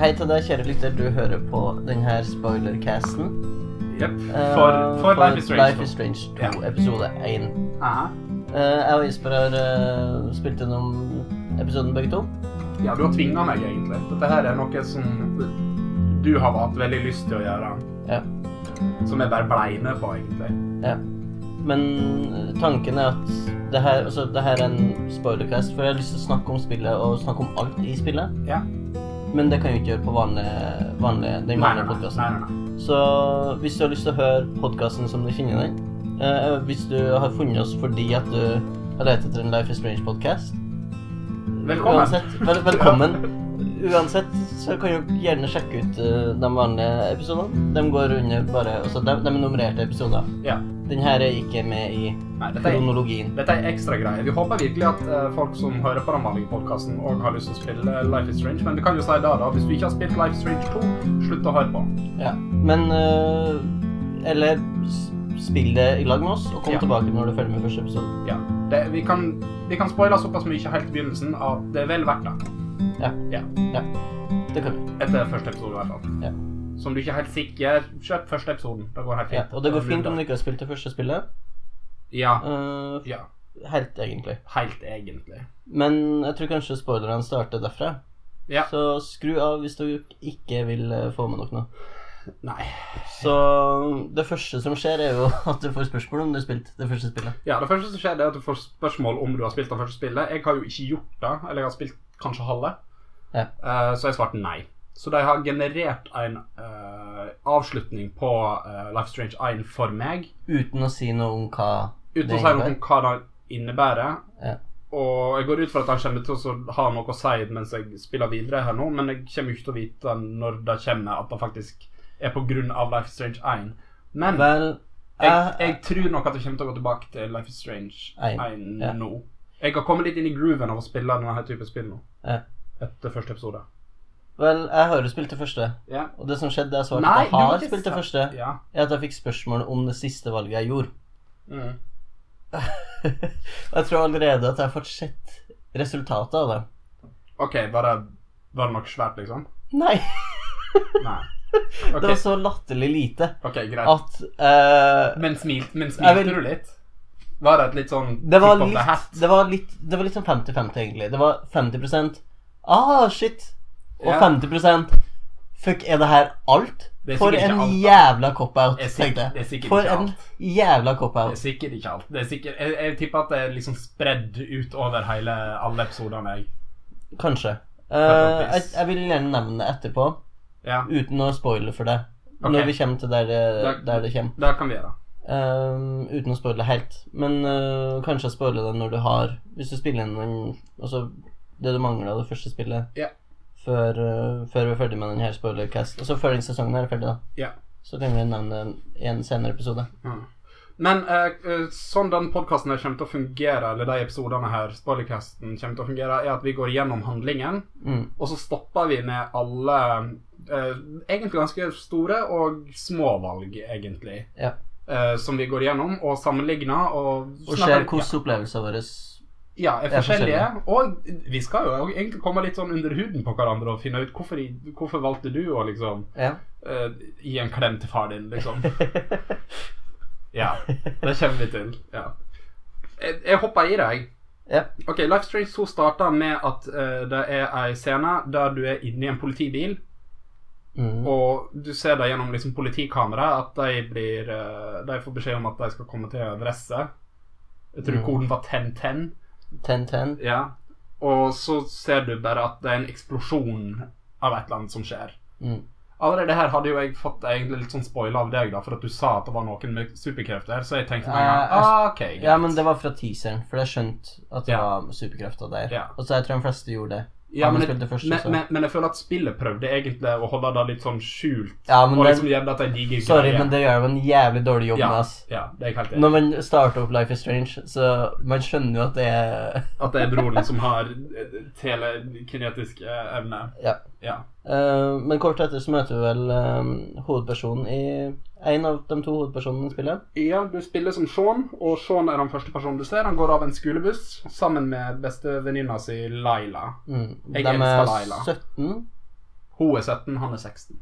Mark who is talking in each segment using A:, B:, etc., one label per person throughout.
A: Hei til deg, kjære lytter. Du hører på denne spoilercasten.
B: Jepp.
A: eh,
B: For, for Life is Strange.
A: Life is
B: da.
A: Strange 2,
B: Ja.
A: episode 1.
B: Aha.
A: jeg og Jesper har eh, spilt gjennom episoden begge to.
B: Ja, du har tvinga meg, egentlig. Dette her er noe som du har hatt veldig lyst til å gjøre.
A: Ja.
B: Som jeg bare blei med på, egentlig.
A: Ja. Men eh, tanken er at det her, altså, det her er en spoilercast, for jeg har lyst til å snakke om spillet og snakke om alt i spillet.
B: Ja.
A: Men det kan jeg jo ikke gjøre på vanlig, vanlig, den
B: Nei, nei,
A: vanlige
B: nei.
A: podkasten.
B: nei, nei, nei.
A: Så hvis du har lyst til å høre podkasten som du finner den, eh, hvis du har funnet oss fordi at du har lett etter en Life is Strange-podkast
B: Velkommen.
A: Uansett, vel, velkommen. Uansett så kan du gjerne sjekke ut eh, de vanlige episodene. De går under bare altså de, de er nummererte episoder.
B: Ja.
A: Den her er ikke med i
B: nei dette, er,
A: kronologien.
B: dette er ekstra greier. Vi håper virkelig at eh, folk som hører på den vanlige podkasten, òg har lyst til å spille eh, Life is Strange. Men vi kan jo si det, da. Hvis du ikke har spilt Life is Strange 2, slutt å høre på.
A: Ja. Men eh, Eller s- spill det i lag med oss, og kom
B: Ja.
A: tilbake når du følger med første episode.
B: Ja. Det, vi, kan, vi kan spoile såpass mye helt i begynnelsen at det er vel verdt det.
A: Ja.
B: Ja.
A: Det kan vi.
B: Etter første episode, i hvert fall.
A: Ja.
B: Som du ikke er helt sikker Kjøp første episoden. Det går helt fint.
A: Ja. Og det går fint om du ikke har spilt det første spillet.
B: Ja.
A: Eh,
B: ja.
A: Helt egentlig.
B: Helt egentlig.
A: Men jeg tror kanskje spoilerne starter derfra.
B: Ja.
A: Så skru av hvis dere ikke vil eh, få med dere noe.
B: Nei.
A: Så det første som skjer, er jo at du får spørsmål om du har spilt det første spillet.
B: Ja, Det første som skjer, det er at du får spørsmål om du har spilt det første spillet. Jeg har jo ikke gjort det, eller jeg har spilt kanskje halve,
A: Ja.
B: Eh, så jeg svarte nei. Så de har generert en eh, avslutning på eh, Life is Strange 1 for meg,
A: Uten å si noe om hva
B: uten
A: Det
B: å si noe
A: innebærer.
B: om hva det innebærer.
A: Ja.
B: Og jeg går ut fra at han kommer til å så ha noe å si mens jeg spiller videre her nå, men jeg kommer jo ikke til å vite når det kommer at det faktisk er på grunn av Life is Strange 1. Men
A: Vel,
B: Jeg,
A: jeg,
B: jeg tror nok at jeg kommer til å gå tilbake til Life is Strange
A: Ei,
B: 1
A: ja.
B: nå. Jeg har kommet litt inn i grooven av å spille denne her type spill nå.
A: Ja.
B: Etter første episode.
A: vel, jeg har jo spilt det første.
B: Ja.
A: Og det som skjedde, da jeg svarte
B: Nei,
A: at
B: du
A: jeg
B: har
A: har
B: ikke
A: spilt det
B: sagt-
A: første,
B: ja.
A: er at jeg fikk spørsmål om det siste valget jeg gjorde.
B: Mm.
A: Og jeg tror allerede at jeg har fått sett resultatet av det.
B: OK, var det, var det nok svært, liksom?
A: Nei!
B: Nei.
A: Det
B: OK,
A: var så latterlig lite
B: ok, greit.
A: at eh,
B: Men, smilt, men
A: Jeg
B: smilte
A: vil-
B: du litt? Var det et litt sånn
A: Det var
B: tip of the
A: litt,
B: hat?
A: det var litt, det var litt sånn 50-50 egentlig. Det var 50 Ah, shit! Og
B: Ja.
A: 50 Fuck, er det her alt?
B: Det er
A: For
B: sikkert
A: en
B: ikke alt, da.
A: jævla cop-out,
B: Det er sikkert-
A: tenkte
B: det er
A: jeg.
B: sikkert
A: For
B: ikke
A: en
B: alt.
A: jævla
B: Det er
A: cop-out.
B: sikkert ikke alt. Det er sikkert, jeg, jeg tipper at det er liksom spredd utover hele alle episodene. jeg-
A: Kanskje. Eh,
B: Kanskje
A: jeg,
B: piss.
A: jeg vil gjerne nevne det etterpå,
B: Ja,
A: uten å spoile for deg.
B: Ok.
A: Når vi kommer til der det,
B: Da-
A: der det kommer.
B: det kan vi gjøre.
A: Eh, uten å spoile helt. Men eh, kanskje jeg spoiler det når du har Hvis du spiller inn den- altså, det du mangler av det første spillet
B: Ja.
A: før, eh, før vi er ferdig med denne spoilercast. Altså før den sesongen her er ferdig, da.
B: Ja.
A: Så kan vi nevne det i en senere episode.
B: Mm. Men eh, eh, sånn den podkasten kommer til å fungere, eller de episodene her, spoilercasten kommer til å fungere, er at vi går gjennom handlingen,
A: Mm.
B: og så stopper vi med alle eh, egentlig ganske store og små valg, egentlig,
A: Ja.
B: eh, som vi går gjennom og sammenligner og
A: Og
B: snakker-
A: ser hvordan opplevelsene våre
B: ja, er
A: er
B: forskjellige. Og vi skal jo egentlig komme litt sånn under huden på hverandre og finne ut hvorfor, i- hvorfor valgte du å liksom
A: Ja.
B: eh, gi en klem til far din, liksom. Ja, det kommer vi til. Ja. Jeg, jeg hopper i deg.
A: ja.
B: Ok, Life is Strange 2 starter med at eh, det er ei scene der du er inni en politibil,
A: Mm.
B: og du ser det gjennom liksom, politikameraet at de, blir, eh, de får beskjed om at de skal komme til en adresse. Jeg tror
A: Mm.
B: koden var 1010.
A: 10-10.
B: Ja. Og så ser du bare at det er en eksplosjon av et eller annet som skjer.
A: Mm.
B: Allerede her hadde jo jeg fått egentlig litt sånn spoiler av deg, da, for at du sa at det var noen med superkrefter. Så jeg tenkte meg
A: Ja, jeg-
B: ah, ok, greit.
A: Eh, Ja, men det var fra teaseren, for jeg skjønte at det
B: Ja.
A: var superkrefter der.
B: Ja.
A: Og så jeg tror de fleste gjorde det.
B: Ja,
A: Han
B: men,
A: spilte
B: jeg,
A: først,
B: men,
A: så-
B: men, men jeg føler at spillet prøvde egentlig å holde det litt sånn skjult.
A: Ja, men
B: og
A: det,
B: liksom gjøre at de digger
A: sorry, men det gjør de en jævlig dårlig jobb
B: ja,
A: med, ass.
B: ja, det er jeg helt enig.
A: Når man starter opp Life is Strange, så man skjønner jo at det er
B: At det er broren som har eh, telekinetisk eh, evne.
A: Ja.
B: Ja.
A: Eh, men kort etter så møter vi vel eh, hovedpersonen i En av de to hovedpersonene i spillet.
B: ja, du spiller som Sean, og Sean er den første personen du ser. Han går av en skolebuss sammen med bestevenninna si Laila.
A: Mm.
B: Jeg
A: de
B: elsker
A: er
B: Laila.
A: 17.
B: Hun er 17, han er 16.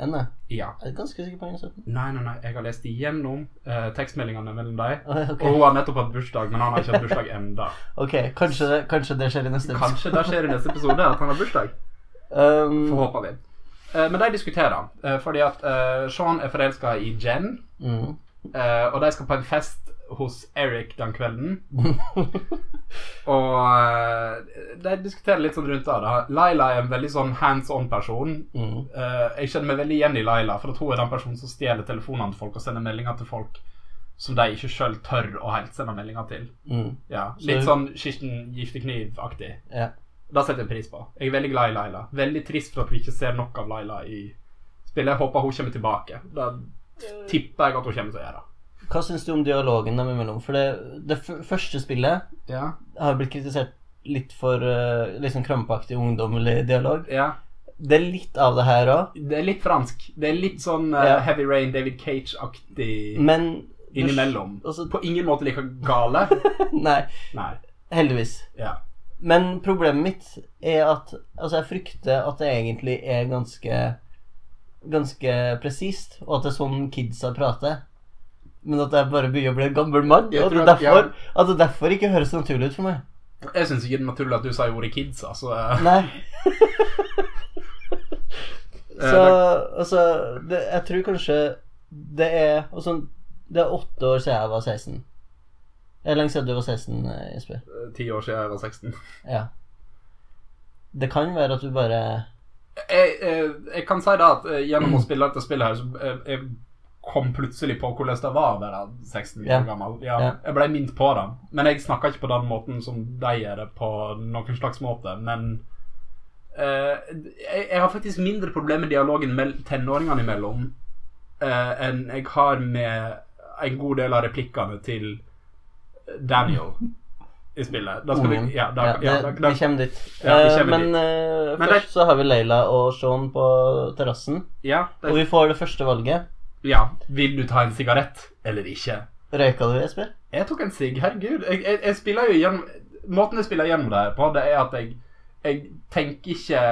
A: Ennå?
B: Ja.
A: Jeg er ganske sikker på at han er 17.
B: Nei, nei, nei. Jeg har lest igjennom eh, tekstmeldingene mellom dem.
A: Åh,
B: Og
A: ok.
B: hun har nettopp hatt bursdag, men han har ikke hatt bursdag enda.
A: Ok, kanskje, det- kanskje det skjer i neste episode.
B: Kanskje det skjer i neste episode at han har bursdag. Får
A: Um,
B: håpe vi. Eh, men de diskuterer, eh, fordi at eh, Sean er forelska i Jen,
A: mm.
B: eh, og de skal på en fest hos Eric den kvelden. Og eh, de diskuterer litt sånn rundt det. da. Laila er en veldig sånn hands on-person.
A: mm.
B: Eh, jeg kjenner meg veldig igjen i Laila, for at hun er den personen som stjeler telefonene til folk og sender meldinger til folk som de ikke sjøl tør å helt sende meldinger til.
A: Mm.
B: Ja,
A: Så-
B: Litt sånn Kirsten Giftekniv-aktig.
A: Ja.
B: Det setter jeg pris på. Jeg er veldig glad i Laila. Veldig trist for at vi ikke ser nok av Laila i spillet. Jeg håper hun kommer tilbake. Det tipper jeg at hun kommer til å gjøre.
A: Hva syns du om dialogen dem imellom? For det, det f første spillet
B: Ja,
A: har blitt kritisert litt for eh, litt sånn krampaktig ungdommelig dialog.
B: ja.
A: Det er litt av det her òg,
B: Det er litt fransk. Det er litt sånn eh,
A: Ja.
B: Heavy Rain, David Cage-aktig
A: men
B: innimellom.
A: Altså-
B: På ingen måte like gale.
A: Nei,
B: Nei.
A: heldigvis.
B: Ja.
A: Men problemet mitt er at Altså, jeg frykter at det egentlig er ganske Ganske presist, og at det er sånn kidsa prater. Men at jeg bare begynner å bli en gammel mann.
B: Jeg
A: Og at
B: tror
A: det,
B: at- ja.
A: derfor, at det derfor ikke høres naturlig ut for meg.
B: Jeg syns ikke det er naturlig at du sa ordet kids, altså.
A: Nei.
B: Eh,
A: Så altså det, Jeg tror kanskje det er altså, Det er åtte år siden jeg var 16. Det er lenge siden du var 16, eh, Jesper.
B: Ti år siden jeg var 16.
A: Ja. Det kan være at du bare
B: jeg, eh, jeg kan si da at eh, gjennom å spille dette spillet her, så eh, jeg kom plutselig på hvordan det var å være 16 år
A: Ja.
B: gammel. Ja,
A: Ja.
B: Jeg ble minnet på det. Men jeg snakka ikke på den måten som de gjør det på noen slags måte. Men eh, jeg, jeg har faktisk mindre problemer med dialogen mellom tenåringene imellom eh, enn jeg har med en god del av replikkene til Daniel i spillet. Da skal vi,
A: Ungen.
B: ja, da, ja, da,
A: det,
B: da,
A: vi kommer dit.
B: Ja, vi
A: Eh,
B: kommer
A: men eh,
B: Men
A: først så har vi Leila og Sean på terrassen.
B: ja,
A: Og
B: da,
A: vi får det første valget.
B: ja. Vil du ta en sigarett eller ikke?
A: Røyka du, Jesper?
B: Jeg tok en sigg, herregud. Jeg, jeg, jeg spiller jo gjennom Måten jeg spiller gjennom det her på, det er at jeg, jeg tenker ikke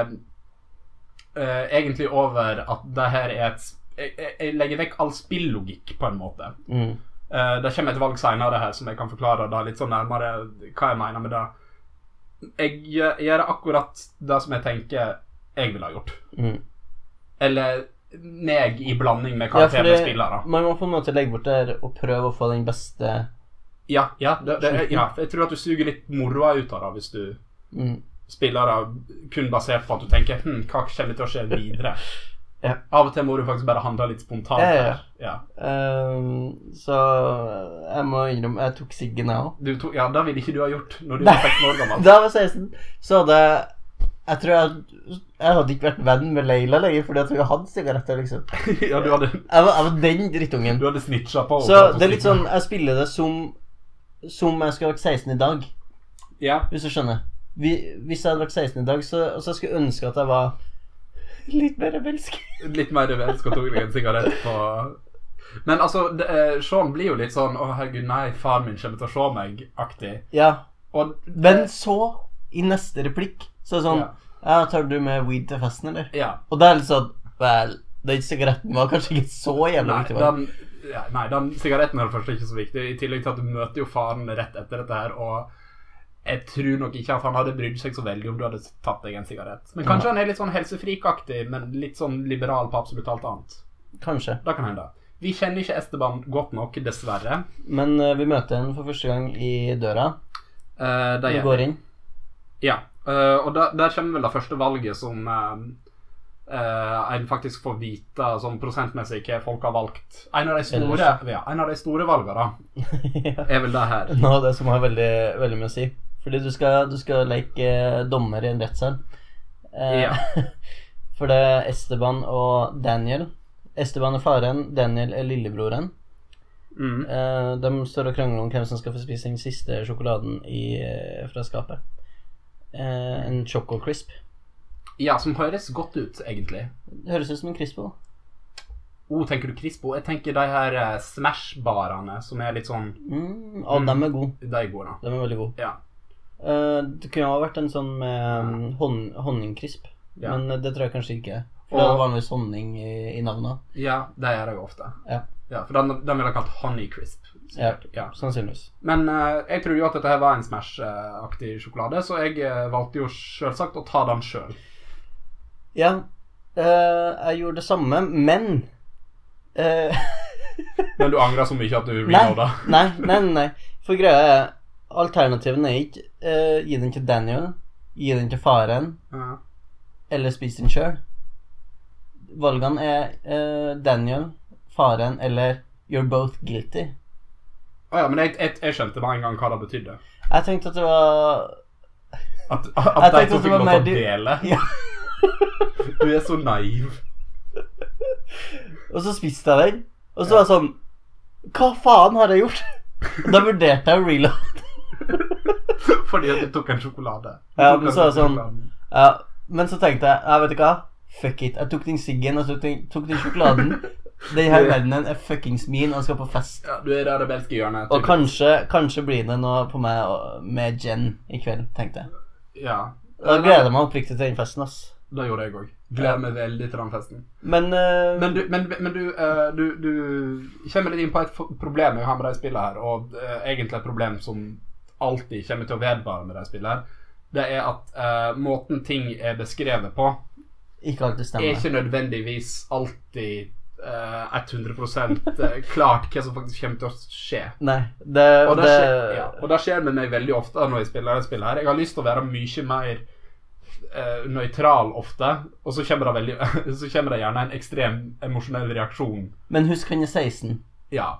B: eh, egentlig over at det her er et sp- jeg, jeg, jeg legger vekk all spillogikk, på en måte.
A: Mm.
B: Eh, det kommer et valg seinere her som jeg kan forklare da litt sånn nærmere hva jeg mener med det. Jeg gjør- gjør akkurat det som jeg tenker jeg ville ha gjort.
A: Mm.
B: Eller meg i blanding med
A: Ja,
B: karakteren jeg
A: fordi
B: spiller. da.
A: man må på en måte legge bort det her og prøve å få den beste
B: Ja, ja, det, det,
A: Slutten.
B: ja, jeg tror at du suger litt moroa ut av det hvis du
A: mm.
B: spiller det kun basert på at du tenker hm, hva kommer til å skje videre.
A: Ja.
B: Av og til må du faktisk bare handle litt spontant.
A: Ja, ja, ja.
B: her. Ja.
A: Ehm, Så jeg må innrømme Jeg tok siggen, jeg òg.
B: Du to, ja, det ville ikke du ha gjort når du var 16 år gammel.
A: Da jeg var 16, så hadde jeg Jeg tror jeg, jeg hadde ikke vært venn med Leila lenger fordi at hun hadde sigaretter, liksom.
B: ja, du hadde,
A: Jeg var, jeg var den drittungen.
B: du hadde snitcha på
A: Så det er litt sånn Jeg spiller det som Som jeg skulle vært 16 i dag,
B: Ja,
A: hvis du skjønner. Vi, hvis jeg hadde vært 16 i dag, så, så skulle jeg ønske at jeg var litt mer rebelsk.
B: litt mer rebelsk og tok deg en sigarett på Men altså, det, eh, Sean blir jo litt sånn 'Å, herregud, nei, faren min kommer til å se meg'-aktig.
A: Ja.
B: Og
A: Men så, i neste replikk, så er det sånn
B: Ja.
A: Ja, tar du med weed til festen, eller?
B: ja,
A: Og det er litt sånn Vel, den sigaretten var kanskje ikke så jævla
B: Nei,
A: viktig. var den?
B: den, ja, nei, den sigaretten er det første ikke så viktig. I tillegg til at du møter jo faren rett etter dette her, og jeg tror nok ikke at han hadde brydd seg så veldig om du hadde tatt deg en sigarett. Men kanskje han er litt sånn helsefrikaktig, men litt sånn liberal på absolutt alt annet.
A: Kanskje.
B: Det kan hende. Vi kjenner ikke Esteban godt nok, dessverre.
A: Men eh, vi møter henne for første gang i døra.
B: Eh, det
A: Vi
B: gjør vi.
A: går inn.
B: Ja, eh, og der, der kommer vel det første valget som eh, eh, en faktisk får vite sånn prosentmessig hva folk har valgt. En av de store, ja, en av de store valgene da,
A: ja.
B: er vel det her.
A: Nå er det som har veldig, veldig mye å si. Fordi du skal, du skal leke eh, dommer i en rettssal. Eh,
B: Ja.
A: For det er Esteban og Daniel. Esteban er faren, Daniel er lillebroren.
B: Mm.
A: Eh, de står og krangler om hvem som skal få spise den siste sjokoladen i, eh, fra skapet. Eh, en Choco Crisp.
B: Ja, som høres godt ut, egentlig.
A: Det høres ut som en Crispo.
B: Oh, tenker du Crispo? Jeg tenker de her eh, Smash-barene, som er litt sånn
A: Mm, og
B: Mm.
A: dem er gode.
B: De er gode, da.
A: De er veldig gode.
B: Ja.
A: Eh, det kunne ha vært en sånn med um, hon, honningkrisp.
B: Ja.
A: mm, Men det tror jeg kanskje ikke. For
B: Og-
A: det er vanligvis honning i, i navnet.
B: Ja, det gjør jeg jo ofte.
A: Ja.
B: For den, den ville jeg kalt Honey Crisp. sikkert. Ja.
A: Sannsynligvis.
B: Men eh, jeg trodde jo at dette her var en Smash-aktig sjokolade, så jeg eh, valgte jo selvsagt å ta den sjøl.
A: Ja, eh, jeg gjorde det samme, men eh,
B: Men du angrer så mye at du
A: Nei.
B: reloada.
A: Nei, nei, nei, nei. For greia er Alternativen er ikke eh, gi den til Daniel, gi den til faren,
B: Ja.
A: eller spis den sjøl. Valgene er eh, Daniel, faren eller You're both guilty.
B: Å ja, men jeg, jeg, jeg skjønte med en gang hva det betydde.
A: Jeg tenkte at det var
B: At, at de
A: tenkte
B: to
A: at det
B: fikk
A: var
B: lov til
A: mer
B: å
A: de-
B: dele.
A: Ja.
B: Du er så naiv.
A: Og så spiste jeg den, og så var jeg sånn Hva faen har jeg gjort? Og da vurderte jeg å reload.
B: Fordi at du tok en sjokolade. Du
A: Ja,
B: tok
A: men
B: en
A: så er det sånn-
B: sjokolade.
A: Ja, men så tenkte jeg ja, Vet du hva? Fuck it. Jeg tok den siggen, jeg tok den, tok den sjokoladen. Den her verdenen er fuckings min, og jeg skal på fest.
B: ja, Du er i det rebelske hjørnet.
A: Og
B: tydeligvis.
A: kanskje, kanskje blir det noe på meg og- med Jen i kveld, tenkte jeg.
B: Ja.
A: Da gleder jeg meg oppriktig til den festen, ass.
B: Det gjorde jeg òg. Gleder meg veldig til den festen.
A: Men, eh,
B: Men du, men, men du, eh, du, du kommer litt inn på et fo- problem jeg har med de spillene her, og eh, egentlig et problem som alltid kommer til å vedvare med de spillene her. Det er at eh, måten ting er beskrevet på,
A: ikke alltid
B: er
A: stemmer.
B: ikke nødvendigvis alltid eh, 100 klart hva som faktisk kommer til å skje.
A: Nei, det,
B: Og det, skjer,
A: det
B: ja, og det skjer med meg veldig ofte når jeg spiller dette spillet her. Jeg har lyst til å være mye mer eh, nøytral ofte, og så kommer, det veldig, så kommer det gjerne en ekstrem emosjonell reaksjon.
A: Men husk han er 16.
B: Ja.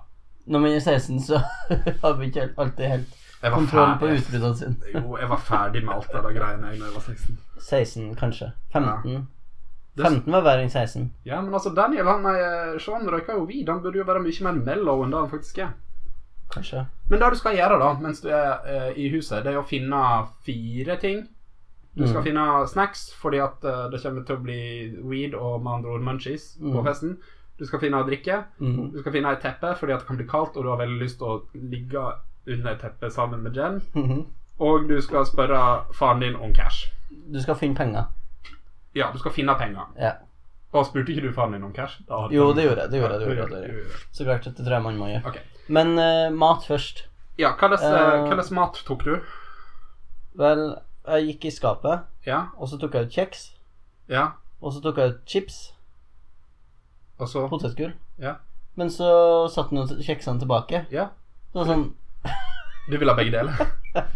A: Når man er 16, så har vi ikke helt- alltid helt
B: Jeg var
A: kontroll på
B: ferdig.
A: utbruddene sine.
B: Jo, jeg var ferdig med alt det der greiene jeg da jeg var 16.
A: 16, kanskje. 15.
B: Det-
A: 15 var verre enn 16.
B: Ja, men altså, Daniel, han er Sean røyker jo weed. Han burde jo være mye mer mellow enn det han faktisk er.
A: Kanskje.
B: Men det du skal gjøre da, mens du er eh, i huset, det er å finne fire ting. Du skal
A: Mm.
B: finne snacks, fordi at eh, det kommer til å bli weed og med andre ord munchies på
A: Mm.
B: festen. Du skal finne drikke.
A: Mhm.
B: Du skal finne ei teppe, fordi at det kan bli kaldt, og du har veldig lyst til å ligge under ei teppe sammen med Jen.
A: Mhm.
B: Og du skal spørre faren din om cash.
A: Du skal finne penger.
B: Ja, du skal finne penger.
A: Ja.
B: Og spurte ikke du faren din om cash? Da hadde
A: Jo,
B: han-
A: det gjorde jeg. Det gjorde jeg. Det
B: Ja,
A: gjorde jeg,
B: du
A: det gjorde jeg.
B: gjorde det.
A: Så klart at det tror jeg man må gjøre.
B: Ok.
A: Men eh, mat først.
B: Ja, hva slags eh,
A: Eh.
B: hva slags mat tok du?
A: Vel, jeg gikk i skapet,
B: Ja,
A: og så tok jeg ut kjeks.
B: ja,
A: Og så tok jeg ut chips.
B: og så
A: Potetgull.
B: Ja.
A: Men så satte han jo kjeksene tilbake.
B: Ja.
A: Så var det sånn
B: Du vil ha begge deler?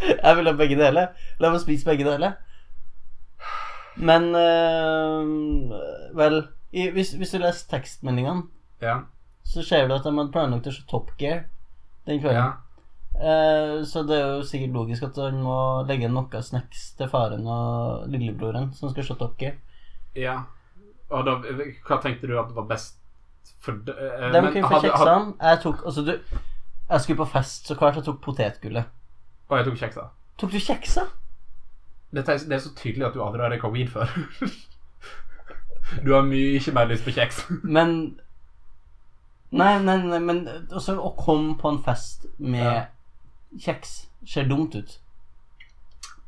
A: Jeg vil ha begge deler. La meg spise begge deler. Men eh, Vel, i, hvis, hvis du leser tekstmeldingene,
B: Ja.
A: så ser du at de hadde planlagt å se Top Gear den kvelden.
B: ja.
A: Eh, så det er jo sikkert logisk at han må legge noe snacks til faren og lillebroren som skal se Top Gear.
B: Ja. Og da, hva tenkte du at var best for de, eh,
A: De
B: men
A: kunne få
B: hadde- hadde-
A: kjeksene. Jeg tok Altså, du Jeg skulle på fest, så klart jeg tok potetgullet.
B: Å, jeg tok kjeksa.
A: Tok du kjeksa?
B: Dette er, det er så tydelig at du aldri har røyka weed før. du har mye mer lyst på kjeks.
A: Men Nei, nei, nei, men også å komme på en fest med
B: Ja.
A: kjeks ser dumt ut.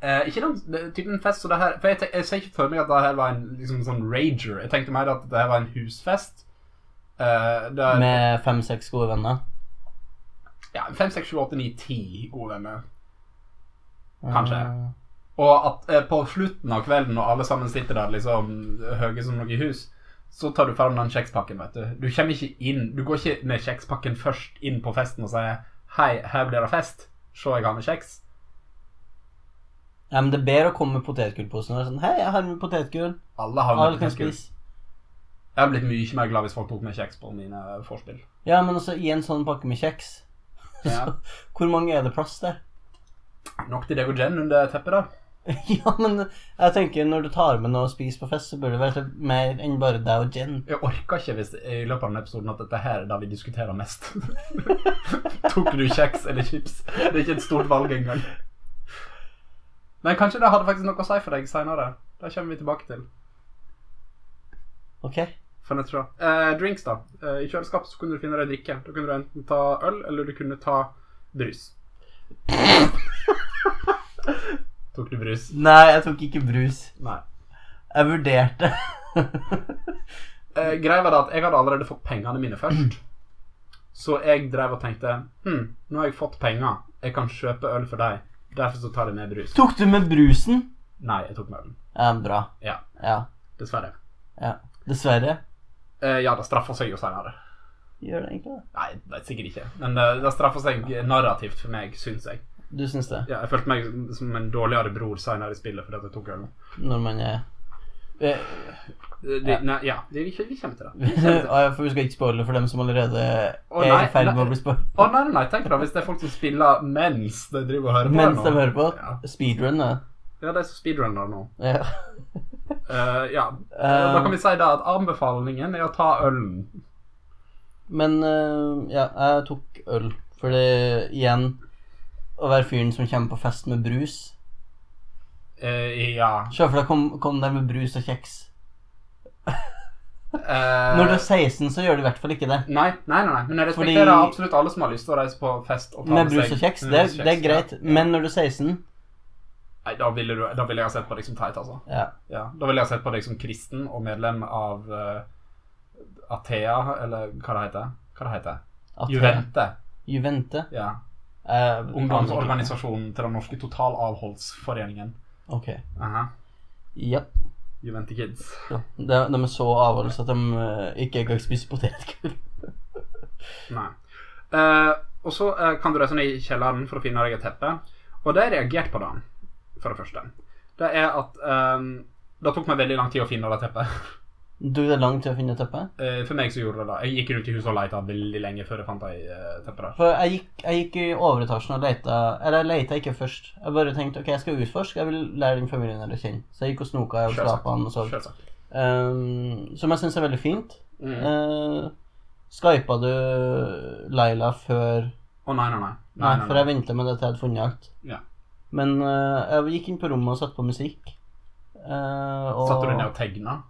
B: Eh, ikke noen det er tydelig en fest, så det her For jeg, te- jeg ser ikke for meg at det her var en liksom, sånn rager. Jeg tenkte mer at det her var en husfest. Eh, der,
A: Med fem-seks gode venner.
B: ja, 5, 6, 7, 8, 9, 10 gode venner.
A: Eh,
B: Kanskje. Og at eh, på slutten av kvelden, når alle sammen sitter der liksom høye som noe hus, så tar du fram den kjekspakken, vet du. Du kommer ikke inn, du går ikke med kjekspakken først inn på festen og sier Hei, her blir det fest. Se, jeg har med kjeks.
A: Ja, men det er bedre å komme med potetgullposen og være sånn Hei, jeg har med potetgull.
B: Alle har
A: Alle
B: med
A: kan
B: kjeks.
A: spise.
B: Jeg har blitt mye mer glad hvis folk tok med kjeks på mine vorspiel.
A: Ja, men også i en sånn pakke med kjeks
B: Ja.
A: så, Hvor mange er det plass til?
B: Nok til deg og Jen under teppet, da.
A: ja, men jeg tenker når du tar med noe å spise på fest, så bør det være mer enn bare deg og Jen.
B: Jeg orker ikke hvis i løpet av denne episoden at dette her er det vi diskuterer mest. Tok du kjeks eller chips? Det er ikke et stort valg engang. Men kanskje det hadde faktisk noe å si for deg seinere. Det kommer vi tilbake til.
A: Ok?
B: For nett fra. Eh, drinks, da. Eh, I kjøleskapet så kunne du finne deg drikke. Da kunne du enten ta øl, eller du kunne ta brus. Tok du brus?
A: Nei, jeg tok ikke brus.
B: Nei.
A: Jeg vurderte.
B: Eh, greia var det at jeg hadde allerede fått pengene mine først. Så jeg drev og tenkte hm, nå har jeg fått penger, jeg kan kjøpe øl for deg. Derfor så tar jeg med brus.
A: Tok du med brusen?
B: Nei, jeg tok med ølen.
A: Ja, bra.
B: Ja.
A: Ja.
B: Dessverre.
A: ja. Dessverre.
B: Eh, ja, det straffer seg jo seinere.
A: Gjør det egentlig det?
B: Nei, det er sikkert ikke. Men det, det straffer seg narrativt for meg, syns jeg.
A: Du syns det?
B: Ja, jeg følte meg som en dårligere bror seinere i spillet fordi at jeg tok ølen.
A: Når man er Eh,
B: Eh, det- Nei, ja, vi, vi vi kommer til det. Vi kommer til det.
A: ah, ja, For vi skal ikke spoile for dem som allerede
B: Å,
A: er
B: nei,
A: i ferd med
B: nei.
A: å bli spoilet.
B: Å nei, nei, nei, tenk deg hvis det er folk som spiller mens de driver og hører på.
A: Mens
B: det
A: de
B: nå.
A: hører på.
B: Ja.
A: Speedrun, da.
B: Ja, de er som speedrunner nå.
A: Ja.
B: Eh, ja.
A: Eh,
B: da kan vi si da at anbefalingen er å ta ølen.
A: Men eh, ja, jeg tok øl. Fordi igjen Å være fyren som kommer på fest med brus
B: Eh, ja.
A: Se for deg kom, kom der med brus og kjeks.
B: Eh,
A: Når du er 16, så gjør du i hvert fall ikke det.
B: Nei, nei, nei, nei, men jeg
A: Fordi-
B: respekterer absolutt alle som har lyst til å reise på fest og ta
A: Med
B: seg-
A: brus og kjeks,
B: med
A: det,
B: brus og
A: det er
B: kjeks,
A: greit.
B: ja.
A: Men når du er 16
B: Nei, da ville, du, da ville jeg ha sett på deg som teit, altså.
A: ja.
B: Ja, da ville jeg ha sett på deg som kristen og medlem av eh, Athea, eller hva det heter. Hva det heter?
A: at-
B: Juvente.
A: Juvente.
B: Ja.
A: Eh,
B: Ungdomsorganisasjonen til den norske totalavholdsforeningen.
A: Ok.
B: Aha.
A: Ja.
B: Juvente Kids.
A: De, de er så avholds at de eh, ikke engang spiser potetgull.
B: Nei. Eh, og så eh, kan du reise ned i kjelleren for å finne deg et teppe. Og det har jeg reagert på, da. For det første. Det er at eh, Det tok meg veldig lang tid å finne det teppet.
A: Du, det er langt til å finne teppet.
B: Eh, for meg så gjorde det det. Jeg gikk rundt i huset og leita veldig lenge før jeg fant ei uh, teppe der.
A: For jeg gikk, jeg gikk i overetasjen og leita Eller jeg leita ikke først. Jeg bare tenkte ok, jeg skal utforske, jeg vil lære den familien her å kjenne. Så jeg gikk og snoka og
B: Selvsagt.
A: skapa den og sånn.
B: Selvsagt.
A: Um, som jeg syns er veldig fint.
B: Mm. Å
A: Uh, Skypa du Laila før
B: nei, nei, nei.
A: Nei, for jeg venta med det til jeg hadde funnet alt.
B: Ja.
A: Men eh, jeg gikk inn på rommet og satte på musikk. Eh, og
B: Satte du deg ned og tegna?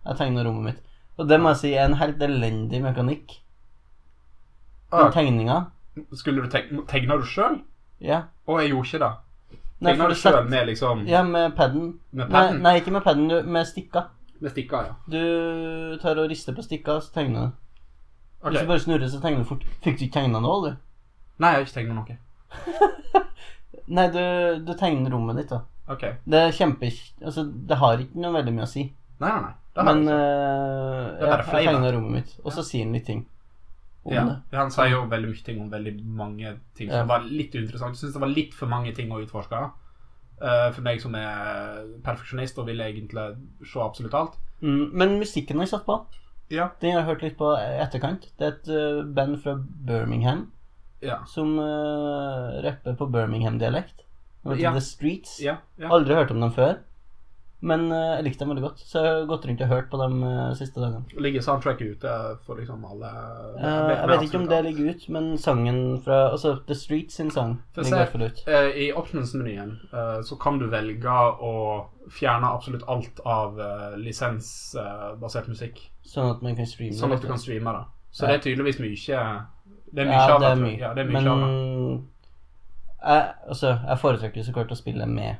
A: Jeg tegna rommet mitt. Og det må jeg si er en helt elendig mekanikk.
B: Ah,
A: Den tegninga.
B: Skulle du tegne, tegna du sjøl?
A: Ja.
B: Å, jeg gjorde ikke det.
A: Nei,
B: Tegna
A: for
B: du
A: du
B: sjøl
A: setter-
B: med liksom
A: ja, med paden. Nei,
B: Med pennen?
A: nei, ikke med paden, du- med stikka.
B: Med stikka, ja.
A: Du tar og rister på stikka, så tegner du.
B: Ok.
A: Hvis du bare snurrer, så tegner du fort. Fikk du ikke tegna noe, du?
B: Nei, jeg har ikke tegna noe.
A: Nei, du, du tegner rommet ditt, da.
B: Ok. Nei,
A: Det er kjempe... Altså, det har ikke noe veldig mye å si.
B: nei, nei. Det har
A: Men
B: jeg ikke.
A: eh,
B: Det er
A: ja,
B: bare
A: jeg
B: flavor.
A: tegna rommet mitt, og så sier han litt ting om
B: ja.
A: det.
B: ja, Han sier jo veldig mye ting om veldig mange ting
A: Ja.
B: som var litt uinteressant. Jeg syns det var litt for mange ting å utforske. Eh, for meg som er perfeksjonist og vil egentlig se absolutt alt.
A: Mm, men musikken har jeg satt på.
B: Ja.
A: Den har jeg hørt litt på i etterkant. Det er et eh, band fra Birmingham
B: Ja.
A: som eh, rapper på Birmingham-dialekt. De heter
B: Ja.
A: The Streets.
B: ja, ja.
A: Aldri hørt om dem før. Men eh, jeg likte dem veldig godt, så jeg har gått rundt og hørt på dem eh, siste dagene.
B: Ligger soundtracket ute for liksom alle
A: Eh, jeg vet ikke om det ligger ut, men sangen fra Altså The Streets sin sang
B: Få
A: ligger
B: se.
A: i hvert fall ut.
B: Eh, I options-menyen eh, så kan du velge å fjerne absolutt alt av eh, lisensbasert musikk.
A: Sånn at man kan streame.
B: Sånn at
A: det.
B: du kan streame det.
A: Ja.
B: Så det er tydeligvis mye Det er mye
A: Ja, det
B: av det.
A: er
B: tror
A: mye.
B: jeg. Ja, det er mye
A: men
B: av det.
A: jeg, altså, jeg foretrekker jo så klart å spille med,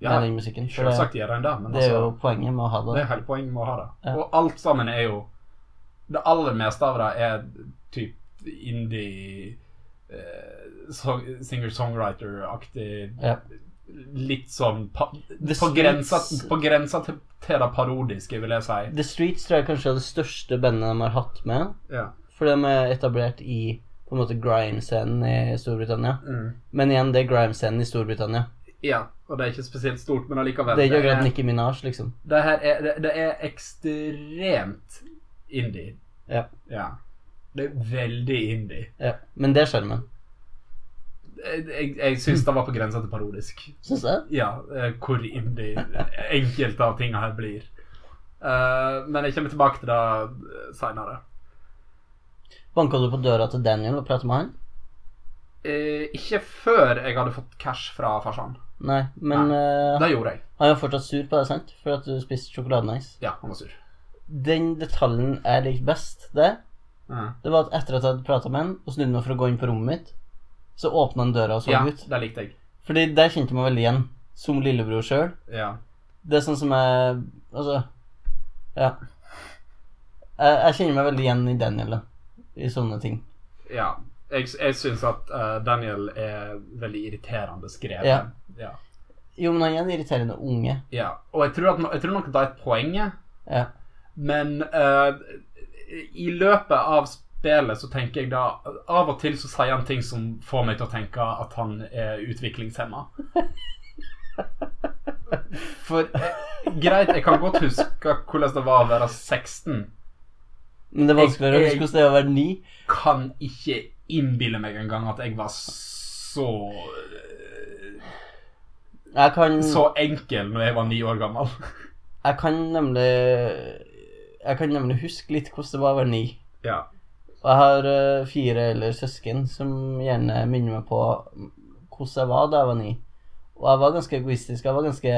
B: Ja,
A: med den musikken. For det,
B: selvsagt gjør en det, men
A: det er
B: altså
A: jo poenget med å ha
B: Det
A: det.
B: er hele poenget med å ha det.
A: Ja.
B: Og alt sammen er jo Det aller meste av det er typ indie eh, song- Singer-songwriter-aktig
A: Ja.
B: Litt sånn pa,
A: The
B: på, grensa,
A: Streets-
B: på grensa til, til det parodiske, vil jeg si.
A: The Streets tror jeg kanskje er det største bandet de har hatt med.
B: Ja.
A: For de er etablert i på en måte grime-scenen i Storbritannia.
B: Mm.
A: Men igjen, det er grime-scenen i Storbritannia.
B: ja. Og det er ikke spesielt stort, men allikevel.
A: Det er ikke
B: det,
A: akkurat
B: er,
A: Nicki Minaj, liksom.
B: det, her er, det, det er ekstremt indie.
A: Ja.
B: ja. Det er veldig indie.
A: Ja. Men det er sjarmen.
B: Jeg, jeg, jeg syns det var på grensa til parodisk.
A: Syns jeg.
B: Ja, eh, hvor indie enkelte av tinga her blir. Eh, men jeg kommer tilbake til det eh, seinere.
A: Banka du på døra til Daniel og prata med han?
B: Eh, ikke før jeg hadde fått cash fra farsan.
A: Nei, men eh,
B: Det gjorde jeg.
A: han er fortsatt sur på deg, sant? For at du spiste sjokoladeis.
B: Ja, han var sur.
A: Den detaljen jeg likte best, det
B: Ja.
A: Det var at etter at jeg hadde prata med han, og snudde meg for å gå inn på rommet mitt, så åpna han døra og så
B: ja,
A: Sånn ut.
B: det likte jeg.
A: Fordi der kjente jeg meg veldig igjen, som lillebror sjøl.
B: Ja.
A: Det er sånn som jeg Altså, ja. Jeg, jeg kjenner meg veldig igjen i Daniel, da. I sånne ting.
B: Ja. Jeg, jeg syns at eh, Daniel er veldig irriterende skrevet.
A: Ja.
B: Ja.
A: Jo, men han er en irriterende unge.
B: ja. Og jeg tror, at, jeg tror nok det er poenget,
A: Ja.
B: men eh, i løpet av spillet så tenker jeg da Av og til så sier han ting som får meg til å tenke at han er utviklingshemma. For eh, greit, jeg kan godt huske hvordan det var å være 16.
A: Men det er vanskeligere å
B: Jeg-
A: huske
B: jeg-
A: hvordan det er å være ni.
B: kan ikke innbille meg engang at jeg var så eh,
A: Jeg kan,
B: Så enkel når jeg var ni år gammel.
A: jeg kan nemlig Jeg kan nemlig huske litt hvordan det var å være ni.
B: Ja.
A: Og jeg har eh, fire eller søsken som gjerne minner meg på hvordan jeg var da jeg var ni. Og jeg var ganske egoistisk. Jeg var ganske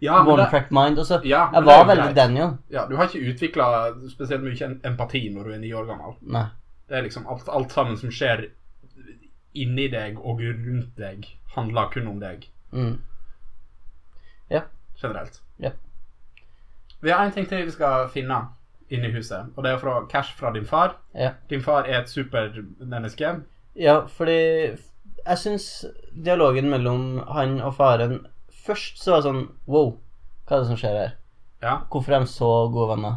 B: Ja, men
A: one
B: det,
A: track mind. Og så
B: ja, men
A: Jeg
B: det er
A: var
B: jo
A: veldig
B: greit.
A: Daniel.
B: ja, du har ikke utvikla spesielt mye en- empati når du er ni år gammel.
A: Nei.
B: Det er liksom alt, alt sammen som skjer inni deg og rundt deg, handler kun om deg,
A: Mm.
B: generelt.
A: Ja.
B: Vi har én ting til vi skal finne inni huset, og det er fra cash fra din far.
A: Ja.
B: Din far er et supermenneske.
A: ja, fordi jeg syns dialogen mellom han og faren Først så var det sånn Wow, hva er det som skjer her?
B: Ja.
A: Hvorfor er de så gode venner?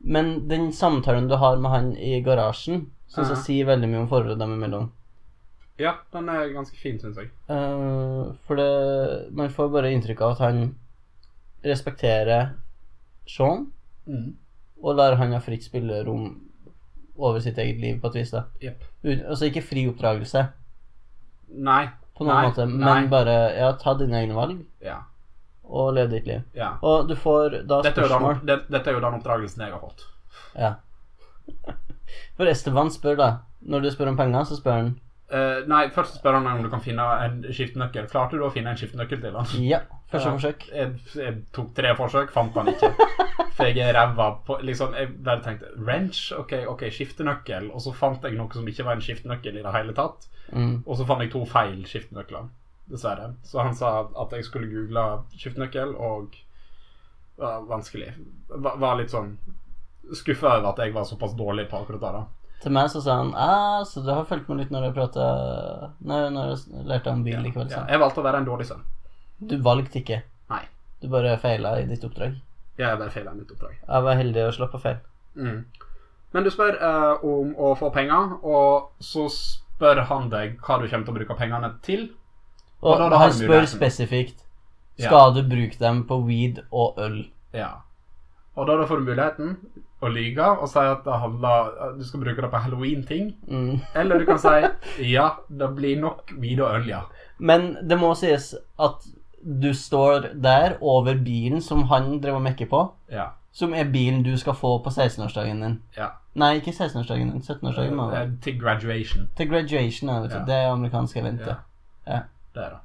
A: Men den samtalen du har med han i garasjen, syns jeg
B: Ja.
A: sier veldig mye om forholdet dem imellom.
B: ja, den er ganske fin, syns jeg.
A: Eh, for det Man får bare inntrykk av at han respekterer Sean,
B: Mm.
A: og lar han ha fritt spillerom over sitt eget liv på et vis, da.
B: Jepp.
A: Ut- Altså ikke fri oppdragelse,
B: Nei.
A: på noen
B: Nei,
A: måte, men
B: nei.
A: bare ja, ta dine egne valg
B: Ja.
A: og lev ditt liv.
B: ja.
A: Og du får da
B: Dette, er jo
A: spørsmål
B: den, det, dette er jo den oppdragelsen jeg har fått.
A: Ja. For Esteban spør, da. Når du spør om penger, så spør han
B: Eh, nei, først spør han om du kan finne en skiftenøkkel. Klarte du å finne en skiftenøkkel til han?
A: ja. Første
B: Ja.
A: forsøk.
B: Jeg, jeg tok tre forsøk, fant han ikke. For jeg er ræva på liksom, Jeg bare tenkte wrench, OK, ok, skiftenøkkel. Og så fant jeg noe som ikke var en skiftenøkkel i det hele tatt.
A: Mm.
B: Og så fant jeg to feil skiftenøkler, dessverre. Så han sa at jeg skulle google skiftenøkkel, og det var vanskelig. Var, var litt sånn skuffa over at jeg var såpass dårlig på akkurat det. da.
A: Til meg så sa han ah, så du har fulgt med litt når jeg prata Når når jeg lærte om bil
B: Ja,
A: likevel,
B: ja.
A: sa han.
B: Jeg valgte å være en dårlig sønn.
A: Du valgte ikke.
B: Nei.
A: Du bare feila i ditt oppdrag.
B: Jeg bare feila mitt oppdrag.
A: Jeg var heldig og slapp av feil.
B: Mm. Men du spør eh, om å få penger, og så spør han deg hva du kommer til å bruke pengene til.
A: Og,
B: Og da- da har
A: han
B: du
A: spør
B: muligheten.
A: spesifikt
B: Ja.
A: Skal du bruke dem på weed og øl.
B: Ja. Og da, da får du muligheten å lyge og si at det handler, at du skal bruke det på halloween-ting.
A: Mm.
B: Eller du kan si ja, det blir nok weed og øl, ja.
A: Men det må sies at du står der over bilen som han drev og mekker på,
B: ja.
A: som er bilen du skal få på 16-årsdagen din.
B: Ja.
A: Nei, ikke 16-årsdagen din. 17-årsdagen. må det være.
B: Eh, Til graduation.
A: Til graduation, ja, vet du.
B: Ja.
A: Det er amerikansk event,
B: Ja.
A: det. Ja.
B: Det er det.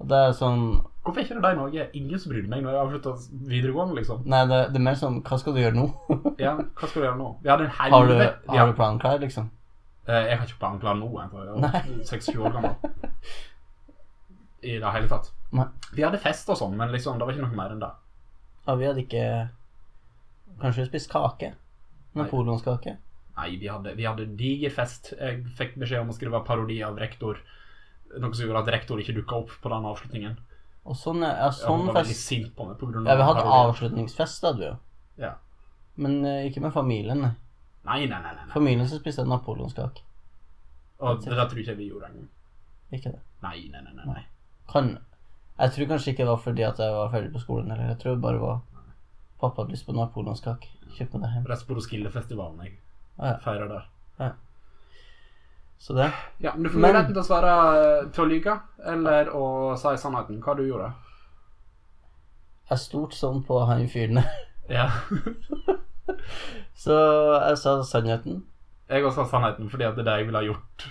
A: Og det er sånn
B: Hvorfor er ikke det det i Norge? Ingen som bryr meg når jeg avslutter videregående, liksom.
A: Nei, det, det er mer sånn Hva skal du gjøre nå?
B: Ja, hva skal du gjøre nå? Vi hadde en
A: Har du,
B: helvete...
A: har du planen klar, liksom?
B: Eh, Jeg har ikke plankla nå, jeg, for jeg
A: Nei.
B: er 26 år gammel. I det hele tatt.
A: Nei.
B: Vi hadde fest og sånn, men liksom, det var ikke noe mer enn det.
A: Ja, vi hadde ikke Kanskje vi spiste kake? Napoleonskake?
B: Nei, vi hadde, vi hadde diger fest. Jeg fikk beskjed om å skrive parodi av rektor. Noe som gjorde at rektor ikke dukka opp på den avslutningen.
A: Og sånn, ja,
B: Ja, hun
A: sånn
B: var veldig
A: fest
B: sint på meg på grunn av
A: Ja, vi hadde
B: parodien.
A: avslutningsfest, hadde vi jo.
B: Ja.
A: Men eh, ikke med familien, nei.
B: Nei, nei, nei. nei, nei.
A: Familien som spiste napoleonskake.
B: Og det der tror jeg ikke vi gjorde engang.
A: Ikke det.
B: Nei, nei, nei. nei, nei.
A: Kan Jeg tror kanskje ikke det var fordi at jeg var ferdig på skolen, eller jeg tror det bare var Pappa hadde lyst på napoleonskake. Kjøp med deg hjem.
B: Rett på Roskilde-festivalen jeg
A: Ah, ja.
B: feirer der.
A: Så det
B: Ja, men Du får
A: Men-
B: muligheten til å svare eh, til å lyve eller å si sannheten. Hva du gjorde
A: Jeg stolte sånn på han fyren der.
B: Ja.
A: Så jeg sa sannheten,
B: Jeg også sa sannheten fordi at det er det jeg ville ha gjort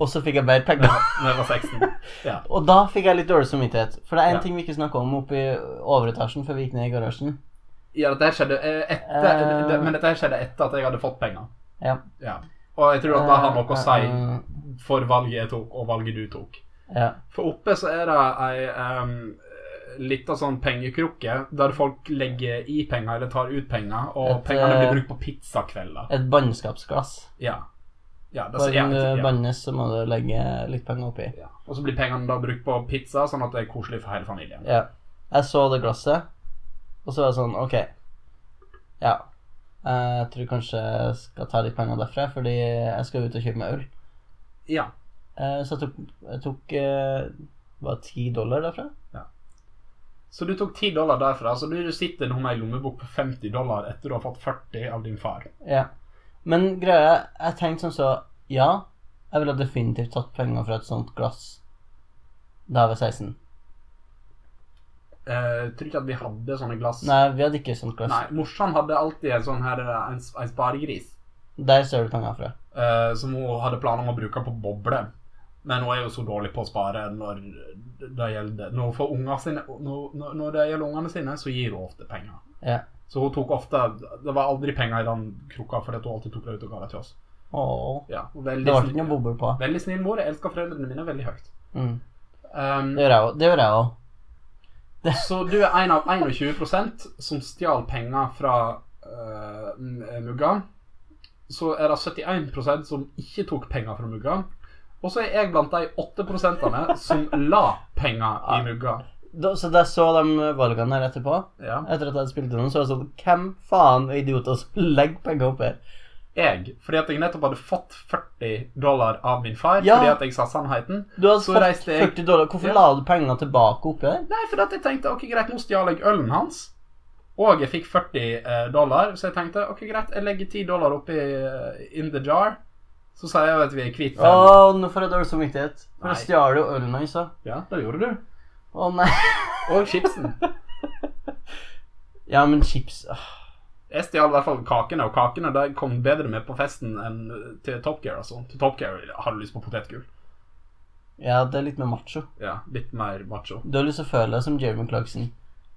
A: og så fikk jeg mer penger.
B: når jeg var 16. Ja.
A: Og da fikk jeg litt dårlig samvittighet. For det er én
B: Ja.
A: ting vi ikke snakka om oppe i overetasjen før vi gikk ned i garasjen.
B: ja, dette her skjedde eh, etter,
A: Eh.
B: det, men dette her skjedde etter at jeg hadde fått penger.
A: Ja.
B: Ja. Og jeg tror at det har noe å si
A: Eh,
B: for valget jeg tok, og valget du tok.
A: eh, Ja.
B: For oppe så er det ei ehm, lita sånn pengekrukke der folk legger i penger eller tar ut penger, og
A: Et,
B: pengene
A: eh,
B: blir brukt på pizzakvelder.
A: Et bannskapsglass.
B: Ja. Ja, det,
A: Bare
B: så, Altså, ja,
A: når
B: ja.
A: du bannes, så må du legge litt penger oppi.
B: Ja. Og så blir pengene da brukt på pizza, sånn at det er koselig for hele familien.
A: Ja. Jeg så det glasset, og så var jeg sånn OK. Ja. Jeg tror kanskje jeg skal ta litt penger derfra, fordi jeg skal ut og kjøpe meg øl.
B: Ja.
A: Eh, Så jeg tok, jeg tok eh, Var det ti dollar derfra?
B: Så du tok 10 dollar derfra, så du sitter nå med ei lommebok på 50 dollar etter du har fått 40 av din far.
A: Ja. Men greia Jeg tenkte sånn så Ja, jeg ville definitivt tatt penger fra et sånt glass da jeg var 16.
B: Uh, tror ikke at vi hadde sånne glass.
A: Nei, vi hadde ikke et sånt glass.
B: Nei, Morsan hadde alltid en sånn her, eh, en, en sparegris.
A: Der ser du penger fra.
B: eh, som hun hadde planer om å bruke på boble. Men hun er jo så dårlig på å spare når det gjelder Når hun får unger sine, når, når- når det gjelder ungene sine, så gir hun ofte penger.
A: Ja.
B: Så hun tok ofte Det var aldri penger i den krukka, fordi at hun alltid tok det ut og ga det til oss.
A: Åh.
B: Ja, og veldig,
A: Det ble
B: snill-
A: ikke noe boble på.
B: veldig snill mor. Jeg elsker foreldrene mine veldig høyt.
A: Mm.
B: Um,
A: Det gjør jeg òg. Det gjør jeg òg.
B: så du er en av 21 som stjal penger fra eh, m- Mugga. Så er det 71 som ikke tok penger fra Mugga. Og så er jeg blant de 8 som la penger i Mugga.
A: Da, så da jeg så de valgene her etterpå,
B: Ja.
A: etter at jeg spilte noen, så var jeg sånn Hvem faen er idioter som legger penger opp her?
B: Jeg, fordi at jeg nettopp hadde fått 40 dollar av min far
A: Ja.
B: fordi at jeg sa sannheten.
A: Du hadde
B: Så
A: fått
B: reiste jeg-
A: 40 dollar. Hvorfor
B: Ja.
A: la du pengene tilbake oppi der?
B: Nei, fordi at jeg tenkte ok, greit, nå stjal jeg ølen hans. Og jeg fikk 40 eh, dollar, så jeg tenkte ok, greit, jeg legger 10 dollar oppi eh, in the jar. Så sier jeg at vi er kvitt
A: Å,
B: den.
A: nå får jeg dårlig samvittighet. For jeg
B: Nei.
A: stjal jo ølen hans, da.
B: Ja, det gjorde du.
A: Å nei.
B: Og chipsen.
A: Ja, men chips åh.
B: Jeg stjal i hvert fall kakene, og kakene de kom bedre med på festen enn til Top Gear. altså. Til Top Gear har du lyst på potetgull.
A: Ja, det er litt mer macho.
B: Ja, litt mer macho.
A: Du har lyst til å føle deg som Jeremy Clarkson.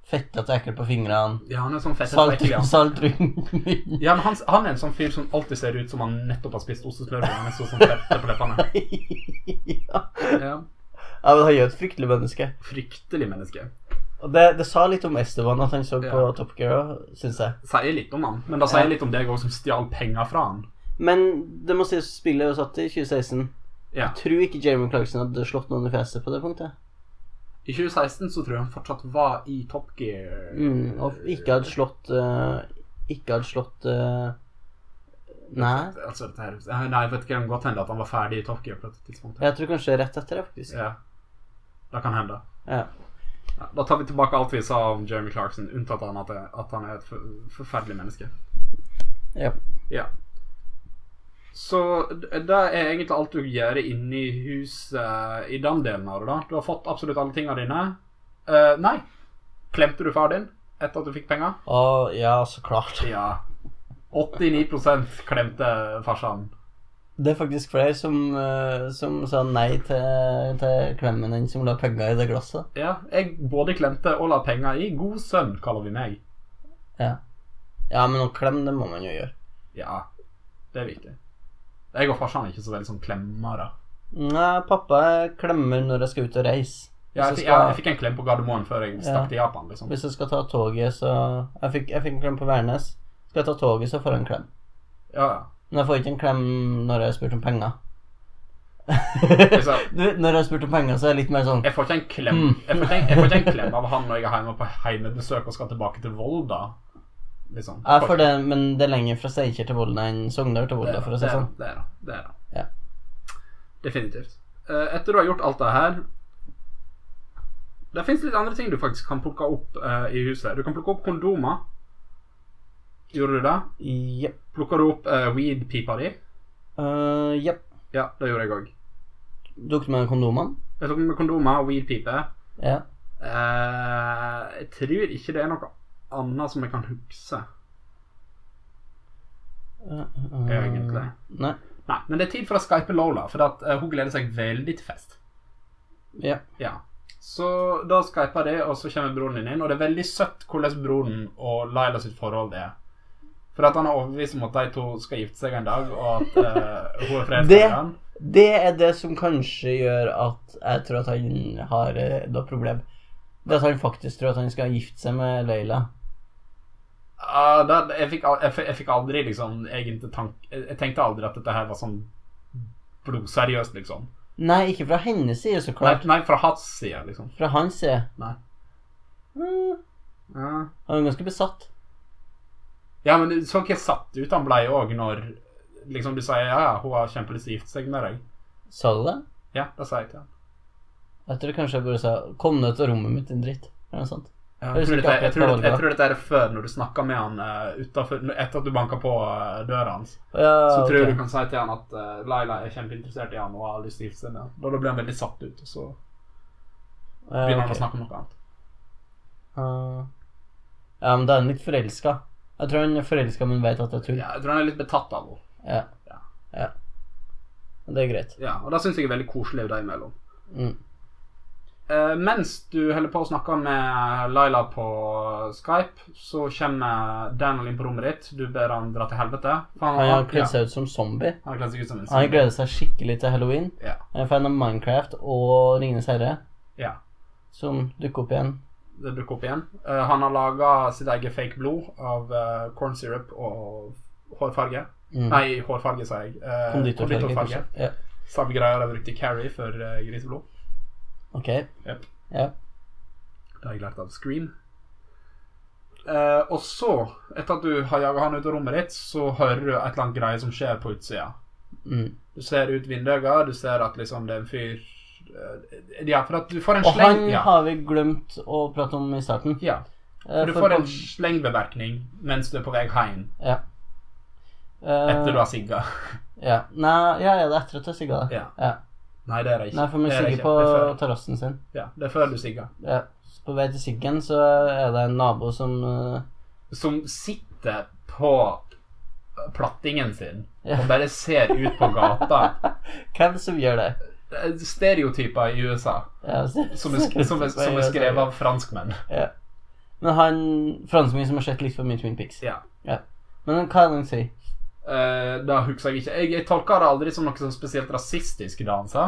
A: Fettete og ekkel på fingrene.
B: Ja, han er sånn fette
A: Salt,
B: ja.
A: salt rundt munnen.
B: Ja, men han, han er en sånn fyr som alltid ser ut som han nettopp har spist ostesmørbrød. Han er så sånn fette på leppene.
A: ja.
B: Ja,
A: ja, men han er jo et fryktelig menneske.
B: Fryktelig menneske.
A: Og det, det sa litt om Esteban at han så på
B: Ja.
A: Top Gear òg, syns jeg.
B: sier litt om han, men det sier litt om deg òg, som stjal penger fra han.
A: Men det må sies spillet er jo satt i 2016.
B: Ja.
A: Jeg tror ikke Jeremy Clarkson hadde slått noen i fjeset på det punktet.
B: I 2016 så tror jeg han fortsatt var i Top Gear.
A: Mm, og ikke hadde slått eh, Ikke hadde slått eh, Nei.
B: Altså, dette her, eh, nei, vet ikke, det kan godt hende at han var ferdig i Top Gear på dette tidspunktet.
A: Jeg tror kanskje rett etter det, faktisk.
B: Ja. Det kan hende.
A: Ja.
B: Ja, da tar vi tilbake alt vi sa om Jeremy Clarkson, unntatt han at, at han er et for, forferdelig menneske.
A: Ja.
B: Ja. Så d- det er egentlig alt du gjør inni huset i den delen av det, da. Du har fått absolutt alle tingene dine. Eh, nei. Klemte du far din etter at du fikk penger?
A: Og ja, så klart.
B: Ja. 89 klemte farsan.
A: Det er faktisk flere som, eh, som sa nei til, til klemmen den som la penger i det glasset.
B: Ja. Jeg både klemte og la penger i. God sønn, kaller vi meg.
A: Ja, men å klemme, det må man jo gjøre.
B: Ja. Det er viktig. Jeg og farsan er ikke så veldig sånn klemmere.
A: Nei, pappa klemmer når jeg skal ut og reise.
B: Ja, jeg,
A: Hvis jeg
B: fikk- jeg, jeg
A: skal-
B: fikk en klem på Gardermoen før jeg stakk til Japan, liksom.
A: Hvis jeg skal ta toget, så Jeg fikk, jeg fikk en klem på Værnes. Skal jeg ta toget, så får jeg en klem.
B: Ja, ja.
A: Men jeg får ikke en klem når jeg har spurt om penger.
B: Altså,
A: du, når jeg har spurt om penger, så er jeg litt mer sånn
B: Jeg får ikke en klem
A: Mm.
B: jeg, får ikke, en- jeg får ikke en klem av han når jeg er hjemme på heimebesøk og skal tilbake til Volda. Liksom.
A: Jeg får det, men det er lenger fra Steinkjer til Volda enn Sogndal til Volda, for å si det sånn.
B: Det er det. det, er det.
A: Ja.
B: Definitivt. Eh, etter du har gjort alt det her Det fins litt andre ting du faktisk kan plukke opp eh, i huset. Du kan plukke opp kondomer. Gjorde du det?
A: sånn. Jepp.
B: Plukker du opp eh, weed-pipa di?
A: Uh, jepp.
B: Ja, det gjorde jeg òg.
A: Tok du med kondomene?
B: Jeg tok med kondomer og weed-pipe.
A: Ja.
B: Eh, jeg tror ikke det er noe annet som jeg kan huske,
A: Uh, uh,
B: egentlig.
A: Nei.
B: Nei, men det er tid for å skype Lola, for at, eh, hun gleder seg veldig til fest.
A: Ja.
B: Ja. Så da skyper jeg det, og så kommer broren din inn, og det er veldig søtt hvordan broren og Laila sitt forhold er. For at han er overbevist om at de to skal gifte seg en dag, og at eh, hun er forelsket i
A: Det-
B: han.
A: Det er det som kanskje gjør at jeg tror at han har eh, da problem. Det at han faktisk tror at han skal gifte seg med Leila.
B: Ja, Ah, da, jeg, fikk, al- jeg, fikk- jeg fikk aldri liksom egentlig tank... Jeg jeg tenkte aldri at dette her var sånn blodseriøst, liksom.
A: Nei, ikke fra hennes side, så
B: Nei,
A: klart.
B: nei fra hans side, liksom.
A: Fra hans side.
B: Nei.
A: Mm,
B: Ja.
A: han er ganske besatt.
B: Ja, men du så ikke satt ut han blei òg når liksom du sier ja, ja, hun har kjempelyst til å gifte seg med deg.
A: Sa du det?
B: Ja, det sa jeg til han.
A: Jeg tror kanskje jeg bare sa 'kom ned til rommet mitt, din dritt'. Eller noe sånt.
B: Ja,
A: Jeg
B: jeg,
A: husker
B: tror dette,
A: ikke
B: jeg, tror
A: akkurat
B: dette, jeg tror dette er før når du snakker med han eh, utenfor, etter at du banker på eh, døra hans.
A: Ja,
B: Så tror jeg
A: ok.
B: du kan si til han at eh, Laila er kjempeinteressert i han og har lyst til å gifte seg med han. Da, da blir han veldig satt ut, og så
A: Ja,
B: begynner han
A: ok.
B: å snakke om noe annet.
A: Ah. Ja, men da er han litt forelska. Jeg tror han er forelska, men vet at det er tull.
B: Ja, jeg tror han er litt betatt av henne.
A: Ja.
B: Ja.
A: ja. Men Det er greit.
B: Ja, og det syns jeg er veldig koselig dem imellom.
A: Mm.
B: Eh, mens du holder på å snakke med Laila på Skype, så kommer Daniel inn på rommet ditt. Du ber han dra til helvete. For
A: Han har kledd
B: ja,
A: seg ut som zombie.
B: han har kledd seg ut som
A: Han
B: en zombie.
A: gleder seg skikkelig til halloween.
B: Ja.
A: Han er fan av Minecraft og Ringenes herre,
B: ja.
A: som dukker opp igjen.
B: Det dukker opp igjen. Eh, han har laga sitt eget fake blod av eh, corn syrup og hårfarge.
A: Mm.
B: Nei, hårfarge, sa jeg. Eh,
A: Konditorfarge. kanskje. Ja.
B: Samme greia de brukte i Carrie for eh, griseblod.
A: Ok.
B: Jep.
A: Ja.
B: Det har jeg lært av Scream. Eh, og så, etter at du har jaga han ut av rommet ditt, så hører du et eller annet greie som skjer på utsida.
A: Mm.
B: Du ser ut vinduet, du ser at liksom det er en fyr eh, Ja, for at du får en
A: Og han
B: sleng... Ja.
A: har vi glemt å prate om i starten.
B: ja.
A: Eh,
B: Du
A: for-
B: får en slengbemerkning mens du er på vei hjem
A: Ja. Eh,
B: etter du har sigga.
A: ja. Nei, ja, ja, det er etter at jeg sigga. det.
B: Ja.
A: Ja.
B: Nei, det er det ikke.
A: Nei, for man
B: det er det
A: sigger
B: ikke. Det er
A: på
B: før,
A: terrassen sin.
B: ja, det er før du sigger.
A: Ja. Så på vei til Siggen så er det en nabo som eh,
B: Som sitter på eh, plattingen sin
A: Ja.
B: og bare ser ut på gata.
A: Hvem som gjør det?
B: Det er Stereotyper i USA
A: Ja, så-
B: som er, som er, som er skrevet av franskmenn.
A: Ja. Men han franskmannen som har sett litt for mye Twin Pics.
B: Ja.
A: Men hva er det han sier?
B: Eh, det husker jeg ikke. Jeg, jeg tolka det aldri som noe sånn spesielt rasistisk altså. i det han sa.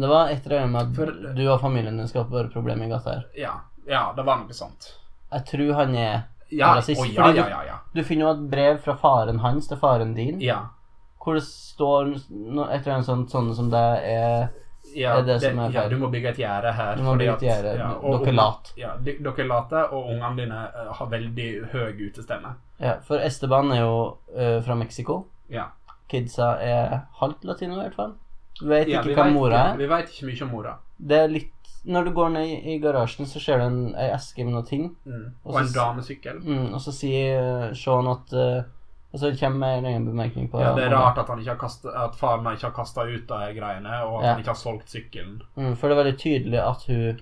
A: Det var etter det med at
B: For-
A: du og familien din skaper bare problemer i gata her.
B: Ja, ja, det var noe sånt.
A: Jeg tror han er
B: Ja,
A: Rasist,
B: å, ja,
A: fordi du-
B: ja, ja, ja.
A: Du finner jo et brev fra faren hans til faren din,
B: ja.
A: hvor det står no, etter en sånn sånne som det er
B: Ja,
A: Det er det som er
B: ja,
A: feil.
B: du må bygge et gjerde her.
A: Du må
B: fordi
A: bli
B: at-
A: et gjerde.
B: ja, og-
A: Dere er late.
B: Ja, de- dere er late, og ungene dine eh, har veldig høy utestemme.
A: Ja, for Esteban er jo ø, fra Mexico.
B: Ja.
A: Kidsa er halvt latino, i hvert fall. Du vet
B: Ja,
A: ikke hva
B: vet-
A: mora
B: ja,
A: er.
B: Vi veit ikke mye om mora.
A: Det er litt Når du går ned i- i garasjen, så ser du en, ei eske med noe ting.
B: Mm.
A: Og
B: Og,
A: så
B: en
A: s-
B: damesykkel.
A: Mm, og så sier Sean at eh, Og så kommer jeg med en egen bemerkning på
B: Ja, det er rart at, han ikke har kastet, at faren har ikke har kasta ut de greiene, og at
A: Ja.
B: han ikke har solgt sykkelen.
A: Mm, for det er veldig tydelig at hun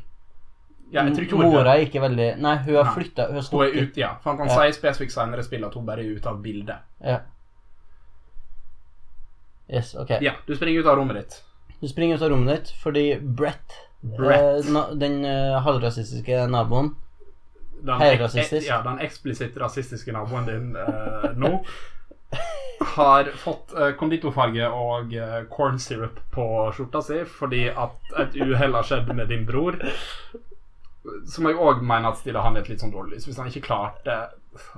B: Ja, jeg tror ikke hun er
A: Mora
B: død.
A: er ikke veldig Nei, hun har
B: Nei.
A: flytta. Hun har
B: Hun er
A: stukket.
B: ute, ja. For han kan
A: Ja.
B: si spesifikt senere i spillet at hun bare er ute av bildet.
A: Ja. Yes, ok.
B: Ja, du springer ut av rommet ditt.
A: Du springer ut av rommet ditt fordi Brett,
B: Brett.
A: eh, na- den eh, halvrasistiske naboen
B: Den,
A: Hei,
B: ek-
A: rasistisk.
B: ja, den eksplisitt rasistiske naboen din eh, nå har fått eh, konditorfarge og eh, corn syrup på skjorta si fordi at et uhell har skjedd med din bror. Som jeg òg mener at stiller han i et litt sånn dårlig lys. Hvis han ikke klarte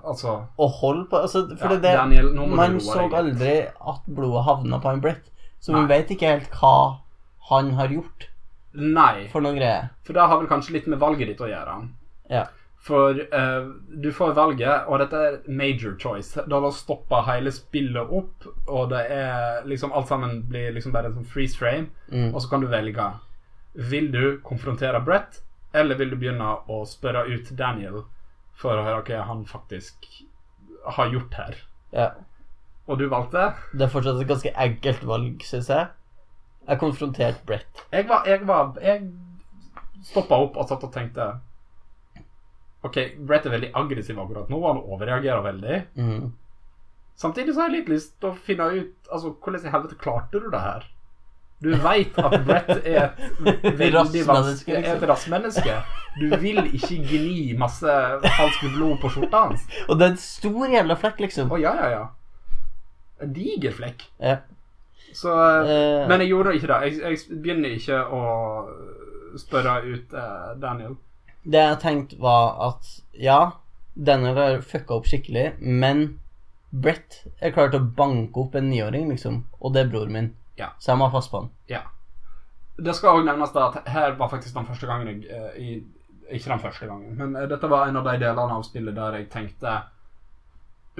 B: Altså,
A: Å holde på altså, For
B: Ja,
A: det, er
B: Daniel,
A: det,
B: nå må du
A: man
B: roe
A: så
B: deg litt.
A: aldri at blodet havna på en Brett, så man
B: Nei.
A: vet ikke helt hva han har gjort
B: nei.
A: for noen greier.
B: For det har vel kanskje litt med valget ditt å gjøre.
A: Ja.
B: For eh, du får valget, og dette er major choice. Da har stoppa hele spillet opp, og det er liksom alt sammen blir liksom bare en sånn freeze frame,
A: Mm.
B: og så kan du velge. Vil du konfrontere Brett, eller vil du begynne å spørre ut Daniel for å høre hva han faktisk har gjort her?
A: Ja.
B: Og du valgte?
A: Det er fortsatt et ganske enkelt valg, syns jeg. Jeg konfronterte Brett.
B: Jeg var Jeg, var, jeg stoppa opp og satt og tenkte OK, Brett er veldig aggressiv akkurat nå, han overreagerer veldig.
A: Mm.
B: Samtidig så har jeg litt lyst til å finne ut Altså, hvordan i helvete klarte du det her? Du veit at Brett er et veldig
A: Rassmenneske,
B: vanskelig
A: liksom.
B: er et rassmenneske. Du vil ikke gni masse falskt blod på skjorta hans.
A: Og det er en stor jævla flekk, liksom.
B: Å, ja, ja, ja. En diger flekk.
A: Ja.
B: Så
A: Eh,
B: Men jeg gjorde ikke det. Jeg, jeg begynner ikke å spørre ut eh, Daniel.
A: Det jeg tenkte var at ja, denne har fucka opp skikkelig, men Brett er klar til å banke opp en niåring, liksom. Og det er broren min.
B: Ja.
A: Så jeg må ha pass på han.
B: Det skal også nevnes da at her var faktisk den første gangen jeg eh, i, Ikke den første gangen, men eh, dette var en av de delene av spillet der jeg tenkte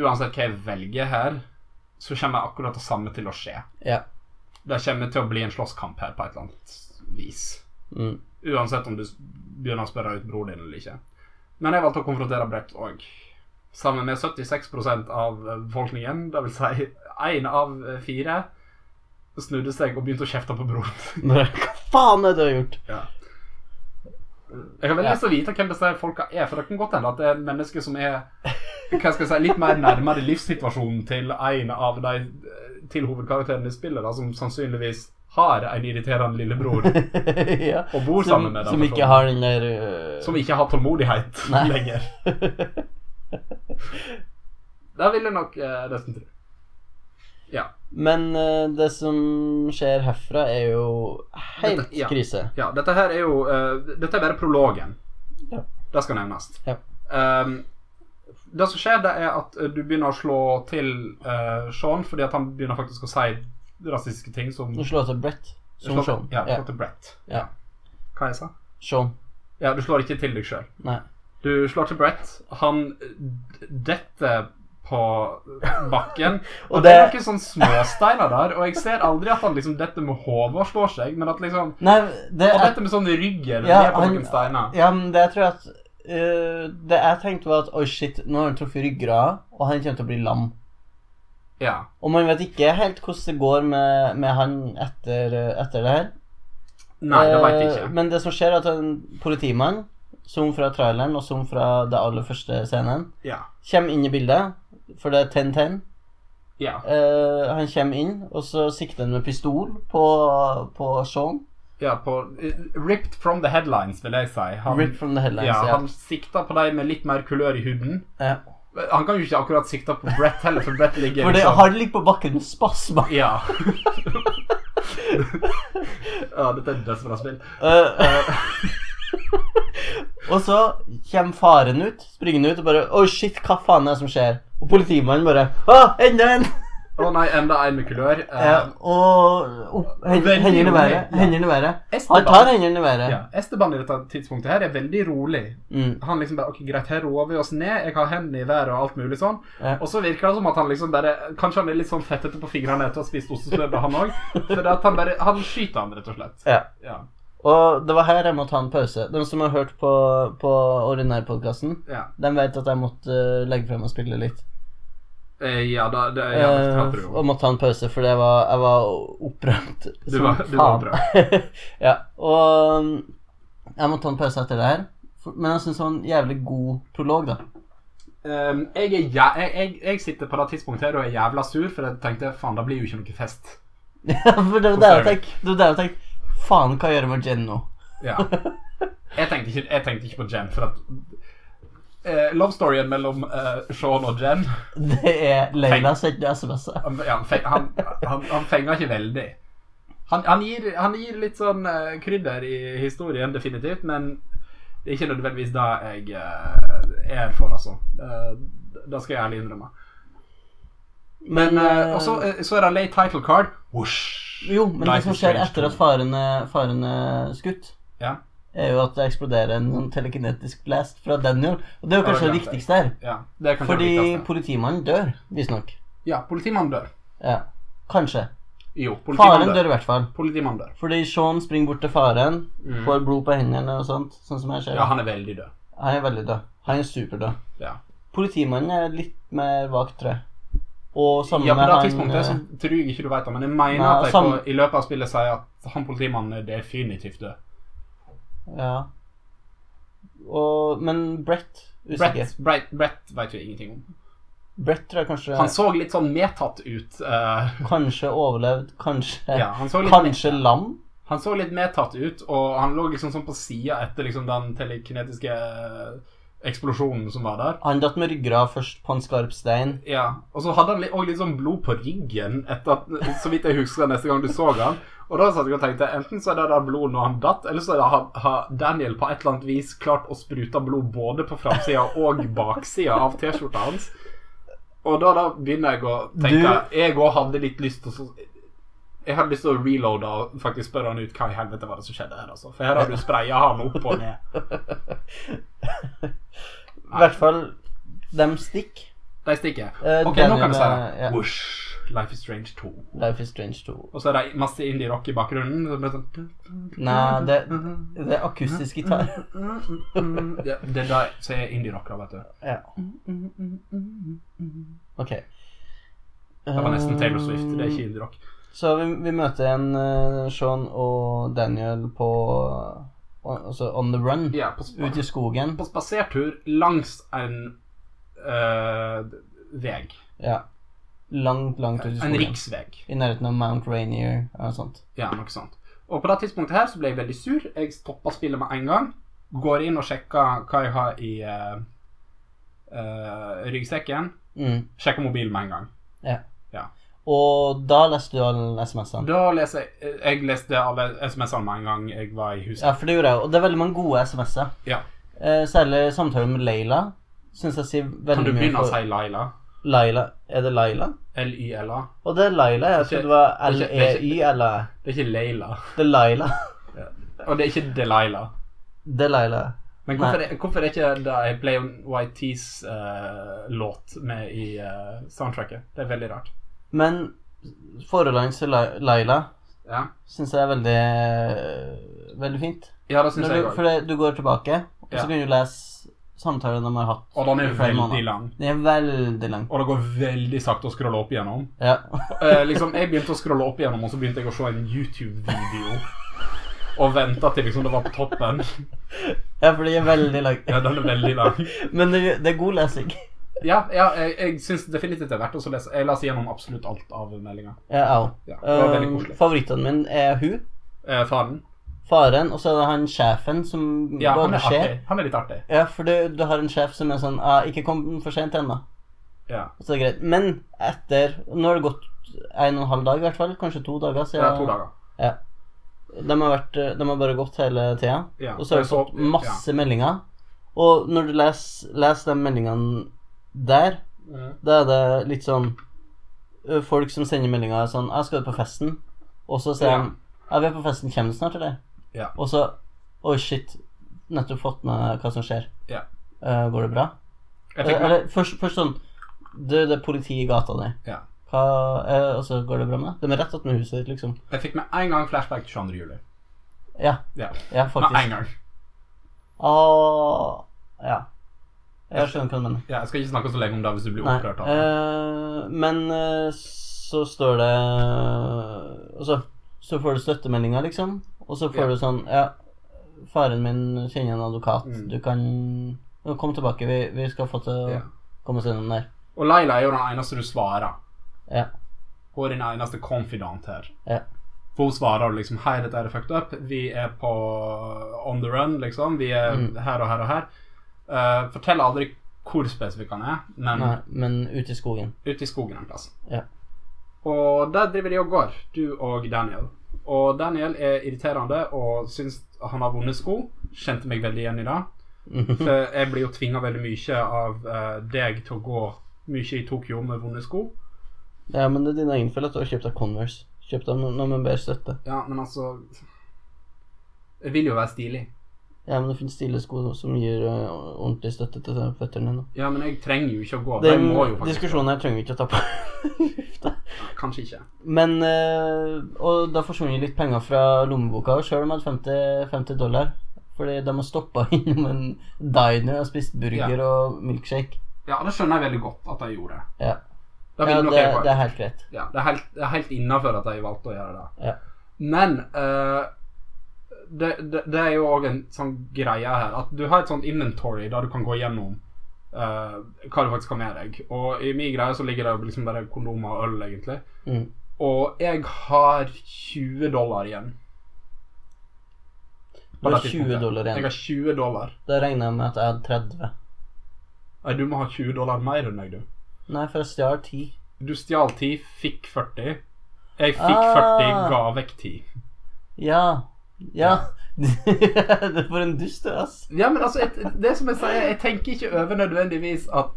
B: Uansett hva jeg velger her, så kommer akkurat det samme til å skje.
A: Ja.
B: Det kommer til å bli en slåsskamp her på et eller annet vis.
A: Mm.
B: Uansett om du s- begynner å spørre ut broren din eller ikke. Men jeg valgte å konfrontere Brett òg. Sammen med 76 av eh, befolkningen, dvs. Si én av fire, snudde seg og begynte å kjefte på broren sin.
A: Bare, Hva faen er det du har gjort?
B: Jeg har veldig
A: Ja.
B: lyst til å vite hvem disse folka er, for det kan godt hende at det er mennesker som er hva skal jeg si, litt mer nærmere livssituasjonen til en av de eh, til hovedkarakterene i spillet, da, som sannsynligvis har en irriterende lillebror
A: ja.
B: og bor
A: Som,
B: sammen med den
A: som ikke
B: personen.
A: har den der øh,
B: som ikke har tålmodighet
A: Nei.
B: lenger. Det vil jeg nok eh, nesten tro.
A: Men øh, det som skjer herfra, er jo helt
B: Dette- ja.
A: krise.
B: Ja, dette her er jo eh, Dette er bare prologen.
A: Ja.
B: Det skal nevnes.
A: Ja.
B: Ehm, det som skjer, det er at eh, du begynner å slå til eh, Sean fordi at han begynner faktisk å si rasistiske ting som
A: Du slår til Brett. Som
B: Slå-
A: Sean.
B: Ja, slå
A: Ja.
B: til Brett.
A: Ja.
B: Hva jeg sa
A: Sean.
B: Ja, du slår ikke til deg sjøl.
A: Nei.
B: Du slår til Brett. Han d- detter på bakken.
A: Og
B: og det er
A: det-
B: noen sånne småsteiner der, og jeg ser aldri at han liksom detter med hodet og slår seg, men at liksom
A: Nei, det
B: Han
A: er
B: detter med sånn i ryggen
A: Ja,
B: ned på
A: han-
B: noen steiner.
A: Ja, men det jeg tror at øh, Det jeg tenkte var at oi, shit, nå har han truffet ryggrada, og han kommer til å bli lam.
B: Ja.
A: Og man vet ikke helt hvordan det går med, med han etter, etter det her.
B: Nei, det veit jeg
A: Eh,
B: ikke.
A: Men det som skjer, er at en politimann, som fra traileren og som fra det aller første scenen,
B: Ja.
A: kommer inn i bildet, for det er 10-10.
B: ja.
A: Eh, han kommer inn, og så sikter han med pistol på, på Sean.
B: ja på, eh, ripped from the headlines, vil jeg si. Han,
A: Rip from the headlines.
B: ja,
A: Ja,
B: han sikta på de med litt mer kulør i huden. Eh,
A: Ja.
B: Han kan jo ikke akkurat sikte på Brett heller, for Brett ligger
A: For det
B: liksom-
A: har ligger på bakken med spasmer.
B: Ja. ja, dette er et dødsbra spill.
A: Eh, og så kommer faren ut, springende ut og bare Oi, shit, hva faen er det som skjer? Og politimannen bare Å, enda en!
B: Å nei, enda en med kulør. Eh,
A: Ja, og opp, hen-
B: Veldig
A: hendene i været.
B: rolig, ja.
A: Hendene i været. Han tar
B: Esteban,
A: hendene i været.
B: ja, Esteban i dette tidspunktet her er veldig rolig.
A: Mm,
B: Han liksom bare OK, greit, her roer vi oss ned. Jeg har hendene i været og alt mulig sånn.
A: ja.
B: Og så virker det som at han liksom bare Kanskje han er litt sånn fettete på fingrene etter å ha spist ostesmørbrød, han òg. For at han bare Han skyter han, rett og slett.
A: Ja.
B: Ja.
A: Og det var her jeg måtte ta en pause. De som har hørt på, på ordinærpodkasten,
B: Ja,
A: de vet at jeg måtte eh, legge frem og spille litt.
B: Eh, ja da det, ja, det
A: Eh,
B: klarte du jo.
A: og måtte ta en pause, for det var, jeg var opprømt.
B: Du
A: som
B: var- du var
A: faen. ja, og um, jeg måtte ta en pause etter det her. For, men jeg syns det var en jævlig god prolog, da.
B: Um, jeg, er jæ jeg, jeg, jeg sitter på det tidspunktet her og er jævla sur, for jeg tenkte faen, det blir jo ikke noe fest.
A: for det var der jeg tenkte, det var der jeg tenkte Faen, hva gjør jeg med Jen nå?
B: Ja. Jeg tenkte ikke, jeg tenkte ikke på Jen, for at eh, Love storyen mellom eh, Sean og Jen
A: Det er Leila sendte SMS-er.
B: Han, ja, han, feng, han, han, han fenger ikke veldig. Han, han, gir, han gir litt sånn eh, krydder i historien, definitivt, men det er ikke nødvendigvis det jeg eh, er for, altså. Eh, det skal jeg ærlig innrømme. Men eh, også, eh, så er det late title card. Whoosh.
A: Jo, men det
B: Life
A: som
B: is
A: skjer
B: strange
A: etter at
B: too.
A: faren er, faren er skutt,
B: Ja.
A: er jo at det eksploderer en sånn telekinetisk blast fra Daniel. Og det er jo
B: Ja,
A: kanskje det
B: det glemte jeg.
A: viktigste her.
B: ja, det er kanskje
A: Fordi
B: det viktigste.
A: politimannen dør, visstnok.
B: Ja, politimannen dør.
A: Ja. Kanskje.
B: Jo,
A: Faren
B: politimannen
A: dør
B: dør.
A: i hvert fall.
B: Politimannen dør.
A: Fordi Sean springer bort til faren,
B: Mm.
A: får blod på hendene og sånt. Sånn som jeg ser.
B: Ja, han er veldig død.
A: Han er veldig død. Han er superdød.
B: Ja.
A: Politimannen er litt mer vagt, tror jeg. Og sammen
B: ja, på
A: med
B: det
A: han
B: tidspunktet altså. så
A: eh,
B: tror jeg ikke du vet det, men jeg mener
A: Nei,
B: at de
A: sam-
B: på, i løpet av spillet sier at han politimannen er definitivt død.
A: eh, Ja. Og, men Brett Usikker.
B: Brett, Brett, Brett vet vi ingenting om.
A: Brett tror jeg kanskje
B: Han så litt sånn medtatt ut. eh,
A: Kanskje overlevd, kanskje
B: ja, han, så litt,
A: Kanskje lam?
B: han så litt medtatt ut, og han lå liksom sånn på sida etter liksom den telekinetiske eh, eksplosjonen som var der.
A: Han datt med ryggrad først på en skarp stein.
B: Ja, Og så hadde han òg litt sånn blod på ryggen, etter at, så vidt jeg husker neste gang du så han. Og da satt jeg og tenkte enten så er det der blod når han datt, eller så er det har har Daniel på et eller annet vis klart å sprute blod både på framsida og baksida av T-skjorta hans. Og da, da begynner jeg å tenke Jeg òg hadde litt lyst til å så- Jeg hadde lyst til å reloade og faktisk spørre han ut hva i helvete var det som skjedde her, altså. For her har du spraya han opp og ned.
A: I hvert fall dem stikk.
B: De stikker.
A: Eh,
B: Ok, nå
A: Daniel,
B: kan du si
A: eh, ja.
B: det. Whoosh. Life is Strange 2.
A: Life is Strange 2.
B: Og så er det masse indie-rock i bakgrunnen. så blir det sånn-
A: Nei, det, det er akustisk gitar.
B: Ja, Det er da så er indie-rock, da, vet du.
A: Ja, ok. Um,
B: Det var nesten Taylor Swift. Det er ikke indie-rock.
A: Så vi, vi møter igjen eh, Sean og Daniel på on, Altså on the run.
B: Ja, på,
A: Ut i
B: spa-
A: skogen.
B: på spasertur langs en uh, vei.
A: Ja. Langt, langt ut i
B: En
A: skogen.
B: riksveg.
A: I nærheten av Mount Rainier eller noe sånt.
B: Ja, noe sånt. Og på det tidspunktet her så ble jeg veldig sur. Jeg stoppa spillet med en gang. Går inn og sjekker hva jeg har i eh, eh, ryggsekken.
A: Mm.
B: Sjekker mobilen med en gang.
A: Og da leste du alle SMS-ene.
B: Da leser jeg Jeg leste alle SMS-ene med en gang jeg var i huset.
A: Ja, for det gjorde jeg jo. Og det er veldig mange gode SMS-er.
B: Ja.
A: Eh, særlig samtalen med Leila. Syns jeg sier
B: Kan du
A: veldig mye
B: begynne å si Laila?
A: Laila. Er det Laila?
B: L-Y-L-A.
A: Og det er Laila. Jeg
B: Ikke-
A: trodde det var
B: ikke- det er ikke-
A: L-E-Y eller
B: Det er ikke Leila.
A: Det er Laila.
B: Og det er ikke Delilah.
A: Det er Laila. Nei.
B: Men hvorfor, er- hvorfor er ikke det Play on YTs eh, låt med i eh, soundtracket? Det er veldig rart.
A: Men forholdet hans til Lai- Laila
B: Ja,
A: syns jeg er veldig Veldig fint.
B: ja det syns
A: Når
B: jeg
A: du,
B: òg.
A: for det, du går tilbake, og så
B: Ja.
A: kan du lese samtalen de har hatt.
B: Og den
A: i
B: er
A: flere
B: veldig
A: måneder.
B: lang.
A: Den er veldig lang.
B: Og det går veldig sakte å scrolle opp igjennom.
A: Ja.
B: Eh, liksom, jeg begynte å scrolle opp igjennom, og så begynte jeg å se en YouTube-video. Og venta til liksom det var på toppen.
A: ja, for den er veldig lang.
B: Ja, den er veldig lang.
A: Men det, det er god lesing.
B: Ja, ja jeg, jeg syns definitivt det er verdt å lese. Jeg leser gjennom absolutt alt av meldinga.
A: Ja, jeg òg.
B: Ja, det var veldig
A: Um,
B: koselig.
A: Favorittene mine er hun,
B: Eh, faren?
A: faren, og så er det han sjefen som
B: Ja, han
A: både
B: er
A: skjer.
B: artig. Han er litt artig.
A: Ja, for du, du har en sjef som er sånn ah, 'Ikke kom for sent ennå.'
B: Ja.
A: Og så er det greit. Men etter Nå har det gått en og en halv dag, i hvert fall. Kanskje to dager
B: Det
A: siden.
B: er to dager.
A: De, har vært, de har bare gått hele tida.
B: Ja.
A: Og så har
B: Jeg
A: du fått masse meldinger. Og når du leser, leser de meldingene der,
B: Ja. Mm.
A: da er det litt sånn ø, Folk som sender meldinger sånn 'Jeg skal på festen', og så sier
B: Ja.
A: de 'Ja, vi er på festen. Kommer du snart, eller?'
B: Ja.
A: Og så 'Oi, shit. Nettopp fått med hva som skjer.
B: Ja.
A: «Eh, går det bra?'
B: Jeg fikk med
A: Eller først, først sånn Du, det er politi i gata di.
B: Ja.
A: Hva, eh, og så går det bra med deg? De er rett attmed huset ditt, liksom.
B: Jeg fikk med en gang flashback til 22. juli.
A: Ja,
B: Ja.
A: ja
B: Med
A: faktisk.
B: en gang.
A: Åh, ja. Jeg skjønner hva du mener.
B: Ja, jeg skal ikke snakke så lenge om det hvis du blir
A: Nei.
B: opprørt av det.
A: eh, men eh, så står det Og så, så får du støttemeldinger, liksom. Og så får
B: Ja.
A: du sånn Ja, faren min kjenner en advokat.
B: Mm.
A: Du kan Kom tilbake, vi, vi skal få til å
B: Ja.
A: komme oss gjennom der.
B: Og Laila er jo den eneste du svarer.
A: Ja.
B: Hun er din eneste confidant her.
A: Ja.
B: For hun svarer liksom Hei, dette er fucked up. Vi er på on the run, liksom. Vi er
A: Mm.
B: her og her og her. Eh, fortell aldri hvor spesifikk han er, men
A: Nei, men ute i skogen.
B: ute i skogen en plass.
A: Ja.
B: Og der driver de og går, du og Daniel. Og Daniel er irriterende og syns han har vonde sko. Kjente meg veldig igjen i det.
A: Mm.
B: For jeg blir jo tvinga veldig mye av eh, deg til å gå mye i Tokyo med vonde sko.
A: Ja, men det er din egen feil at du har kjøpt deg Converse. Kjøpt dem når man ber støtte.
B: Ja, men altså Jeg vil jo være stilig.
A: Ja, men det finnes stille sko som gir eh, ordentlig støtte til føttene dine.
B: Ja, men jeg trenger jo ikke å gå. jeg
A: Den
B: må jo faktisk
A: diskusjonen her trenger vi ikke å ta på lufta.
B: Nei, Kanskje ikke.
A: Men eh, Og da forsvant jo litt penger fra lommeboka sjøl om jeg hadde 50, 50 dollar. Fordi de har stoppa innom en diner og spist burger og milkshake.
B: Ja, det skjønner jeg veldig godt at jeg gjorde.
A: Ja,
B: Det,
A: ja
B: vil nok
A: det,
B: jeg bare-
A: det er helt greit.
B: Ja, det er helt, det er helt innafor at jeg valgte å gjøre det.
A: Ja.
B: Men eh, det, det, det er jo òg en sånn greie her at du har et sånt inventory der du kan gå gjennom eh, hva du faktisk har med deg. Og i min greie så ligger det jo liksom bare kondomer og øl, egentlig.
A: Mm.
B: Og jeg har 20 dollar igjen.
A: Du har 20 dollar
B: Jeg
A: igjen.
B: har 20 dollar.
A: Da regner jeg med at jeg hadde 30.
B: Nei, du må ha 20 dollar mer enn meg, du.
A: Nei, for jeg stjal 10.
B: Du stjal 10, fikk 40. Jeg fikk
A: Ah.
B: 40, ga vekk 10.
A: Ja. Ja. det For en dust, du, ass.
B: Ja, men altså, et, det som jeg sier, jeg tenker ikke over nødvendigvis at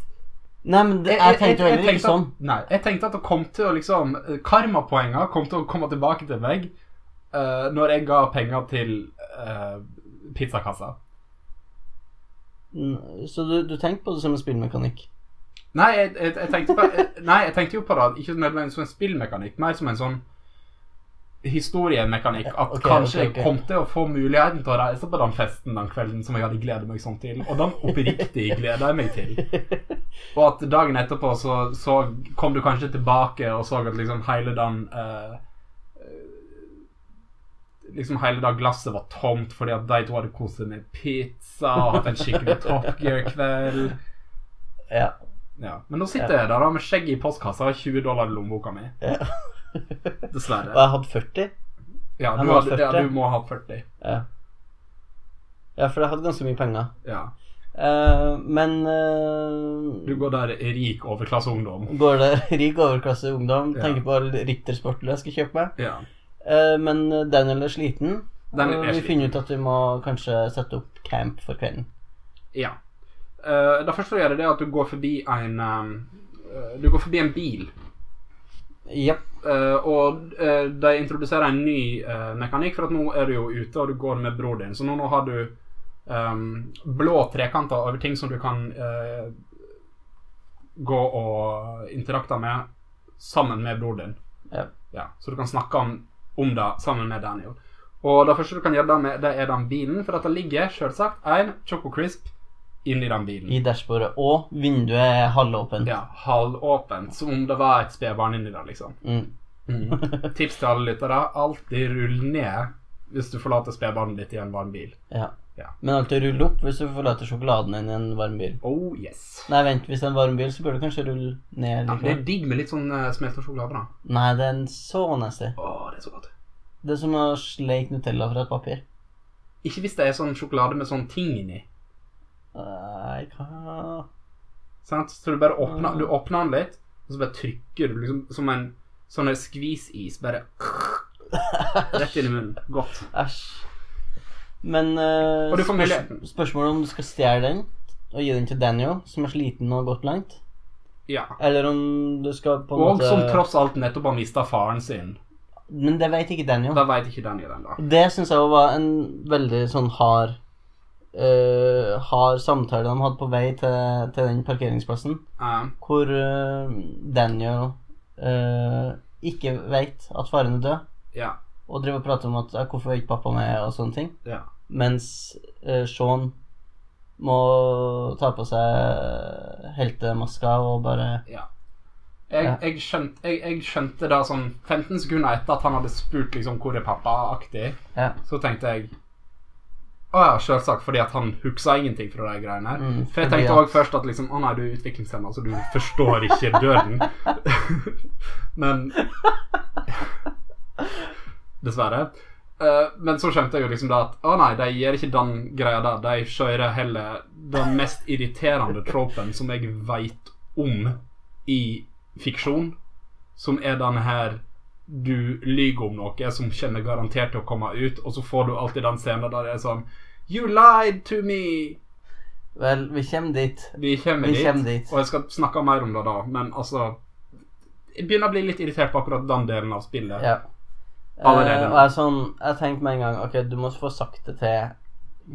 A: Nei, men det, jeg tenkte jo heller ikke sånn.
B: At, nei, jeg tenkte at det kom til å liksom Karmapoenga kom til å komme tilbake til meg eh, når jeg ga penger til eh, pizzakassa.
A: Mm, Så du, du tenkte på det som en spillmekanikk?
B: Nei jeg, jeg, jeg tenkte på, jeg, nei, jeg tenkte jo på det ikke nødvendigvis som en spillmekanikk, mer som en sånn historiemekanikk. At
A: Ok,
B: kanskje
A: ok, ok.
B: jeg kom til å få muligheten til å reise på den festen den kvelden som jeg hadde gledet meg sånn til. Og den oppriktig gleda jeg meg til. Og at dagen etterpå så, så kom du kanskje tilbake og så at liksom hele den eh, Liksom hele det glasset var tomt fordi at de to hadde kost seg med pizza og hatt en skikkelig Top Gear-kveld.
A: ja.
B: Ja. Men nå sitter jeg der da med skjegget i postkassa og 20 dollar i lommeboka mi.
A: ja. Og
B: Dessverre.
A: jeg hadde 40.
B: Ja,
A: jeg
B: du,
A: må ha
B: hadde, ja,
A: 40.
B: du må ha 40.
A: Ja. ja, for jeg hadde ganske mye penger.
B: Ja.
A: Eh, men eh,
B: Du går der rik overklasseungdom.
A: går det rik overklasse ungdom,
B: Ja.
A: tenker på all rittersporten jeg skal kjøpe meg.
B: Ja.
A: Eh, men Daniel er sliten,
B: Daniel
A: og
B: er
A: vi
B: sliten.
A: finner ut at vi må kanskje sette opp camp for kvelden.
B: Ja. Eh, det første du gjør, er det at du går forbi en eh, Du går forbi en bil.
A: Ja.
B: Eh, og eh, de introduserer en ny eh, mekanikk, for at nå er du jo ute og du går med bror din. Så nå, nå har du ehm, blå trekanter over ting som du kan eh, gå og interakte med sammen med bror din.
A: Ja.
B: så du kan snakke om, om det sammen med Daniel. Og det første du kan gjøre da med, det er den bilen, for at det ligger selvsagt en Choco Crisp inni den bilen.
A: I dashbordet. Og vinduet er halvåpent.
B: Ja, halvåpent, som om det var et spedbarn inni der, liksom.
A: Mm.
B: Mm. Tips til alle lyttere. Alltid rull ned hvis du forlater spedbarnet ditt i en varm bil.
A: ja.
B: Ja.
A: Men alltid rull opp hvis du forlater sjokoladen din i en varm bil.
B: Oh yes.
A: Nei, vent, hvis det er en varm bil, så bør du kanskje rulle ned
B: Ja,
A: litt.
B: det er digg med litt sånn eh, smelta sjokolade, da.
A: Nei, det er en så nasty.
B: Å, det er så godt.
A: Det er som å sleike Nutella fra et papir.
B: Ikke hvis det er sånn sjokolade med sånn ting inni.
A: Nei, hva
B: Sant? Så du bare åpner, du åpner den litt, og så bare trykker du liksom som en sånn en skvisis. Bare rett inn i munnen. Godt.
A: Æsj. Men eh,
B: Og du får muligheten.
A: spørsmålet om du skal stjele den og gi den til Daniel, som er sliten og gått langt,
B: Ja.
A: eller om du skal på en
B: Og
A: måte
B: som tross alt nettopp har mista faren sin.
A: Men det vet ikke Daniel.
B: Da veit ikke Daniel ennå.
A: Det syns jeg var en veldig sånn hard eh, hard samtale de hadde på vei til, til den parkeringsplassen,
B: Uh,
A: hvor eh, Daniel eh, ikke veit at faren er død,
B: ja.
A: og driver og prater om at ja, 'hvorfor er ikke pappa med', og sånne ting.
B: ja.
A: Mens eh, Sean må ta på seg heltemaska og bare
B: Jeg,
A: Ja.
B: jeg, skjønte, jeg, jeg skjønte da sånn 15 sekunder etter at han hadde spurt liksom hvor er pappa-aktig,
A: Ja.
B: så tenkte jeg Å ja, selvsagt, fordi at han huksa ingenting fra de greiene her.
A: Mm,
B: For
A: fordi
B: jeg tenkte
A: at-
B: òg først at liksom Å nei, du er utviklingshemma, så du forstår ikke døden. Men Dessverre. Eh, men så skjønte jeg jo liksom da at å nei, de gjør ikke den greia der. De kjører heller den mest irriterende tropen som jeg veit om i fiksjon, som er den her du lyver om noe som kommer garantert til å komme ut, og så får du alltid den scenen der det er sånn You lied to me!
A: Vel, vi kommer dit.
B: Vi kommer
A: Vi
B: dit,
A: kommer dit.
B: og jeg skal snakke mer om det da, men altså Jeg begynner å bli litt irritert på akkurat den delen av spillet.
A: Ja.
B: Allerede
A: Eh,
B: nå.
A: og jeg, sånn, jeg tenkte med en gang Ok, du må få sagt det til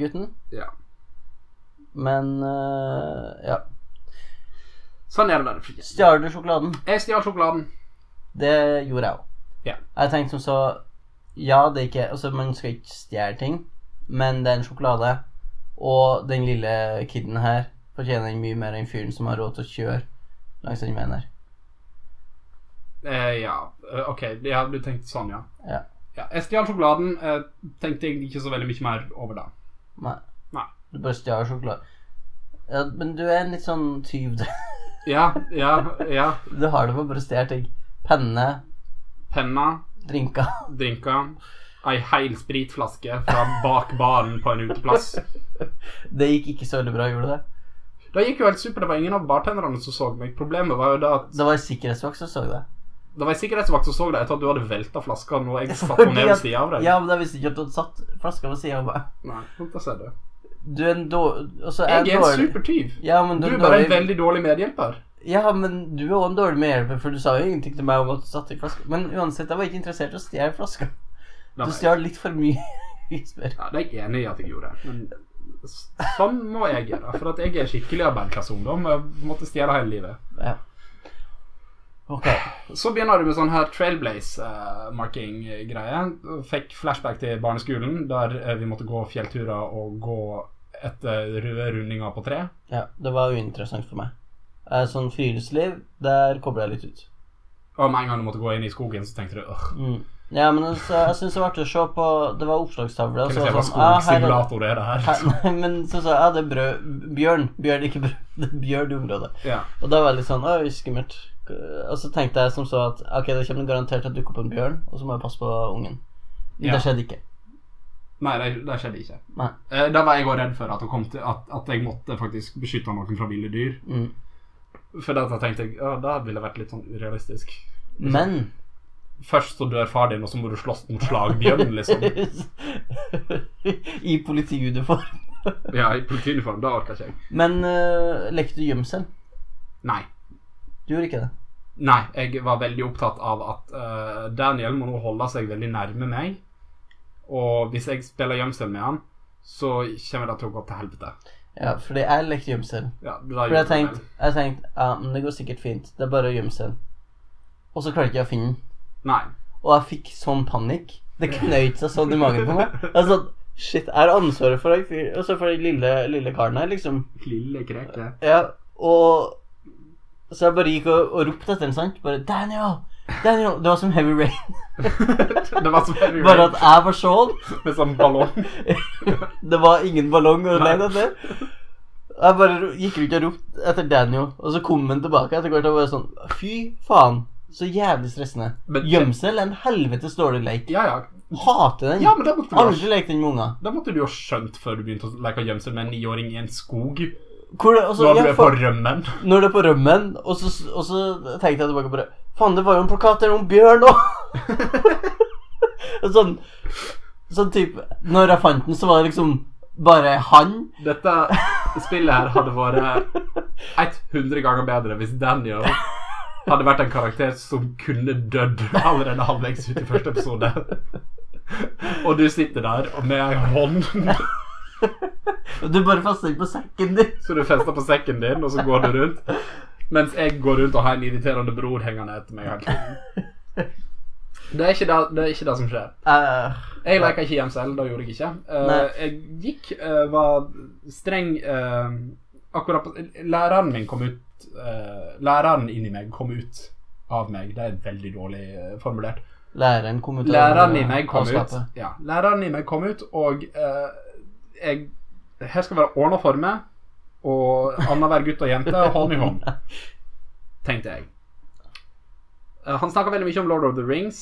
A: gutten.
B: Ja.
A: Men eh, ja.
B: Sånn er det der.
A: Stjal du sjokoladen?
B: Jeg stjal sjokoladen.
A: Det gjorde jeg òg.
B: Ja.
A: Jeg tenkte som så Ja, det er ikke Altså, man skal ikke stjele ting, men det er en sjokolade. Og den lille kiden her fortjener mye mer enn fyren som har råd til å kjøre langs den veien her.
B: Eh, ja, Eh, ok, ja, du tenkte sånn, ja.
A: Ja.
B: jeg stjal sjokoladen. Eh, tenkte jeg ikke så veldig mye mer over det.
A: Nei.
B: Nei.
A: Du bare stjal sjokolade. Ja, men du er en litt sånn tyv, du.
B: Ja, ja, ja.
A: Du har det for å bare stjele ting. Penne,
B: Penna,
A: drinker.
B: drinka, ei heil spritflaske fra bak baren på en uteplass.
A: Det gikk ikke så veldig bra, gjorde det?
B: Det gikk jo helt supert, det var ingen av bartenderne som så meg. Problemet var jo det at
A: Det var en sikkerhetsvakt som så det.
B: Det var ei sikkerhetsvakt som så det etter at du hadde velta flaska når jeg satt på
A: Fordi
B: ned ved
A: at-
B: sida av deg.
A: Ja, men jeg visste ikke at hun satt flaska ved sida av meg.
B: Nei, da ser du.
A: Du er en dårlig altså, jeg
B: Jeg er en
A: dårlig-
B: supertyv.
A: Ja, men
B: Du
A: du,
B: er
A: er
B: bare en
A: dårlig...
B: veldig dårlig medhjelper.
A: ja, men du er også en dårlig medhjelper, for du sa jo ingenting til meg om at du satt i flaska. Men uansett, jeg var ikke interessert i å stjele flaska.
B: Nei,
A: Du
B: nei.
A: stjal litt for mye. Isbjørn.
B: Ja, det er jeg enig i at jeg gjorde. Men s- sånn må jeg gjøre. For at jeg er skikkelig arbeiderklasseungdom. Jeg måtte stjele hele livet.
A: ja. Ok.
B: Så begynner du med sånn her trailblaze-marking-greie. Fikk flashback til barneskolen, der eh, vi måtte gå fjellturer og gå etter røde rundinger på tre.
A: Ja, det var uinteressant for meg. Eh, Sånn friluftsliv, der kobler jeg litt ut.
B: Og med en gang du måtte gå inn i skogen, så tenkte du «Åh,
A: Mm. Ja, men altså, jeg syns det var artig å se på Det var oppslagstavle. Og
B: Kan
A: så
B: jeg se
A: var
B: hva
A: det sånn, ah, her er det-
B: skogsimulator er det her?
A: her, men så sa jeg ja, det er brød Bjørn. Bjørn, ikke brød. Det er bjørn i området.
B: Ja.
A: Og da var jeg litt sånn Oi, skummelt. Og så tenkte jeg som så at ah, ok, det kommer garantert til å dukke opp en bjørn, og så må jeg passe på ungen. Men
B: Ja.
A: Det skjedde ikke.
B: Nei, det, det skjedde ikke.
A: Nei.
B: Eh, Da var jeg òg redd for at, hun kom til, at, at jeg måtte faktisk beskytte noen fra ville dyr.
A: Mm.
B: For da tenkte jeg ja, det ville vært litt sånn urealistisk.
A: Men
B: Først så dør far din, og så må du slåss mot slagbjørn, liksom.
A: I politiuniform.
B: Ja, i politiuniform. Det orker ikke jeg.
A: Men uh, lekte du gjemsel?
B: Nei.
A: Du gjorde ikke det?
B: Nei, jeg var veldig opptatt av at eh, Daniel må nå holde seg veldig nærme meg. Og hvis jeg spiller gjemsel med han, så kommer det til å gå til helvete.
A: Ja, fordi jeg lekte gjemsel.
B: Ja, det er
A: For
B: jo-
A: jeg tenkte, jeg tenkte ja, men det går sikkert fint. Det er bare å gjemme seg. Og så klarte ikke jeg å finne den.
B: Nei.
A: Og jeg fikk sånn panikk. Det knøyt seg sånn i magen på meg. Altså, shit, jeg har ansvaret for deg, fyr. Altså, for den lille, lille karen her, liksom.
B: Lille kreke.
A: Ja, og Så jeg bare gikk og, og ropte etter den, sant? Bare 'Daniel! Daniel!' Det var som Heavy Rain.
B: det var så veldig
A: Bare at jeg var sånn.
B: med sånn ballong.
A: Det var ingen ballong å
B: Nei.
A: lete etter. Jeg bare ro- gikk rundt og ropte etter Daniel, og så kom han tilbake etter hvert og var sånn Fy faen, så jævlig stressende.
B: Men-
A: Gjemsel er en helvetes dårlig leik.
B: Ja, ja.
A: Hater den.
B: Ja, men det måtte du ha
A: Aldri lekt den med unger.
B: Det måtte du jo ha skjønt før du begynte å leke gjemsel med en niåring i en skog.
A: Hvor det, altså,
B: Når du
A: ja,
B: er på
A: for,
B: rømmen.
A: når det er på rømmen, og så, og så tenkte jeg tilbake på det Faen, det var jo en plakat der om bjørn òg! sånn Sånn type Når jeg fant den, så var det liksom bare han.
B: Dette spillet her hadde vært 100 ganger bedre hvis Daniel hadde vært en karakter som kunne dødd allerede halvveis ut i første episode. Og du sitter der og med ei hånd
A: Og du bare fasta på sekken din.
B: så du fester på sekken din, og så går du rundt. Mens jeg går rundt og har en irriterende bror hengende etter meg hele tiden. Det er ikke det, det, er ikke det som skjer.
A: Eh,
B: Jeg leker ikke gjemsel, det gjorde jeg ikke. Eh,
A: Nei.
B: jeg gikk, eh, var streng eh, Akkurat på Læreren min kom ut eh, Læreren inni meg kom ut av meg. Det er veldig dårlig eh, formulert.
A: læreren kom ut av-
B: Læreren i meg kom
A: av
B: ut.
A: skapet.
B: Ja, læreren i meg kom ut, og eh, jeg Her skal være ordna former, og annenhver gutt og jente hånd i hånd, tenkte jeg. Eh, han snakka veldig mye om Lord of the Rings.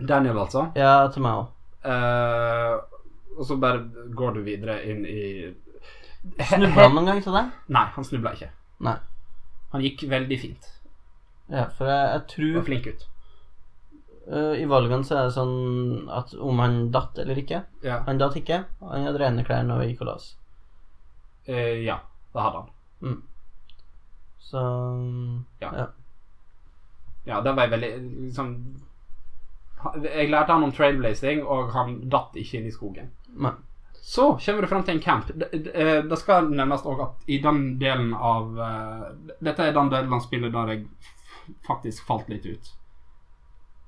B: Daniel, altså.
A: Ja, til meg òg.
B: Eh, og så bare går du videre inn i
A: Snubla han noen gang til deg?
B: Nei, han snubla ikke.
A: Nei.
B: Han gikk veldig fint.
A: Ja, for jeg, jeg
B: Du var
A: tror
B: flink gutt.
A: eh, I valgene så er det sånn at om han datt eller ikke
B: Ja.
A: Han datt ikke. Han hadde rene klær når vi gikk og la oss.
B: Eh, ja, det hadde han.
A: Så mm,
B: Ja.
A: Ja.
B: Ja, det var jeg veldig liksom han- Jeg lærte han om trailblazing, og han datt ikke inn i skogen.
A: Nei.
B: Så kommer du fram til en camp. Det, det- eh, det skal nevnes òg at i den delen av eh, Dette er den delen av spillet der jeg f- faktisk falt litt ut.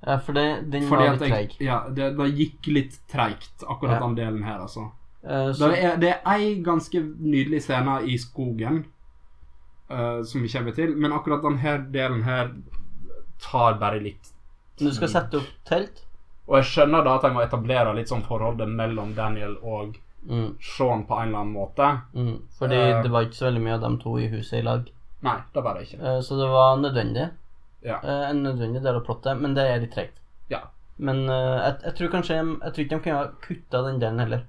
A: Ja, for det, den
B: Fordi
A: var
B: at
A: litt
B: jeg,
A: treig.
B: ja, det, det gikk litt treigt, akkurat
A: Ja.
B: den delen her, altså.
A: Eh,
B: Det
A: så-
B: er, det er ei ganske nydelig scene i skogen eh, som vi kommer til, men akkurat denne delen her tar bare litt
A: du skal sette opp telt?
B: Og jeg skjønner da at jeg må etablere litt sånn forholdet mellom Daniel og
A: Mm,
B: Sean på en eller annen måte.
A: mm. Fordi
B: Eh.
A: det var ikke så veldig mye av dem to i huset i lag.
B: Nei, det var det ikke.
A: Eh, så det var nødvendig.
B: Ja.
A: Eh, en nødvendig del av plottet, men det er litt tregt.
B: Ja.
A: Men eh, jeg, jeg tror kanskje Jeg tror ikke de kunne ha kutta den delen heller.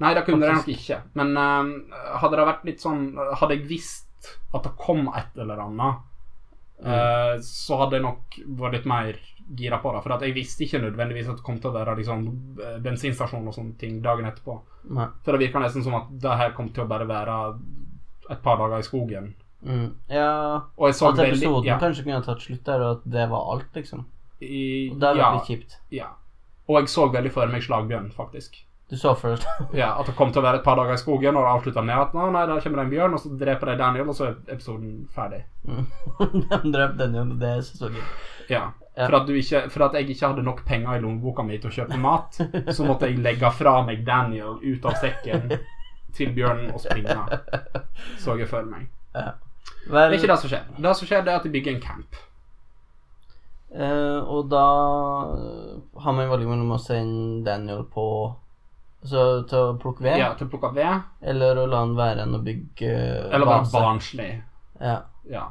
B: Nei, det kunne jeg nok
A: Faktisk.
B: ikke. Men eh, hadde det vært litt sånn Hadde jeg visst at det kom et eller annet
A: Mm.
B: eh, så hadde jeg nok vært litt mer gira på det. For at jeg visste ikke nødvendigvis at det kom til å være liksom, eh, bensinstasjon og sånne ting dagen etterpå.
A: Nei.
B: For det virka nesten som at det her kom til å bare være et par dager i skogen.
A: Mm. Ja
B: Og jeg så
A: At
B: veldig
A: episoden
B: ja,
A: kanskje kunne ha tatt slutt der, og at det var alt, liksom.
B: i,
A: Og det hadde
B: ja,
A: vært litt kjipt.
B: ja. Og jeg så veldig for meg slagbjørn, faktisk.
A: Du så først
B: Ja, At det kom til å være et par dager i skogen, og det avslutta med at nå, nei, der kommer det en bjørn, og så dreper de Daniel, og så er episoden ferdig.
A: Mm. De drøp den jo, det er sesongen.
B: Ja.
A: Ja.
B: For, at du ikke, for at jeg ikke hadde nok penger i lommeboka mi til å kjøpe mat, så måtte jeg legge fra meg Daniel ut av sekken til bjørnen og springe. Så jeg for meg. Det
A: Vel,
B: er ikke det som skjer. Det som skjer, det er at de bygger en camp.
A: eh, og da eh, har man valget mellom å sende Daniel på Altså til å plukke ved,
B: Ja, til å plukke opp ved,
A: eller å la han være igjen og bygge eh,
B: eller være
A: base.
B: barnslig.
A: Ja.
B: Ja.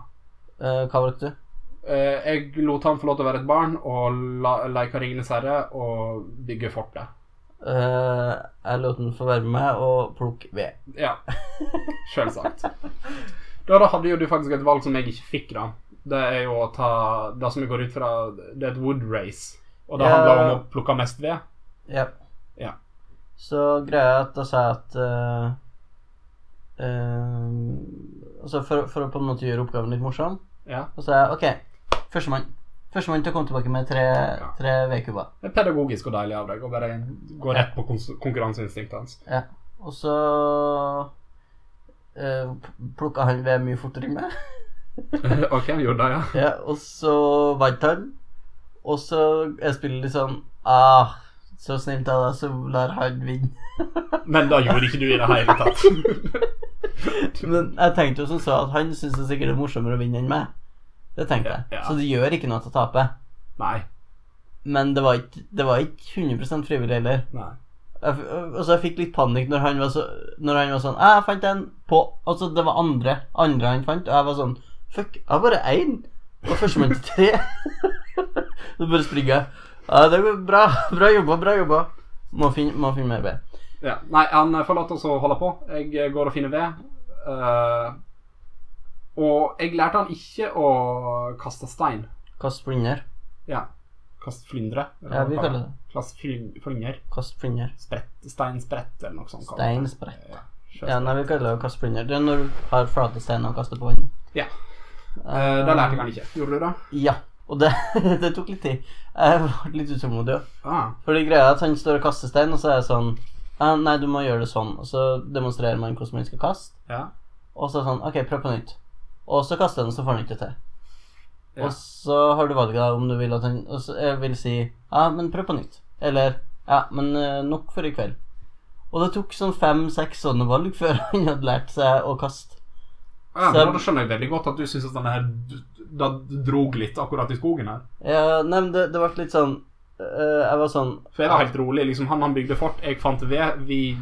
A: Eh, hva valgte du?
B: Eh, Jeg lot han få lov til å være et barn og la- leke Ringenes herre og bygge fortet.
A: Eh, jeg lot den få være med meg og plukke ved.
B: Ja. Selvsagt. Da, da hadde jo du faktisk et valg som jeg ikke fikk, da. Det er jo å ta det som jeg går ut fra Det er et wood race, og det
A: Ja.
B: handler om å plukke mest ved.
A: Ja.
B: Ja.
A: Så greia er at da sa jeg at eh, eh, Altså for, for å på en måte gjøre oppgaven litt morsom,
B: Ja.
A: og så sa jeg OK, førstemann. Førstemann til å komme tilbake med tre,
B: Ja.
A: tre vedkubber.
B: Det er pedagogisk og deilig av deg å bare gå rett på kons- konkurranseinstinktet hans.
A: Og så uh, plukka han ved mye fortere enn meg.
B: OK, gjorde det, ja.
A: Ja, og så vant han. Og så er spillet litt sånn ah, Så snilt av deg, så lar han vinne.
B: Men det gjorde ikke du i det hele tatt.
A: Men jeg tenkte jo som så at han syns det sikkert er morsommere å vinne enn meg. Det tenkte jeg.
B: Ja, ja.
A: Så det gjør ikke noe at jeg taper.
B: Nei.
A: Men det var ikke, det var ikke 100 frivillig heller.
B: Nei.
A: Jeg, f- altså, jeg fikk litt panikk når han var, så, når han var sånn «Ah, 'Jeg fant en på Altså, det var andre Andre han fant, og jeg var sånn Fuck, jeg har bare én. Og førstemann til tre. så bare springer jeg. Ja, det går bra. Bra jobba, bra jobba. Må finne, må finne mer ved.
B: Ja. Nei, han får lov til oss å holde på. Jeg eh, går og finner ved. Eh, og jeg lærte han ikke å kaste stein.
A: Kast flynder.
B: Ja. Kast flyndre. eller
A: Ja,
B: hva
A: vi
B: det
A: kaller
B: kalles.
A: det
B: Kast flyng- flynger.
A: kast flynder.
B: Sprett, steinsprett eller noe sånt. kalles det.
A: Steinsprett.
B: Ja,
A: Ja,
B: sjøsprett.
A: nei, vi kaller det å kaste flynder. Det er når du har flate steiner og kaster på vann.
B: Ja. Eh, det lærte jeg han ikke. Gjorde du det?
A: Ja. Og det, det tok litt tid. Jeg ble litt utålmodig òg.
B: Ah,
A: Fordi greia er at han står og kaster stein, og så er jeg sånn «Ah, Nei, du må gjøre det sånn. Og så demonstrerer man hvordan man skal kaste.
B: ja.
A: Og så er det sånn OK, prøv på nytt. Og så kaster han, og så får han ikke det til.
B: Ja.
A: Og så har du valget da, om du vil at han og så, jeg vil si Ja, men prøv på nytt. Eller Ja, men eh, nok for i kveld. Og det tok sånn fem-seks sånne valg før han hadde lært seg å kaste.
B: Ah,
A: Så-
B: men Da skjønner jeg veldig godt at du syns at denne her d- da drog litt akkurat i skogen her.
A: Ja, nei, men det, det ble litt sånn eh, Jeg var sånn
B: For jeg var helt rolig. liksom Han, han bygde fort, jeg fant ved. Vi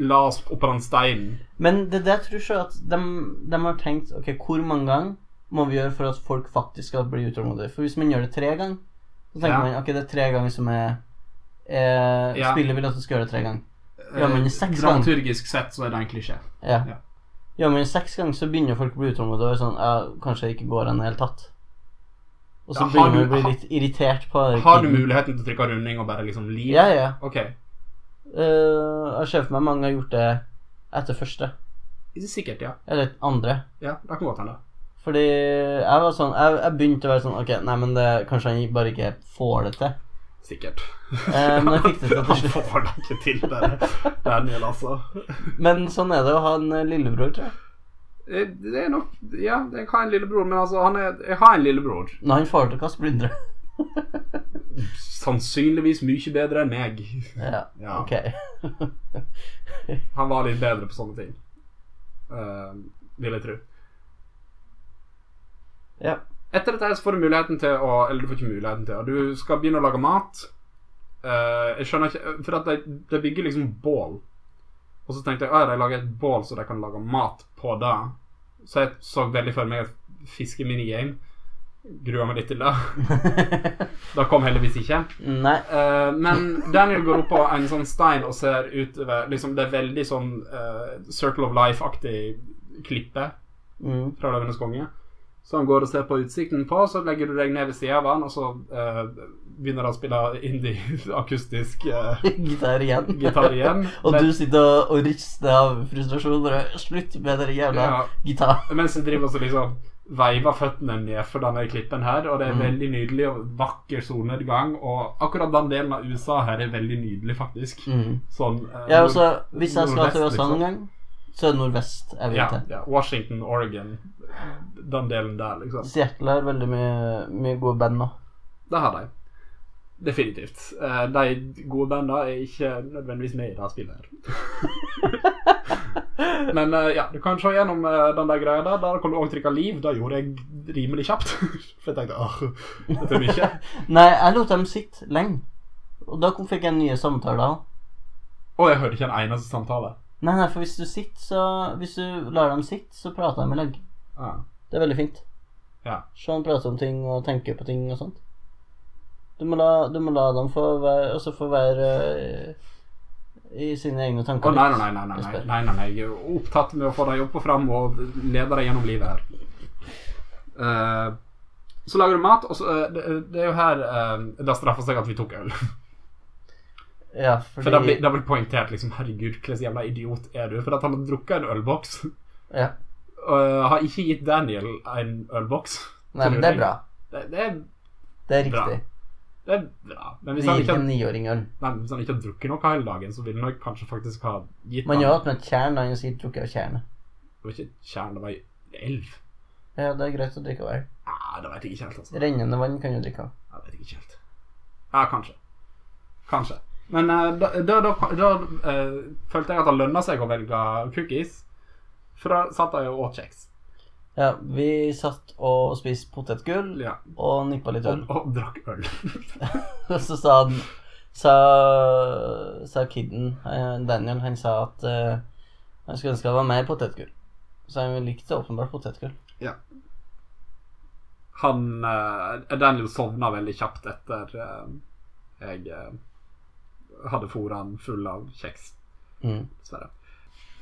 B: la oss oppå den steinen.
A: Men det er det jeg tror så at de, har tenkt Ok, hvor mange ganger må vi gjøre for at folk faktisk skal bli utålmodige? For hvis man gjør det tre ganger, så tenker
B: Ja.
A: man ok, det er tre ganger som er eh,
B: Ja.
A: Spillet vil at du skal gjøre det tre ganger. Ja, men
B: Eh,
A: seks ganger.
B: Dramaturgisk sett så er det en klisjé.
A: Ja.
B: Ja.
A: Gjør man det seks ganger, så begynner folk å bli utålmodige og er sånn ja, Kanskje det ikke går an i det hele tatt. Og så
B: Ja, har
A: begynner man
B: du-
A: å bli
B: ha-
A: litt irritert på det.
B: Har du muligheten til å trykke runding og bare liksom liv?
A: Ja, ja.
B: Ok.
A: Eh, jeg ser for meg mange har gjort det etter første.
B: Sikkert, ja.
A: Eller andre.
B: Ja, Det kan godt hende.
A: Fordi jeg var sånn Jeg, jeg begynte å være sånn Ok, nei, men det, kanskje han bare ikke får det til.
B: Sikkert.
A: Eh, men jeg fikk det til til
B: Han
A: slutt.
B: får det ikke til, bare. Daniel, altså.
A: Men sånn er det å ha en eh, lillebror, tror jeg.
B: Eh, Det er nok Ja, jeg har en lillebror, men altså han er, Jeg har en lillebror.
A: Når han får det til å kaste blindere.
B: Sannsynligvis mye bedre enn meg.
A: Ja,
B: Ja,
A: ok.
B: Han var litt bedre på sånne ting. Eh, vil jeg tro.
A: Ja.
B: Etter dette her så får du muligheten til å Eller du får ikke muligheten til å Du skal begynne å lage mat. Eh, jeg skjønner ikke For at de, de bygger liksom bål. Og så tenkte jeg at de lager et bål så de kan lage mat på det. Så jeg så veldig for meg et fiskeminigame. Grua meg litt til det. Det kom heldigvis ikke.
A: Nei.
B: Eh, men Daniel går opp på en sånn stein og ser utover liksom, Det er veldig sånn eh, Circle of Life-aktig klippe
A: Mm.
B: fra Løvenes konge. Så han går og ser på utsikten på, så legger du deg ned ved siden av han, og så eh, begynner han å spille indie-akustisk eh,
A: Gitar igjen.
B: gitar igjen.
A: Og
B: Men-
A: du sitter og, og rister av frustrasjon. Bare, Slutt med den jævla
B: Ja.
A: gitar.
B: Mens jeg driver og så liksom veiver føttene ned for denne klippen her, og det er
A: Mm.
B: veldig nydelig og vakker solnedgang, og akkurat den delen av USA her er veldig nydelig, faktisk.
A: Mm.
B: Sånn eh,
A: Ja, og så, hvis jeg skal
B: nordvest,
A: til USA
B: liksom.
A: noen gang, så er det nordvest jeg vil
B: ja,
A: til.
B: ja, Washington, Oregon, den delen der, liksom.
A: Seattle har veldig mye, mye gode band nå.
B: Det har de. Definitivt. Eh, De gode bandene er ikke nødvendigvis med i det spillet her. Men eh, ja, du kan se gjennom eh, den der greia der. Der kan du òg trykke liv. Det gjorde jeg rimelig kjapt. For jeg tenkte åh, dette er mye.
A: Nei, jeg lot dem sitte lenge. Og da kom- fikk jeg nye samtaler òg.
B: Og jeg hørte ikke en eneste samtale.
A: Nei, nei, for hvis du sitter, så Hvis du lar dem sitte, så prater de i lag.
B: Ja.
A: Det er veldig fint.
B: Ja.
A: Så han prater om ting og tenker på ting og sånt. Du må la, du må la dem få være, også få være eh, i sine egne
B: Å
A: tanker.
B: nei, nei, nei, nei, nei, nei, nei, nei. Jeg er opptatt med å få deg opp og fram og lede deg gjennom livet her. Eh, så lager du mat, og så, eh, det, det er jo her eh, det straffer seg at vi tok øl.
A: Ja, fordi,
B: For da blir, da blir poengtert liksom Herregud, hvordan jævla idiot er du? For at han har drukket en ølboks.
A: ja.
B: Og eh, har ikke gitt Daniel en ølboks.
A: Nei, men det er bra.
B: Det, det, er,
A: Det er
B: Bra.
A: riktig.
B: det er bra. Men
A: Du
B: hvis han,
A: gir
B: ikke,
A: ikke en
B: har-
A: niåring øl.
B: nei, hvis han ikke har drukket noe hele dagen, så ville han nok kanskje faktisk ha gitt
A: Man
B: han-
A: gjør alt med et tjern, og han sier 'drukket av tjernet'.
B: Det var ikke tjern, det var ei elv.
A: Ja, det er greit å drikke av øl.
B: Nei, det vet jeg ikke helt, altså.
A: Rennende vann kan du drikke av.
B: Jeg vet ikke helt. Ja, kanskje. Kanskje. Men eh, da, da, da, da eh, følte jeg at det lønna seg å velge cookies. For da satt jeg og åt kjeks.
A: Ja, vi satt og spiste potetgull
B: Ja,
A: og nippa litt øl.
B: og, og drakk øl.
A: Og så sa han Sa, sa kiden eh, Daniel, han sa at eh, han skulle ønske det var mer potetgull. Så han likte åpenbart potetgull.
B: Han eh, Daniel sovna veldig kjapt etter eh, jeg eh, hadde fôret han full av kjeks,
A: Mm.
B: dessverre.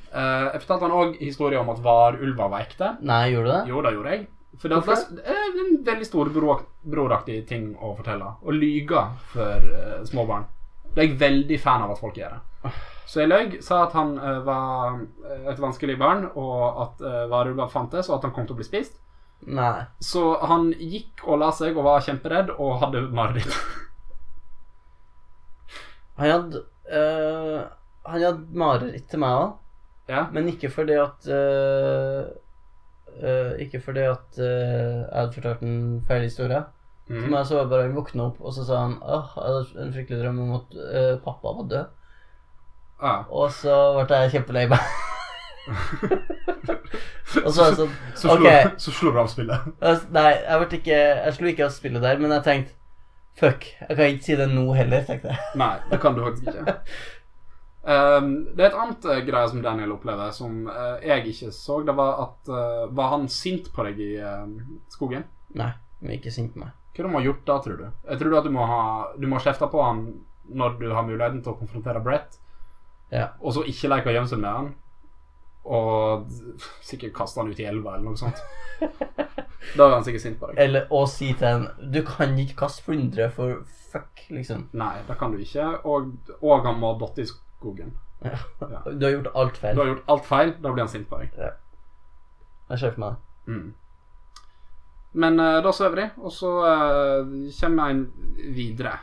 B: Eh, jeg fortalte han òg historien om at varulva var ekte.
A: Nei, gjorde du det?
B: Jo, det gjorde jeg. For det er
A: Hvorfor?
B: det er en veldig stor bror- broraktig ting å fortelle. Å lyge for eh, små barn. Det er jeg veldig fan av at folk gjør. det. Så jeg løy, sa at han eh, var eh, et vanskelig barn, og at uh, varulver fantes, og at han kom til å bli spist.
A: Nei.
B: Så han gikk og la seg og var kjemperedd og hadde mareritt.
A: Han hadde eh, Han hadde mareritt til meg òg,
B: ja.
A: men ikke fordi at eh, eh, Ikke fordi at eh, jeg hadde fortalt en feil historie. For
B: Mhm.
A: meg så var det bare han våkna opp, og så sa han Åh, jeg hadde en fryktelig drøm om at eh, pappa var død.
B: ja.
A: Og så ble jeg kjempelei meg. Og så var jeg sånn
B: Så slår,
A: ok.
B: så slår du av spillet.
A: altså, Nei, jeg ble ikke Jeg slo ikke av spillet der, men jeg tenkte Fuck, jeg kan ikke si det nå heller, tenkte jeg.
B: Nei, det kan du faktisk ikke. Ehm, det er et annet eh, greie som Daniel opplever, som eh, jeg ikke så. Det var at eh, Var han sint på deg i eh, skogen?
A: Nei, men ikke sint på meg.
B: Hva du må ha gjort da, tror du? Jeg tror du at du må ha Du må kjefte på han når du har muligheten til å konfrontere Brett,
A: Ja.
B: og så ikke leke gjemsel med han. Og sikkert kaste han ut i elva eller noe sånt. da er han sikkert sint på deg.
A: Eller å si til en Du kan ikke kaste flyndre for fuck, liksom.
B: Nei, det kan du ikke. Og, og han må ha datt i skogen.
A: Du har gjort alt
B: Du
A: feil.
B: har gjort alt feil, da blir han sint på deg.
A: Jeg ser for meg det.
B: Mm. Men eh, da sover de, og så eh, kommer en videre.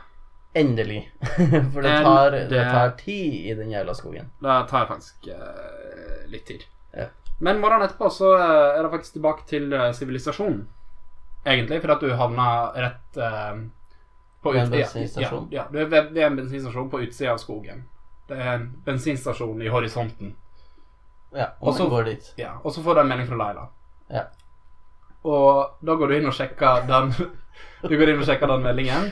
A: Endelig. For det tar, det
B: Endelig.
A: tar tid i den jævla skogen.
B: Det tar faktisk eh, litt tid.
A: Ja.
B: Men morgenen etterpå så eh, er det faktisk tilbake til eh, sivilisasjonen, egentlig, fordi at du havna rett eh, på
A: Ved en
B: ut- ja,
A: bensinstasjon.
B: Ja, ja, du er ved, ved en bensinstasjon på utsida av skogen. Det er en bensinstasjon i horisonten.
A: Ja, og
B: Også-
A: man går dit.
B: Ja, og så får du en melding fra Laila.
A: Ja.
B: Og da går du inn og sjekker den Du går inn og sjekker den meldingen,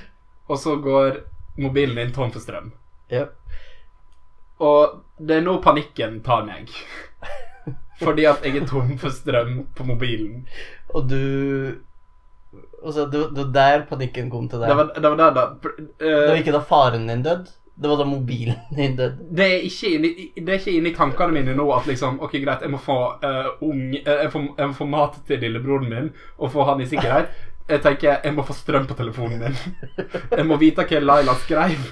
B: og så går mobilen din tom for strøm.
A: Yep.
B: Og det er nå panikken tar meg. Fordi at jeg er tom for strøm på mobilen.
A: Og du Altså, det var det var der panikken kom til deg.
B: Det var, det var der, da. pr- eh,
A: Det var ikke da faren din døde? Det var da mobilen din døde.
B: Det er ikke inni, det er ikke inni tankene mine nå at liksom Ok, greit, jeg må få eh, ung eh, jeg, får, jeg må få mat til lillebroren min og få han i sikkerhet. Jeg tenker jeg må få strøm på telefonen min. Jeg må vite hva Laila skrev.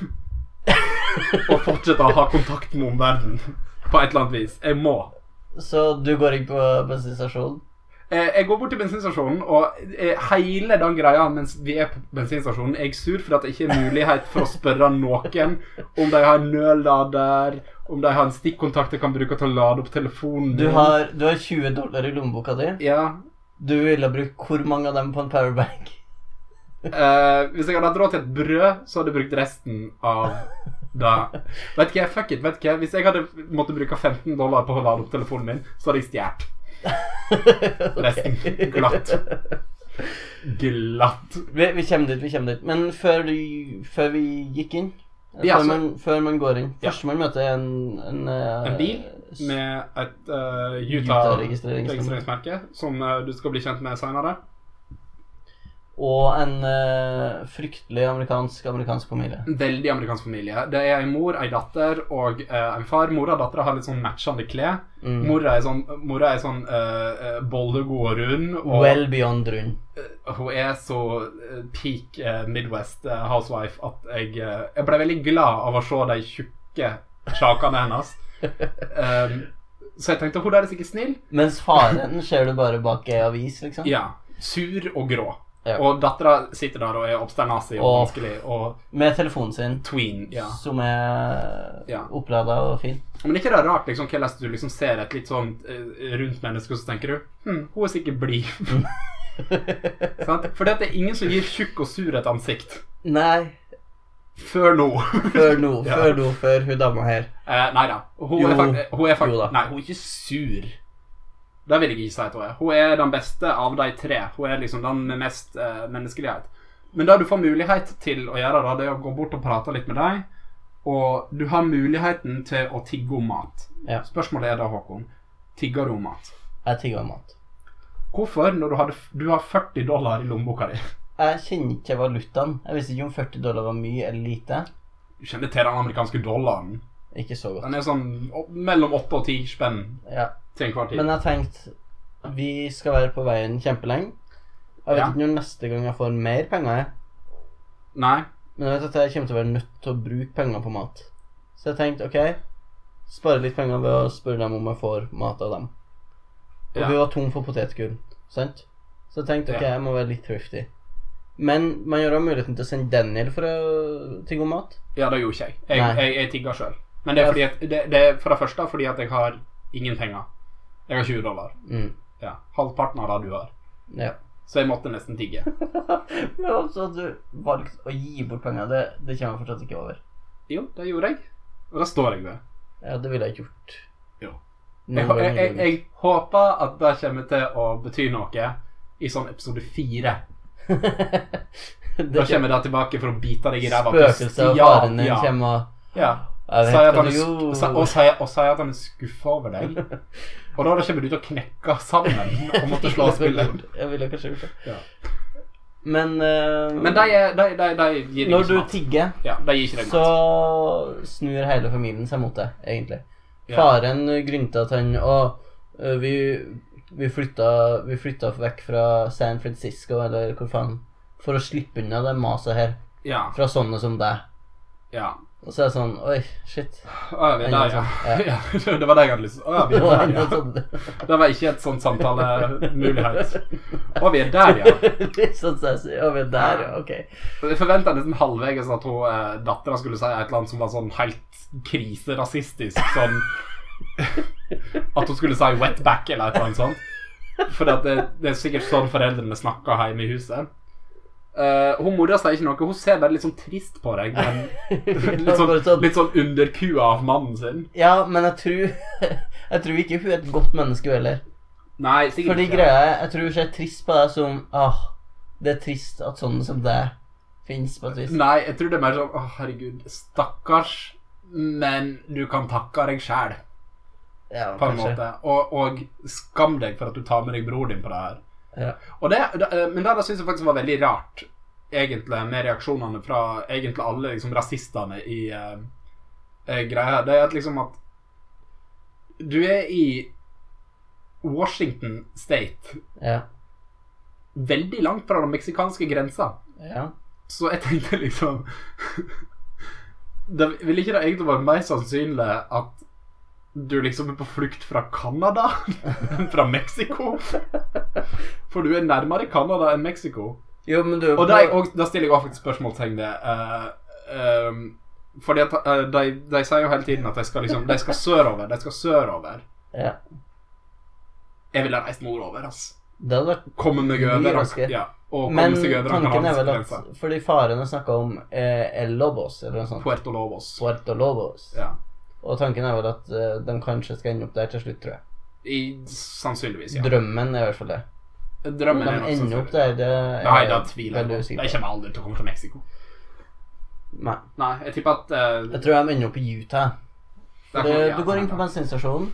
B: Og fortsette å ha kontakt med omverdenen på et eller annet vis. Jeg må.
A: Så du går inn på bensinstasjonen.
B: Eh, Jeg går bort til bensinstasjonen, og eh, hele den greia mens vi er på bensinstasjonen, er jeg sur for at det ikke er mulighet for å spørre noen om de har en nøllader, om de har en stikkontakt jeg kan bruke til å lade opp telefonen.
A: Du
B: min.
A: har, du har 20 dollar i lommeboka di.
B: Ja.
A: Du ville ha brukt hvor mange av dem på en powerbank?
B: Eh, hvis jeg hadde hatt råd til et brød, så hadde jeg brukt resten av det. Vet ikke, fuck it, vet ikke. Hvis jeg hadde måttet bruke 15 dollar på å lade opp telefonen min, så hadde jeg stjålet resten. Glatt. Glatt.
A: Vi, vi kommer dit, vi kommer dit. Men før, du, før vi gikk inn
B: Ja,
A: før,
B: så-
A: man, før man går inn
B: Ja.
A: Første man møter, er en En, eh,
B: En bil med et uh,
A: Utah-registreringsnummer.
B: Utah-registreringsmerke som eh, du skal bli kjent med seinere.
A: Og en eh, fryktelig amerikansk amerikansk familie.
B: En veldig amerikansk familie. Det er ei mor, ei datter og eh, en far. Mora og dattera har litt sånn matchende klær.
A: Mm.
B: Mora er sånn, mora er sånn eh, eh, bollegod og rund. Og
A: Well beyond rund.
B: hun er så eh, peak eh, Midwest eh, housewife at jeg, eh, jeg ble veldig glad av å se de tjukke sjakene hennes. Um, så jeg tenkte hun der er sikkert snill.
A: Mens faren ser du bare bak ei avis, liksom.
B: Ja. Sur og grå.
A: Ja.
B: Og dattera sitter der og er obsternasig og
A: Åh.
B: vanskelig og
A: Med telefonen sin,
B: tween. Ja.
A: som er
B: Ja.
A: opplada og fin.
B: Men ikke det er rart liksom, hvordan du liksom ser et litt sånn eh, rundt menneske, og så tenker du hm, hun er sikkert blid. Sant? For det er ingen som gir tjukk og sur et ansikt.
A: Nei,
B: Før nå.
A: før nå,
B: Ja.
A: før nå, før hun dama her.
B: Eh, nei da. Hun
A: Jo.
B: er faktisk, hun er fakt-
A: Jo da.
B: Nei, hun er ikke sur. Det vil jeg ikke si at hun er. Hun er den beste av de tre. Hun er liksom den med mest eh, menneskelighet. Men det du får mulighet til å gjøre, da, det er å gå bort og prate litt med dem. Og du har muligheten til å tigge om mat.
A: Ja.
B: Spørsmålet er da, Håkon, tigger du om mat?
A: Jeg tigger mat.
B: Hvorfor, når du, hadde, f- du har 40 dollar i lommeboka di
A: Jeg kjenner ikke valutaen. Jeg visste ikke om 40 dollar var mye eller lite.
B: Du kjenner til den amerikanske dollaren.
A: Ikke så godt.
B: Den er sånn opp- mellom 8 og 10 spenn
A: Ja.
B: til enhver tid.
A: Men jeg tenkte vi skal være på veien kjempelenge. Jeg vet
B: Ja.
A: ikke når neste gang jeg får mer penger, jeg.
B: Nei.
A: Men jeg vet at jeg kommer til å være nødt til å bruke penger på mat. Så jeg tenkte ok, spare litt penger ved å spørre dem om jeg får mat av dem. Og
B: Ja.
A: vi var tom for potetgull, sant? Så jeg tenkte ok,
B: Ja.
A: jeg må være litt thrifty. Men man gjør også muligheten til å sende Daniel for å tigge om mat.
B: Ja, det gjorde ikke jeg. Jeg,
A: Nei.
B: jeg, jeg tigga sjøl. Men det er, fordi at, det, det er for det første fordi at jeg har ingen penger. Jeg har 20 dollar.
A: Mm.
B: Ja, Halvparten av det du har.
A: Ja.
B: Så jeg måtte nesten tigge.
A: Men altså at du valgte å gi bort penger, det, det kommer jeg fortsatt ikke over.
B: Jo, det gjorde jeg. Og det står jeg ved.
A: Ja, det ville jeg ikke gjort.
B: Jo.
A: Noen
B: Jeg, hå- jeg,
A: gang i
B: jeg,
A: livet.
B: jeg håper at det kommer til å bety noe i sånn episode fire. Da
A: det
B: kommer det tilbake for å bite deg i ræva.
A: Spøkelset av
B: Ja,
A: faren din
B: ja,
A: kommer og
B: Ja.
A: Jeg
B: Sier
A: vet
B: at
A: hva du
B: han er sk- sa- Og
A: gjorde.
B: sier og sier at han er skuffa over deg. Og da kommer du til å knekke sammen og måtte slå spillet.
A: Jeg ville kanskje gjort det.
B: Ja.
A: Men, eh,
B: Men de, er- liksom de, de, de gir deg
A: når du
B: ikke mat.
A: tigger,
B: Ja, de gir ikke deg
A: så
B: mat.
A: snur hele familien seg mot deg, egentlig.
B: Ja.
A: Faren grynta at han Å, eh, vi, vi, flytta, vi flytta vekk fra San Francisco, eller hvor faen, for å slippe unna det maset her,
B: Ja,
A: fra sånne som deg.
B: ja.
A: Og så er det sånn Oi, shit.
B: Å, ja, vi er der, ja. ja. Det var det jeg hadde lyst til. Å, ja, vi
A: Det var
B: er der,
A: noe
B: ja.
A: sånt.
B: Det var ikke et sånn samtalemulighet. Å, vi er der, ja.
A: Litt sånn som jeg sier. Ja, vi er der, ja. Ok.
B: Jeg forventa nesten halvveis at hun eh, dattera skulle si et eller annet som var sånn helt kriserasistisk. Sånn At hun skulle si 'wetback' eller et eller annet sånt. For at det, det er sikkert sånn foreldrene snakker hjemme i huset. Eh, hun mora sier ikke noe. Hun ser bare litt sånn trist på deg. Men litt sånn,
A: Bare sånn-
B: litt sånn underkua av mannen sin.
A: Ja, men jeg tror Jeg tror ikke hun er et godt menneske hun heller.
B: Nei, sikkert
A: Fordi
B: ikke.
A: greia er, jeg tror hun ser trist på deg som Åh, det er trist at sånne som deg fins, på et vis.
B: Nei, jeg tror det er mer sånn Å, herregud, stakkars. Men du kan takke deg sjæl,
A: Ja,
B: på en måte. Og, og skam deg for at du tar med deg bror din på det her.
A: Ja.
B: Og det, det- eh, men det, det syns jeg faktisk var veldig rart. egentlig med reaksjonene fra egentlig alle liksom, rasistene i eh, eh, greia her, det er at liksom at Du er i Washington State,
A: Ja.
B: veldig langt fra den meksikanske grensa.
A: Ja.
B: Så jeg tenkte liksom det, Ville ikke det egentlig vært mer sannsynlig at du liksom er på flukt fra Canada enn fra Mexico? For du er nærmere Canada enn Mexico.
A: Jo, men du er
B: Og
A: på-
B: da, og da stiller jeg også faktisk spørsmålstegn ved eh, ehm, Fordi at eh, de, de sier jo hele tiden at de skal liksom De skal sørover, de skal sørover.
A: Ja.
B: Jeg ville reist nordover, altså.
A: Det hadde vært
B: Komme meg
A: Mye
B: over.
A: raskere.
B: Ja, og komme
A: Men
B: seg over den
A: tanken er
B: kanadiske
A: vel
B: grensa.
A: at Fordi faren har snakka om eh, El Lobos, eller noe sånt.
B: Puerto Lobos.
A: Puerto Lobos.
B: Ja.
A: Og tanken er vel at eh, de kanskje skal ende opp der til slutt, tror jeg.
B: I, sannsynligvis, ja.
A: Drømmen er i hvert fall det. Om
B: Drømmen
A: de
B: er nok
A: ender opp
B: sannsynlig.
A: der, det er
B: Nei, da tviler
A: veldig
B: jeg på.
A: usikker
B: Jeg kommer aldri til å komme til Mexico.
A: på. Nei.
B: Nei, jeg tipper at eh,
A: Jeg tror de ender opp i Utah.
B: der
A: Du,
B: kommer- ja,
A: du går inn på bensinstasjonen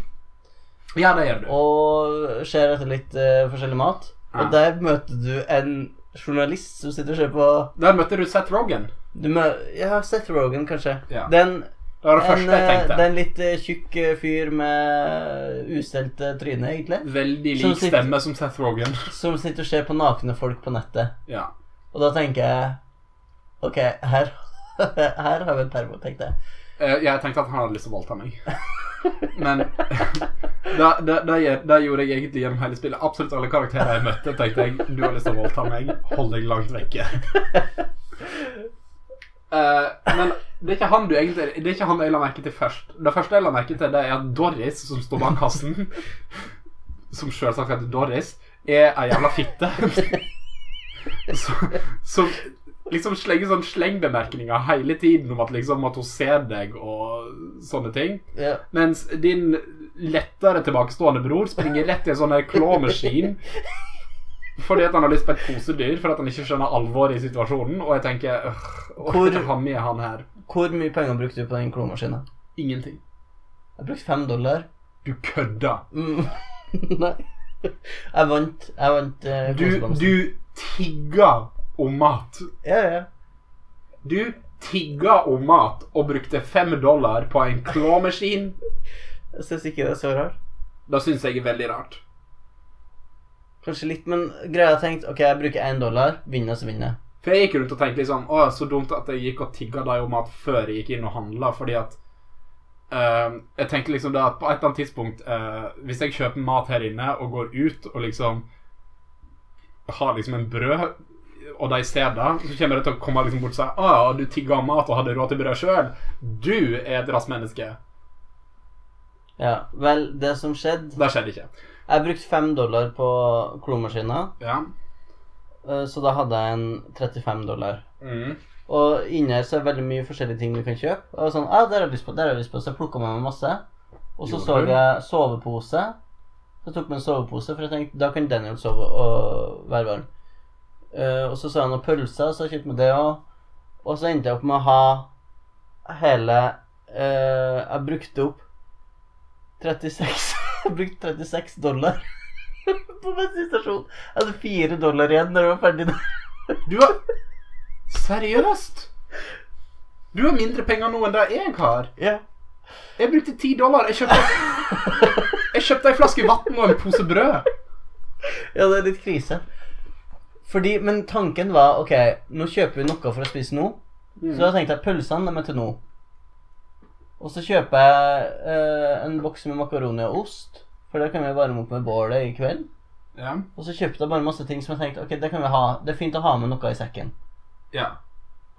B: Ja, det gjør du.
A: og ser etter litt eh, forskjellig mat.
B: Ja.
A: Og der møter du en journalist som sitter og ser på
B: Der møtte du Seth Rogan.
A: du mø Ja, Seth Rogan, kanskje.
B: Ja.
A: Det er en,
B: Det var det
A: en,
B: første jeg
A: eh, det
B: tenkte.
A: er en litt eh, tjukk eh, fyr med ustelt eh, tryne, egentlig,
B: Veldig
A: Som
B: lik
A: sitter-
B: stemme som Seth Rogan.
A: som sitter og ser på nakne folk på nettet.
B: Ja.
A: Og da tenker jeg Ok, her, her har vi en pervo, tenkte jeg.
B: Eh, jeg tenkte at han hadde lyst til å voldta meg. Men det, det, det, gjør- det gjorde jeg egentlig gjennom hele spillet. Absolutt alle karakterer jeg møtte, tenkte jeg du har lyst til å voldta meg. Hold deg langt vekke. Eh, men det er ikke han du egentlig Det er ikke han jeg la merke til først. Det første jeg la merke til, det er at Doris, som står bak kassen, som selvsagt heter Doris, er ei jævla fitte. Som- Som liksom slenger sånn slengbemerkninger hele tiden om at liksom at hun ser deg og sånne ting.
A: Ja.
B: Mens din lettere tilbakestående bror springer rett i en sånn her klåmaskin. Fordi at han har lyst på et kosedyr, fordi at han ikke skjønner alvoret i situasjonen. Og jeg tenker øh,
A: Hvor-
B: Hvor han med han her?
A: Hvor mye penger brukte du på den klomaskina?
B: Ingenting.
A: Jeg brukte fem dollar.
B: Du kødder.
A: Mm. Nei. Jeg vant. Jeg vant eh,
B: Du,
A: kosebamsen.
B: du tigger om mat.
A: Ja, ja.
B: Du tigger om mat og brukte fem dollar på en klåmaskin.
A: Jeg syns ikke det er så rart.
B: Det syns jeg er veldig rart.
A: Kanskje litt, men greia jeg tenkte Ok, jeg bruker én dollar. Vinner, så vinner jeg.
B: For jeg gikk rundt og tenkte liksom Å, så dumt at jeg gikk og tigga deg om mat før jeg gikk inn og handla, fordi at ehm, Jeg tenkte liksom det at på et eller annet tidspunkt eh, Hvis jeg kjøper mat her inne og går ut og liksom har liksom en brød, og de ser det, så kommer det til å komme liksom bort og si Å, ja, du tigga om mat og hadde råd til brød sjøl. Du er et rassmenneske.
A: Ja, Vel, det som skjedde
B: Det skjedde ikke.
A: Jeg brukte fem dollar på klomaskina,
B: Ja.
A: eh, så da hadde jeg en 35 dollar.
B: Mm.
A: Og inni her så er det veldig mye forskjellige ting du kan kjøpe. Og jeg var sånn, ah, der har jeg lyst på, der har jeg lyst på Så jeg plukka med meg masse. Og så
B: Gjorde
A: så
B: du?
A: jeg sovepose. Så jeg tok med en sovepose, for jeg tenkte da kan Daniel sove og være varm. Eh, og så så jeg noen pølser, så jeg kjøpte med det òg. Og så endte jeg opp med å ha hele eh, Jeg brukte opp 36 Jeg brukte 36 dollar på bensinstasjonen. Jeg hadde fire dollar igjen når jeg var ferdig.
B: Du har Seriøst? Du har mindre penger nå enn det jeg har.
A: Ja.
B: Jeg brukte 10 dollar. Jeg kjøpte, jeg kjøpte en flaske vann og en pose brød.
A: Ja, det er litt krise. Fordi, men tanken var ok, nå kjøper vi noe for å spise nå. Så da tenkte jeg pølsene de er til nå. Og så kjøper jeg eh, en boks med makaroni og ost, for det kan vi varme opp med bålet i kveld.
B: Ja.
A: Og så kjøpte jeg bare masse ting som jeg tenkte ok, det kan vi ha. Det er fint å ha med noe i sekken.
B: ja.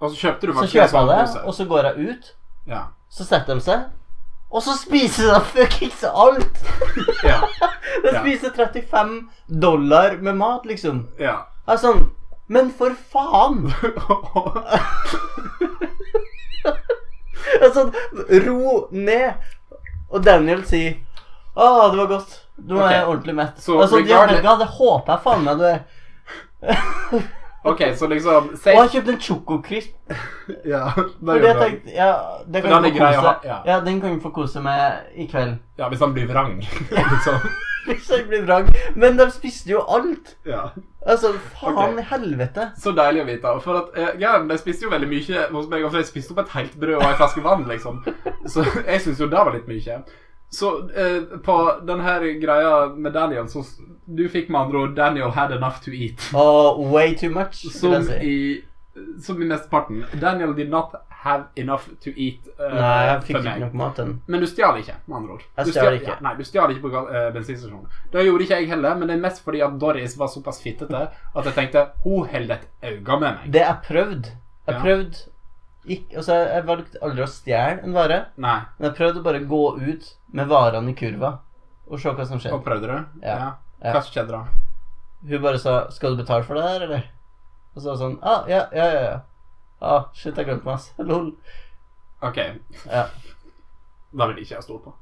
B: Og så kjøpte du
A: Så
B: faktisk
A: kjøper jeg det,
B: sandpose.
A: og så går jeg ut.
B: Ja.
A: Så setter de seg, og så spiser de fuckings alt!
B: Ja.
A: De
B: Ja.
A: spiser 35 dollar med mat, liksom.
B: ja.
A: Jeg er sånn Men for faen! Altså, ro ned. Og Daniel sier Å, det var godt. Nå er jeg
B: Ok,
A: ordentlig mett.
B: så
A: altså,
B: regardless-
A: Diabelga, det håper jeg faen meg du er.
B: ok, så liksom
A: Og
B: safe.
A: jeg kjøpte en chococrisp.
B: Ja, det
A: Fordi jeg
B: gjør du.
A: tenkte Ja, det
B: den
A: kan
B: er
A: jeg få
B: grei å
A: kose
B: ha, ja.
A: Ja, den kan jeg få kose med i kveld.
B: Ja, hvis han blir vrang. Liksom.
A: Hvis jeg blir vrang. Men de spiste jo alt!
B: Ja.
A: Altså, faen
B: Ok.
A: i helvete.
B: Så deilig å vite. For at, eh, ja, De spiste jo veldig mye hos meg, for de spiste opp et helt brød og en flaske vann, liksom. Så jeg syns jo det var litt mye. Så eh, på den her greia med Daniel, så s- Du fikk med andre ord 'Daniel had enough to eat'.
A: Og way too much, vil
B: Som
A: jeg si.
B: i, som i mesteparten. Daniel did not have enough to eat eh,
A: Nei, jeg fikk
B: for
A: ikke
B: meg.
A: nok mat den.
B: Men du stjal ikke, med andre ord.
A: Jeg
B: Du
A: stjal ikke.
B: ja, Nei, du stjal ikke på ga- eh, bensinstasjonen. Det gjorde ikke jeg heller, men det er mest fordi at Doris var såpass fittete at jeg tenkte hun holder et øye med meg.
A: Det jeg prøvde Jeg
B: Ja.
A: prøvde ikke, altså, jeg- Jeg valgte aldri å stjele en vare,
B: Nei.
A: men jeg prøvde å bare gå ut med varene i kurva og se hva som
B: Og
A: skjedde.
B: prøvde du?
A: Ja. Ja.
B: Hva skjedde da?
A: Hun bare sa 'Skal du betale for det her, eller?' Og så var det sånn ah, 'Ja, ja, ja'. ja. Ah, shit, jeg glemte meg, ass. Lol.
B: OK,
A: Ja.
B: da vil ikke jeg stole på.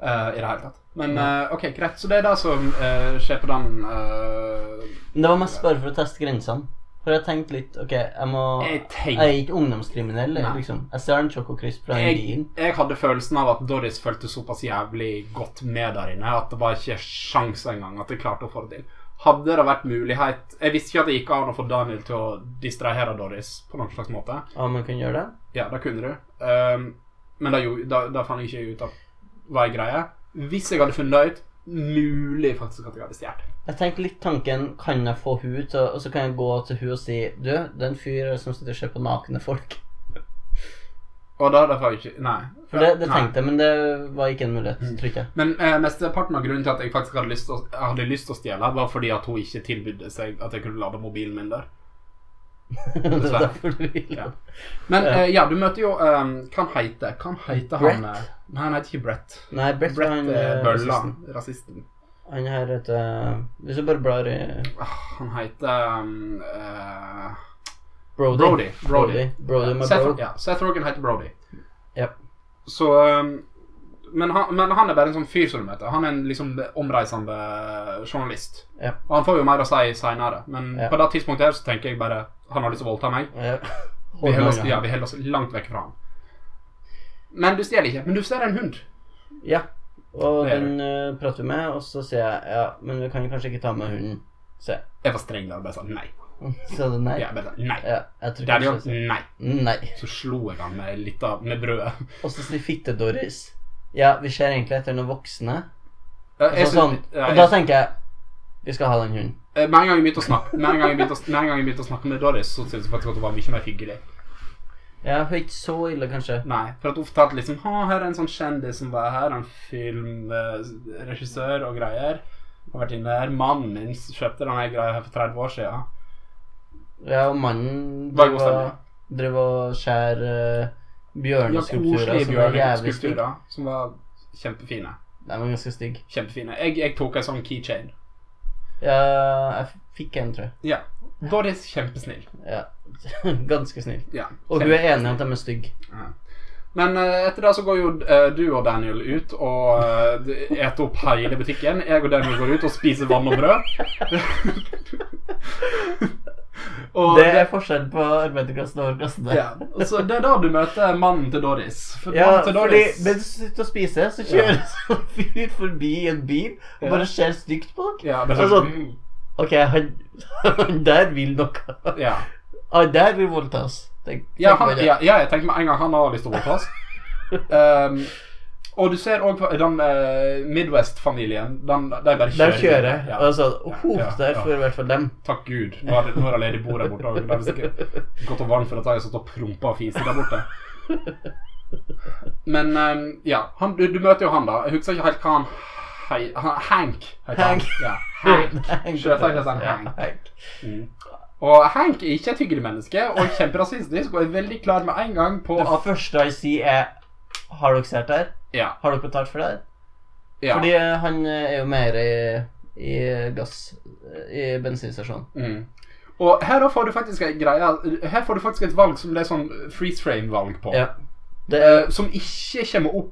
B: Eh, I det hele tatt. Men eh, OK, greit. Så det er det som eh, skjer på den eh,
A: Men det var mest bare for å teste grensene. For jeg tenkte litt OK, jeg må
B: Jeg
A: Jeg
B: tenkte
A: er ikke ungdomskriminell, jeg,
B: Nei.
A: liksom. Jeg stjal en sjokokrisp fra den
B: jeg,
A: bilen.
B: jeg hadde følelsen av at Doris følte såpass jævlig godt med der inne at det var ikke sjans engang at jeg klarte å få det til. Hadde det vært mulighet Jeg visste ikke at det gikk an å få Daniel til å distrahere Doris på noen slags måte.
A: Ja, man kan gjøre det.
B: Ja, det kunne du. Ehm, men det gjorde- det det fant jeg ikke ut av hva jeg greia. Hvis jeg hadde funnet det ut, mulig faktisk at jeg hadde stjålet.
A: Jeg tenkte litt tanken Kan jeg få hun til å- Og så kan jeg gå til hun og si Du, det er en fyr som sitter og ser på nakne folk
B: Og da hadde jeg ikke Nei.
A: For det, det
B: Nei.
A: tenkte jeg Men det var ikke en mulighet Tror ikke jeg
B: Men eh, mesteparten av grunnen til at jeg faktisk hadde lyst til å, jeg hadde lyst til å stjele, var fordi at hun ikke tilbydde seg at jeg kunne lade mobilen min der.
A: Det er
B: Dessverre.
A: derfor du vil
B: Ja. Men
A: Ja.
B: eh, ja, du møter jo um, Hva han heter Hva han heter han?
A: Brett?
B: eh, Nei, han heter ikke Brett.
A: Nei, Brett,
B: Brett
A: han,
B: eh,
A: eh,
B: Bølla,
A: rasisten.
B: rasisten.
A: Han her heter eh, Hvis du bare blar eh, i
B: Ah, Han heter um, eh,
A: Brody
B: Brody. Brody.
A: Brody, Brody
B: Ja,
A: med
B: Seth,
A: bro.
B: ja, Seth Rogen heter Brody.
A: Japp.
B: Så um, men han, men han er bare en sånn fyr som du møter. Han er en liksom omreisende journalist.
A: Ja.
B: Og han får jo mer å si seinere, men
A: Ja.
B: på det tidspunktet her så tenker jeg bare Han har lyst til å voldta meg.
A: Ja.
B: Vi holder oss,
A: Håndlaget.
B: ja, vi holder oss langt vekk fra han. Men du stjeler ikke. Men du ser en hund.
A: Ja Og
B: Det er
A: den eh, prater vi med Og så sier jeg Ja, men vi kan kanskje ikke ta med hunden Se
B: Jeg var streng der og bare sa nei.
A: Så det nei
B: Jeg bare sa nei.
A: Ja, jeg tror
B: Daniel,
A: kanskje
B: nei.
A: Nei
B: Så slo jeg han med litt av med brødet.
A: Og så sier Fitte-Doris Ja, vi ser egentlig etter noen voksne
B: Jeg,
A: Og, så,
B: synes-
A: sånn,
B: ja,
A: og da
B: jeg,
A: tenker jeg Vi skal ha den hunden
B: eh, med en gang jeg begynte å snakke Med en gang jeg begynte å, med en gang jeg begynte å snakke med Doris, så syntes jeg faktisk at hun var mye mer hyggelig.
A: Ja, hun er ikke så ille kanskje
B: Nei, for at hun fortalte liksom Ha, her er en sånn kjendis som var her, en filmregissør og greier. Har vært inne her. Mannen min kjøpte denne greia her for 30 år siden.
A: Ja, og mannen
B: Bare god
A: driver og-
B: stemning.
A: driver og skjærer eh,
B: Ja, altså,
A: bjørneskulpturer
B: koselige
A: Som er jævlig stygg
B: bjørneskulpturer som var kjempefine.
A: De er ganske stygg
B: Kjempefine. Jeg, jeg tok en sånn keychain.
A: Ja, jeg fikk en, tror jeg
B: Ja. Doris kjempesnill.
A: Ja, ganske snill
B: Ja.
A: Og hun er enig i at de er stygg
B: Ja. Men eh, etter det så går jo eh, du og Daniel ut og eh, d- eter opp hele butikken. Jeg og Daniel går ut og spiser vann og brød. og
A: Det er forskjell på arbeiderklassen og overklassen der
B: ja. Så det er da du møter mannen til Doris. For
A: Ja,
B: mannen til
A: fordi
B: Doris
A: mens du sitter og spiser, så kjører sånn fyr forbi i en bil og
B: Ja.
A: bare ser stygt på dere.
B: ja, det er
A: Altså-
B: sånn,
A: Ok, han, han der vil noe.
B: ja.
A: Han der vil voldta oss. Tenk,
B: Ja,
A: tenk
B: han,
A: på det.
B: ja, ja, jeg tenkte med en gang han har lyst til å voldtas. Um, og du ser òg den eh, Midwest-familien. Den, de bare
A: Der
B: kjører.
A: kjører jeg.
B: Ja.
A: Altså,
B: Ja,
A: oh,
B: ja,
A: der
B: ja.
A: får i hvert fall dem.
B: Takk Gud. Nå er det, nå er det ledig bord der borte. og Det er sikkert godt og varmt for at jeg har stått og prompa og fiset der borte. Men ehm, ja, han, du, du møter jo han, da. Jeg husker ikke helt hva han hei, han, Hank heter han.
A: Hank.
B: Ja, Hank. Sjøfark er sånn,
A: Ja,
B: Hank.
A: Hank.
B: Mm. Og Hank er ikke et hyggelig menneske og kjemperasistisk og er veldig klar med en gang på
A: Det
B: at
A: første jeg sier, er Har dere sett det her?
B: Ja.
A: Har dere betalt for det her?
B: ja.
A: Fordi eh, han eh, er jo mer i, i gass I bensinstasjonen.
B: Mm. Og her da får du faktisk en greie Her får du faktisk et valg som det er sånn freeze frame-valg på.
A: Ja. Det er
B: Eh, som ikke kommer opp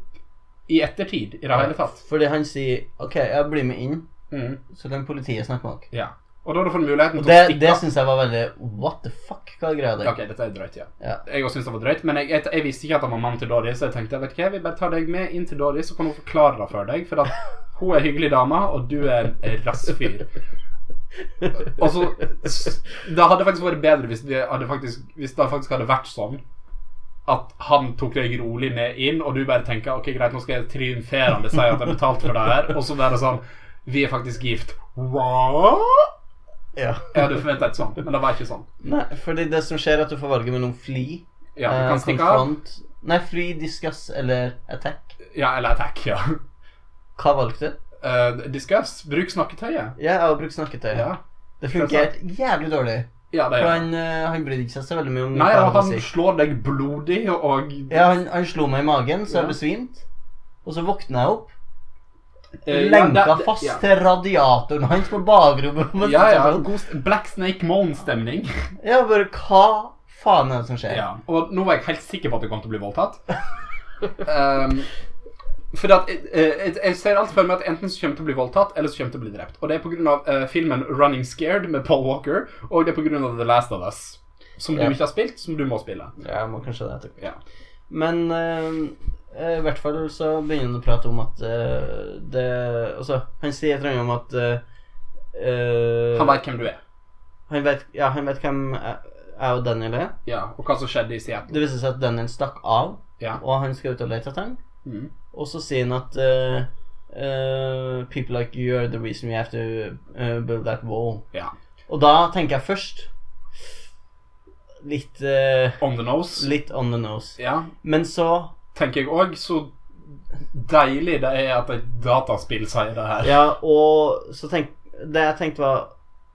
B: i ettertid i det hele tatt.
A: Fordi han sier OK, jeg blir med inn,
B: Mm.
A: så kan politiet snakke med dere.
B: Ja. Og da har du fått muligheten til
A: Det,
B: å stikke
A: det
B: av.
A: syns jeg var veldig What the fuck? Hva er greia der?
B: Ok, dette er drøyt, ja.
A: Ja.
B: Jeg også synes det var drøyt, men jeg, jeg, jeg visste ikke at han var mannen til Doris, så jeg tenkte vet du hva, jeg vil bare ta deg med inn til Doris, så kan hun forklare det for deg. For at Hun er hyggelig dame, og du er en rassfyr. Og så s- Det hadde faktisk vært bedre hvis det hadde faktisk, hvis det faktisk hadde vært sånn at han tok deg rolig med inn, og du bare tenker Ok, greit, nå skal jeg triumferende si at jeg har betalt for det her, og så være sånn Vi er faktisk gift. Hva?
A: Ja.
B: Jeg hadde forventa et sånt, men det var ikke sånn.
A: Nei, fordi det som skjer, er at du får valget mellom fly,
B: Ja, du
A: eh,
B: kan stikke av.
A: konfront- Nei, fly, discuss eller attack.
B: Ja, eller attack, ja.
A: Hva valgte du?
B: Eh, discuss. Bruk snakketøyet.
A: Jeg har brukt snakketøy.
B: Ja.
A: Det fungerte jævlig dårlig.
B: ja, det
A: For
B: er
A: han, eh, han brydde ikke seg så veldig mye om
B: Nei,
A: hva jeg
B: ja,
A: hadde å
B: han
A: si.
B: slår deg blodig og
A: Ja, han, han slo meg i magen, så jeg
B: Ja.
A: besvimte. Og så våkna jeg opp,
B: Eh, ja,
A: lenka
B: det- det-
A: fast
B: ja.
A: til radiatoren hans på bakrommet. på
B: Ja, ja.
A: stasjonen.
B: God st- Black Snake Moan-stemning.
A: ja, bare hva faen er det som skjer?
B: Ja. Og nå var jeg helt sikker på at jeg kom til å bli voldtatt. Um, for at, eh, jeg, jeg ser alltid for meg at enten så kommer jeg til å bli voldtatt, eller så kommer jeg til å bli drept. Og det er pga. Uh, filmen 'Running Scared' med Paul Walker, og det er pga. 'The Last of Us'. Som
A: Ja.
B: du ikke har spilt, som du må spille.
A: Ja, jeg må kanskje det etterpå.
B: Ja.
A: Men eh, eh, i hvert fall så begynner han å prate om at eh, det Altså, han sier et eller annet om at eh, eh,
B: Han veit hvem du er,
A: han vet Ja, han vet hvem jeg jeg og Daniel er.
B: Ja, og hva som skjedde i Seattle.
A: Det viser seg at Daniel stakk av,
B: Ja.
A: og han skal ut og lete etter ham.
B: Mm.
A: Og så sier han at eh, eh, People like you are the reason we have to eh, build that wall.
B: Ja.
A: Og da tenker jeg først Litt eh,
B: On the nose.
A: Litt on the nose.
B: Ja.
A: Men så
B: tenker jeg òg, så deilig det er at et dataspill sier det her.
A: Ja, og så tenk Det jeg tenkte var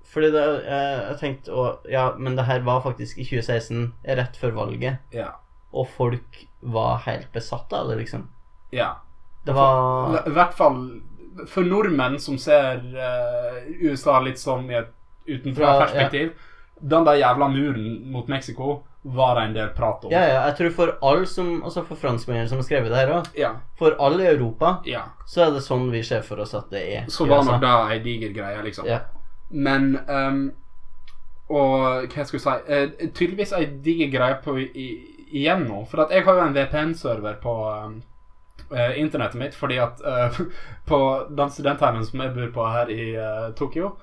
A: Fordi det, eh, jeg tenkte å, Ja, men det her var faktisk i 2016 Rett før valget
B: Ja.
A: Og folk var helt besatt av det liksom
B: ja.
A: Det var
B: I hvert fall for nordmenn som ser eh, USA litt sånn i et
A: Fra-
B: utenfra-perspektiv. Den der jævla muren mot Mexico var det en del prat om.
A: Ja, ja, jeg tror for alle som Altså for franskmennene som har skrevet det her også
B: ja.
A: For alle i Europa
B: ja.
A: Så er det sånn vi ser for oss at det er altså.
B: Så
A: i
B: var
A: USA.
B: nok det ei diger greie, liksom.
A: Ja,
B: Men ehm, Og hva skal jeg si eh, Tydeligvis ei diger greie på i, igjen nå. For at jeg har jo en VPN-server på ehm, eh, internettet mitt, fordi at eh, på den studentheimen som jeg bor på her i eh, Tokyo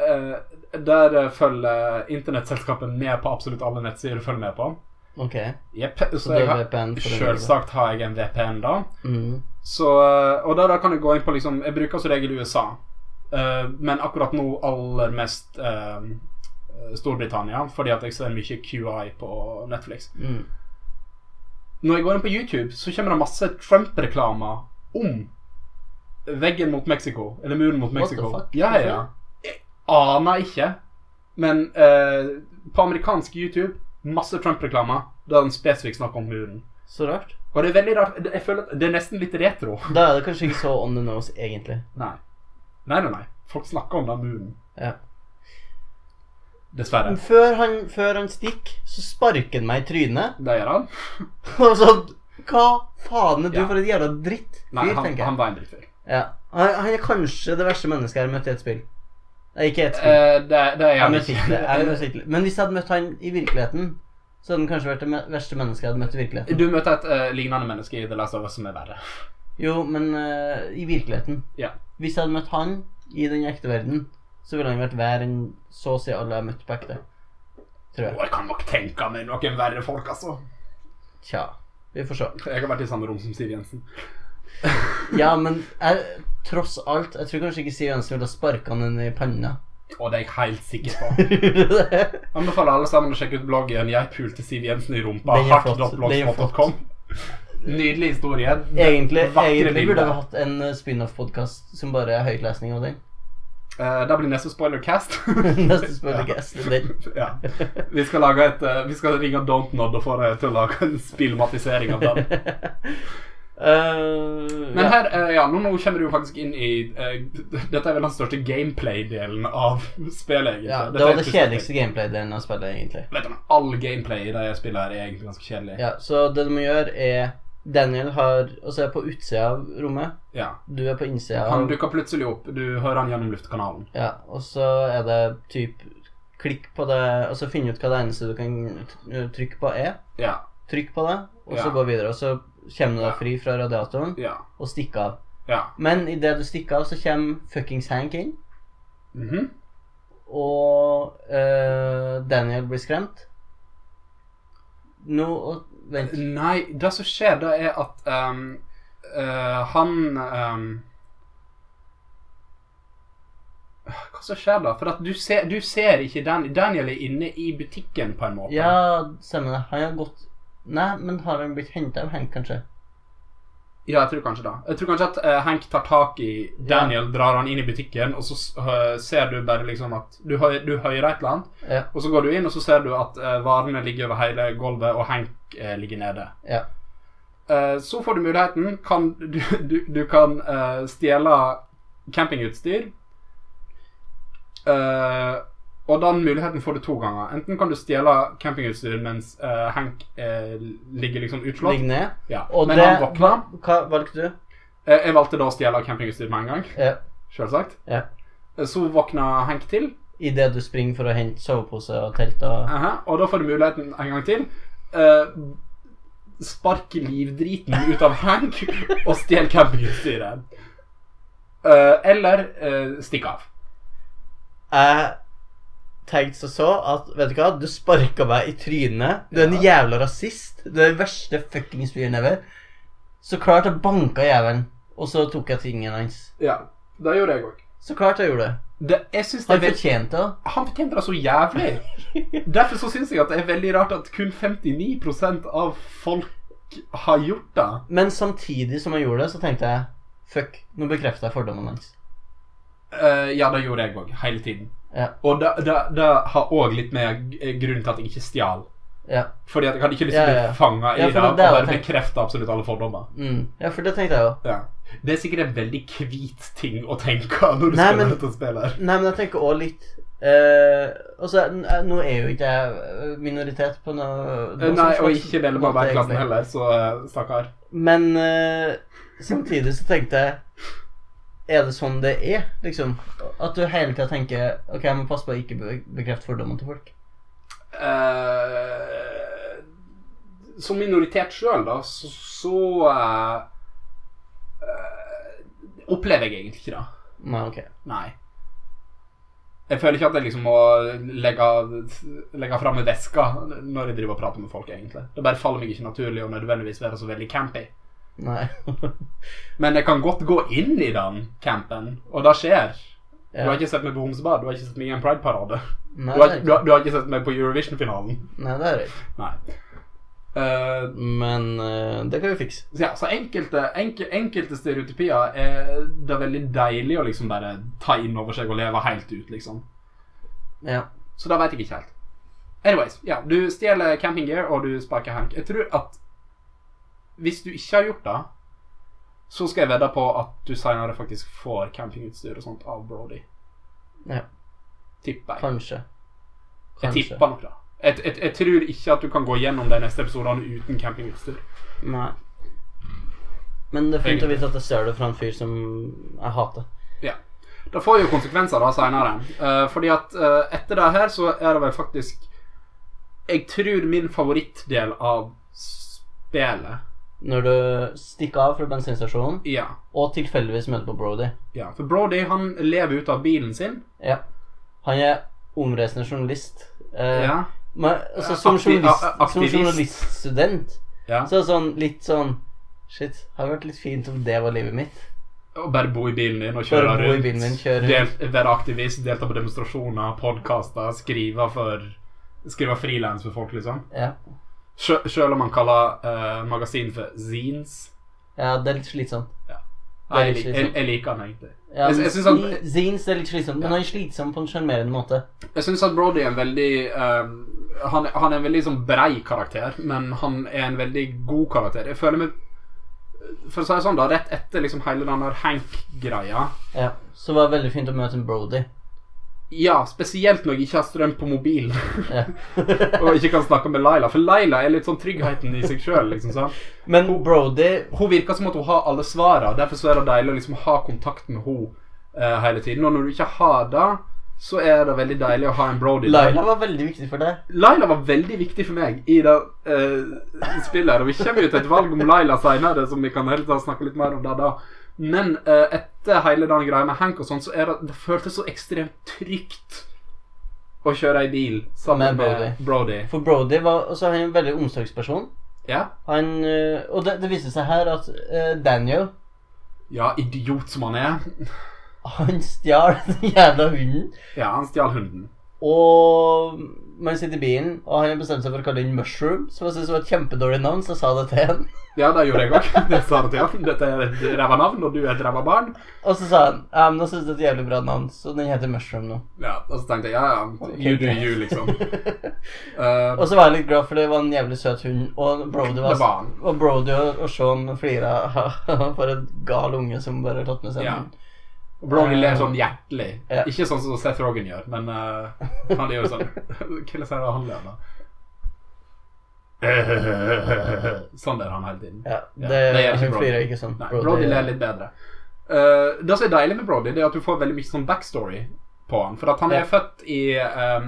B: eh, der eh, følger internettselskapet med på absolutt alle nettsider du følger med på.
A: ok
B: Jepp. Så
A: Så det liksom?
B: jeg
A: er
B: har,
A: VPN for å-
B: selvsagt har jeg en VPN, da.
A: mm.
B: Så, eh, og da, da kan jeg gå inn på liksom Jeg bruker som regel USA, eh, men akkurat nå aller mest eh, Storbritannia, fordi at jeg ser mye QI på Netflix.
A: Mm.
B: Når jeg går inn på YouTube, så kommer det masse Trump-reklamer om veggen mot Mexico, eller muren mot
A: What the
B: Mexico.
A: fuck?
B: Ja, ja, ja. Jeg aner ikke, men eh, på amerikansk YouTube masse Trump-reklamer der en spesifikt snakker om muren.
A: Så rart
B: Og det er veldig rart. Jeg føler at det er nesten litt retro.
A: Da er det kanskje ikke så on the nose egentlig
B: Nei. Nei, nei, nei. Folk snakker om den muren.
A: Ja. Mm.
B: Dessverre.
A: Før han, før han stikk, så sparker han meg i trynet.
B: Det gjør han.
A: Og sånn Hva faen er du
B: Ja.
A: for et jævla drittfyr,
B: Nei, han,
A: tenker jeg.
B: han var en drittfyr.
A: Ja. Han, han er kanskje det verste mennesket jeg har møtt i et spill. Nei, ikke i et spill.
B: Eh, det, det er
A: jeg har
B: han
A: møtt
B: ikke.
A: Hitler. Jeg har møtt Hitler. Men hvis jeg hadde møtt han i virkeligheten, så hadde han kanskje vært det me- verste mennesket jeg hadde møtt i virkeligheten.
B: Du møter et eh, lignende menneske i The Last of Us som er verre.
A: Jo, men eh, i virkeligheten.
B: Ja.
A: Hvis jeg hadde møtt han i den ekte verden, så ville han vært verre enn så å si alle jeg har møtt på ekte.
B: Å,
A: Tror jeg.
B: jeg kan nok tenke meg noen verre folk, altså.
A: Tja. Vi får se.
B: Jeg har vært i samme rom som Siv Jensen.
A: Ja, men jeg, tross alt Jeg tror kanskje ikke Siv Jensen ville ha sparka han i panna.
B: Og det er jeg helt sikker på.
A: Den
B: Anbefaler alle sammen å sjekke ut bloggen 'Jeg pulte Siv Jensen i rumpa'.
A: Den er flott. Den er
B: Hardt.blogspot.com. Nydelig historie.
A: egentlig
B: Vakre
A: egentlig burde
B: bilder.
A: vi hatt en eh, spin-off-podkast som bare er høytlesning av den.
B: Eh, det blir neste spoilercast.
A: Neste spørsmål er den.
B: Ja. Vi skal, lage et, eh, vi skal ringe Dontnod og få deg til å lage en spillmatisering av den.
A: Eh,
B: Men
A: ja.
B: her, eh, ja, nå, nå kommer du jo faktisk inn i eh, Dette er vel den største gameplay-delen av spillet. egentlig.
A: ja, det
B: Dette er
A: var det
B: et
A: kjedeligste gameplay-delen av spillet, egentlig.
B: Vet du, men All gameplay i det jeg spiller, her er egentlig ganske kjedelig.
A: Ja, Så det du må gjøre, er Daniel har Altså er på utsida av rommet.
B: Ja.
A: Du er på innsida. Av,
B: Han dukker plutselig opp. Du hører han gjennom luftkanalen.
A: ja, og så er det typ Klikk på det, og så finne ut hva det eneste du kan eh, trykke på, er.
B: Ja.
A: Trykk på det, og så
B: Ja.
A: gå videre. Og så kommer du deg fri fra radiatoren
B: Ja.
A: og stikke av.
B: Ja.
A: Men idet du stikker av, så kommer fuckings Hank inn.
B: Mhm.
A: Og eh, Daniel blir skremt. Nå og, Vent.
B: Nei, det som skjer, det er at ehm, eh, han ehm, Hva som skjer da? For at du ser, du ser ikke Dan Daniel er inne i butikken, på en måte.
A: Ja, stemmer det. Han har gått Nei, men har han blitt henta av Hank, kanskje?
B: Ja, jeg tror kanskje det. Jeg tror kanskje at eh, Hank tar tak i Daniel, drar han inn i butikken, og så s- hø- ser du bare liksom at du, hø- du hører et eller annet,
A: Ja.
B: og så går du inn, og så ser du at eh, varene ligger over hele gulvet, og Hank eh, ligger nede.
A: ja.
B: Eh, så får du muligheten. Kan, du, du, du kan eh, stjele campingutstyr. Eh, og den muligheten får du to ganger. Enten kan du stjele campingutstyr mens eh, Hank eh, ligger liksom utslått,
A: Ligg ned.
B: ja.
A: Og
B: men
A: det
B: han våkner.
A: hva- Hva valgte du?
B: Eh, Jeg valgte da å stjele campingutstyr med en gang,
A: Ja.
B: selvsagt.
A: Ja.
B: Eh, Så våkna Henk til,
A: Idet du springer for å hente sovepose og telt og
B: aha, og da får du muligheten en gang til. Eh, Sparke livdriten ut av Henk og stjel campingutstyret. Eh, Eller eh, stikke av.
A: Jeg tenkte så så at Vet du hva, du sparka meg i trynet. Du er en jævla rasist. Du er den verste fuckings fyren ever. Så klart jeg banka jævelen, og så tok jeg tingene hans.
B: Ja, det gjorde jeg òg.
A: Så klart jeg gjorde det.
B: Jeg synes det
A: Han
B: er veldig
A: fortjente det.
B: han fortjente det så jævlig. Derfor så syns jeg at det er veldig rart at kun 59 av folk har gjort det.
A: Men samtidig som jeg gjorde det, så tenkte jeg Fuck, nå bekrefter jeg fordommene hans.
B: Eh, ja, det gjorde jeg òg, hele tiden.
A: Ja.
B: Og det, det, det har òg litt med g- grunnen til at jeg ikke stjal.
A: Ja.
B: Fordi at jeg hadde ikke lyst til å
A: Ja, ja,
B: bli
A: ja.
B: fanga i
A: Ja,
B: det,
A: for det er
B: og
A: det jeg
B: bare
A: tenkte.
B: bekrefte absolutt alle fordommer.
A: Mm. ja, for det tenkte jeg jo.
B: Ja. Det er sikkert en veldig hvit ting å tenke når du
A: Nei,
B: spiller
A: men-
B: dette spillet.
A: Nei, men jeg tenker òg litt eh, Altså, n- eh, nå her er jo ikke jeg eh, minoritet på noe, noe
B: her Eh, Nei,
A: som
B: og
A: slags
B: ikke medlem av
A: måte,
B: arbeiderklassen
A: egentlig.
B: heller, så eh, stakkar.
A: Men eh, samtidig så tenkte jeg Er det sånn det er, liksom? At du hele tida tenker OK, jeg må passe på å ikke be bekrefte fordommene til folk.
B: Eh, som minoritet sjøl, da, så, så eh, eh, opplever jeg egentlig ikke det.
A: Nei, OK.
B: Nei. Jeg føler ikke at jeg liksom må legge, legge fram i veska når jeg driver og prater med folk, egentlig. Det bare faller meg ikke naturlig å nødvendigvis være så veldig campy.
A: Nei.
B: Men jeg kan godt gå inn i den campen, og det skjer. Du
A: ja.
B: har ikke sett meg på Homsebad, du har ikke sett meg i en Pride-parade.
A: Nei, det
B: Du, har
A: er
B: ikke- du,
A: ikke.
B: har- du har ikke sett meg på Eurovision-finalen.
A: Nei, det er ikke.
B: Nei. Eh,
A: Men eh, det kan vi fikse.
B: så ja, så enkelte, enke, enkelte stereotypier er det veldig deilig å liksom bare ta inn over seg og leve helt ut, liksom.
A: Ja.
B: Så da veit jeg ikke helt. Anyways, ja, du stjeler camping gear, og du sparker Hank. Jeg tror at hvis du ikke har gjort det, så skal jeg vedde på at du seinere faktisk får campingutstyr og sånt av Brody.
A: Ja.
B: Tipper jeg.
A: Kanskje.
B: Jeg tipper nok det. Jeg, jeg, jeg tror ikke at du kan gå gjennom de neste episodene uten campingutstyr.
A: Nei. Men det er fint å vite at jeg stjal det fra en fyr som jeg hater.
B: Det får jo konsekvenser da seinere. fordi at eh, etter det her så er det vel faktisk Jeg tror min favorittdel av spillet
A: Når du stikker av fra bensinstasjonen
B: Ja.
A: og tilfeldigvis møter på Brody.
B: Ja, for Brody han lever ut av bilen sin.
A: Ja. Han er omreisende journalist. Eh,
B: Ja.
A: Men altså, som,
B: Akti-
A: journalist,
B: a- a-
A: som
B: aktivist.
A: journaliststudent
B: ja.
A: så er det sånn litt sånn Shit, det hadde vært litt fint om det var livet mitt.
B: Og bare bo i bilen din og kjøre
A: Bare bo i
B: rundt.
A: bilen min, kjøre rundt.
B: Del, være aktivist, delta på demonstrasjoner, podkaster, skrive for Skrive frilans for folk, liksom.
A: Ja.
B: Sjø- Sjøl om man kaller eh, magasin for zines.
A: ja, det er litt slitsomt. Det
B: Nei, jeg,
A: er
B: lik-
A: litt
B: jeg, jeg liker den egentlig.
A: Ja,
B: Jeg- jeg synes han-
A: men Zines er litt slitsomt, men han er slitsom på en sjarmerende måte.
B: Jeg syns at Brody er en veldig eh, han, han er en veldig sånn brei karakter, men han er en veldig god karakter. Jeg føler meg For å si det sånn, da, rett etter liksom hele den der Hank-greia
A: Ja. Så det var veldig fint å møte en Brody.
B: Ja, spesielt når jeg ikke har strøm på mobilen
A: Ja.
B: og ikke kan snakke med Laila. For Laila er litt sånn tryggheten i seg sjøl. Liksom, sant?
A: Men Brody
B: hun virker som at hun har alle svarene. Derfor så er det deilig å liksom ha kontakt med henne hele tiden. Og når du ikke har det, så er det veldig deilig å ha en Brody. der.
A: Laila var veldig viktig for deg.
B: Laila var veldig viktig for meg i det eh, spillet. her, Og vi kommer jo til et valg om Laila seinere, som vi kan helt ta snakke litt mer om det da. Men eh, etter hele den greia med Hank og sånn, så er det, det føltes så ekstremt trygt å kjøre ei bil sammen
A: Med
B: med, Brody.
A: For Brody var også en veldig omsorgsperson.
B: Ja.
A: Han, øh, og det, det viste seg her at øh, Daniel
B: ja, idiot som han er.
A: han stjal den jævla hunden.
B: Ja, han stjal hunden.
A: Og man sitter i bilen, og han har bestemt seg for å kalle den Mushroom, som jeg syntes var et kjempedårlig navn, så jeg sa det til han.
B: Ja, det gjorde jeg òg. Det sa jeg til han. Dette er et ræva navn, og du er et ræva barn.
A: Og så sa han ja, men jeg synes det er et jævlig bra navn, så den heter Mushroom nå.
B: Ja, Og så tenkte jeg ja, ja, you do you, liksom. Eh,
A: Og så var jeg litt glad, for det var en jævlig søt hund, og Brody var,
B: Det var han.
A: Og Brody og, og Sean flira for en gal unge som bare har tatt med seg en
B: Ja.
A: hund.
B: Og Brody ler sånn hjertelig.
A: Ja.
B: Ikke sånn som Seth Rogen gjør, men eh, han gjør sånn Hva sier han ler da? Sånn ler han hele tiden.
A: Ja,
B: Ja,
A: det,
B: det gjør ikke
A: hun
B: Brody.
A: flirer ikke sånn.
B: Nei, Brody ler litt bedre. Eh, det som er deilig med Brody, det er at du får veldig mye sånn backstory på han. For at han
A: Ja.
B: er født i eh,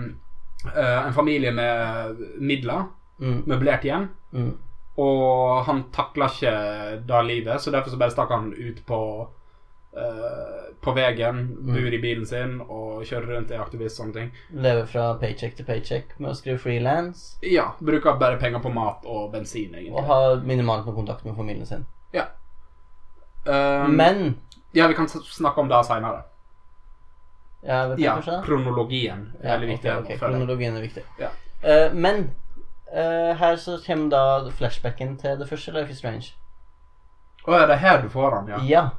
B: eh, en familie med midler,
A: Mm,
B: møblert hjem.
A: mm.
B: Og han takla ikke det livet, så derfor så bare stakk han ut på eh, På veien,
A: Mm.
B: bor i bilen sin og kjører rundt er aktivist og sånne ting.
A: Lever fra paycheck til paycheck med å skrive frilans,
B: Ja, bruker bare penger på mat og bensin,
A: og
B: egentlig.
A: har minimalt med kontakt med familien sin.
B: Ja. Um,
A: Men
B: ja, vi kan s- snakke om det seinere.
A: Ja, vet du
B: Ja,
A: kanskje det?
B: kronologien er
A: Ja,
B: veldig
A: ok,
B: viktig. her nå,
A: ok,
B: føler jeg.
A: Kronologien er viktig.
B: Ja.
A: Eh, men eh, her så kommer da flashbacken til The First Life is Strange.
B: Å, er det her du får han, ja?
A: Ja.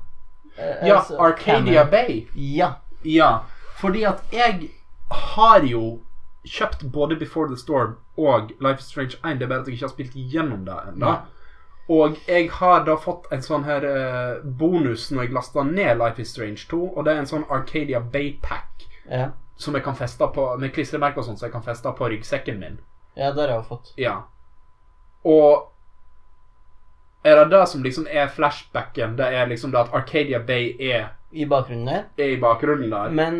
A: Eh,
B: Ja,
A: altså,
B: Arcadia
A: Cameron-
B: Bay.
A: Ja.
B: Ja, fordi at jeg har jo kjøpt både Before the Storm og Life is Strange 1. Det er bare at jeg ikke har spilt gjennom det ennå.
A: Nei.
B: Og jeg har da fått en sånn her eh, bonus når jeg lasta ned Life is Strange 2, og det er en sånn Arcadia Bay-pack
A: ja.
B: som jeg kan feste på med klistremerker og sånn, så jeg kan feste på ryggsekken min.
A: Ja, det har jeg jo fått.
B: Ja. Og er det det som liksom er flashbacken? Det er liksom det at Arcadia Bay er,
A: I bakgrunnen der.
B: er i bakgrunnen der.
A: Men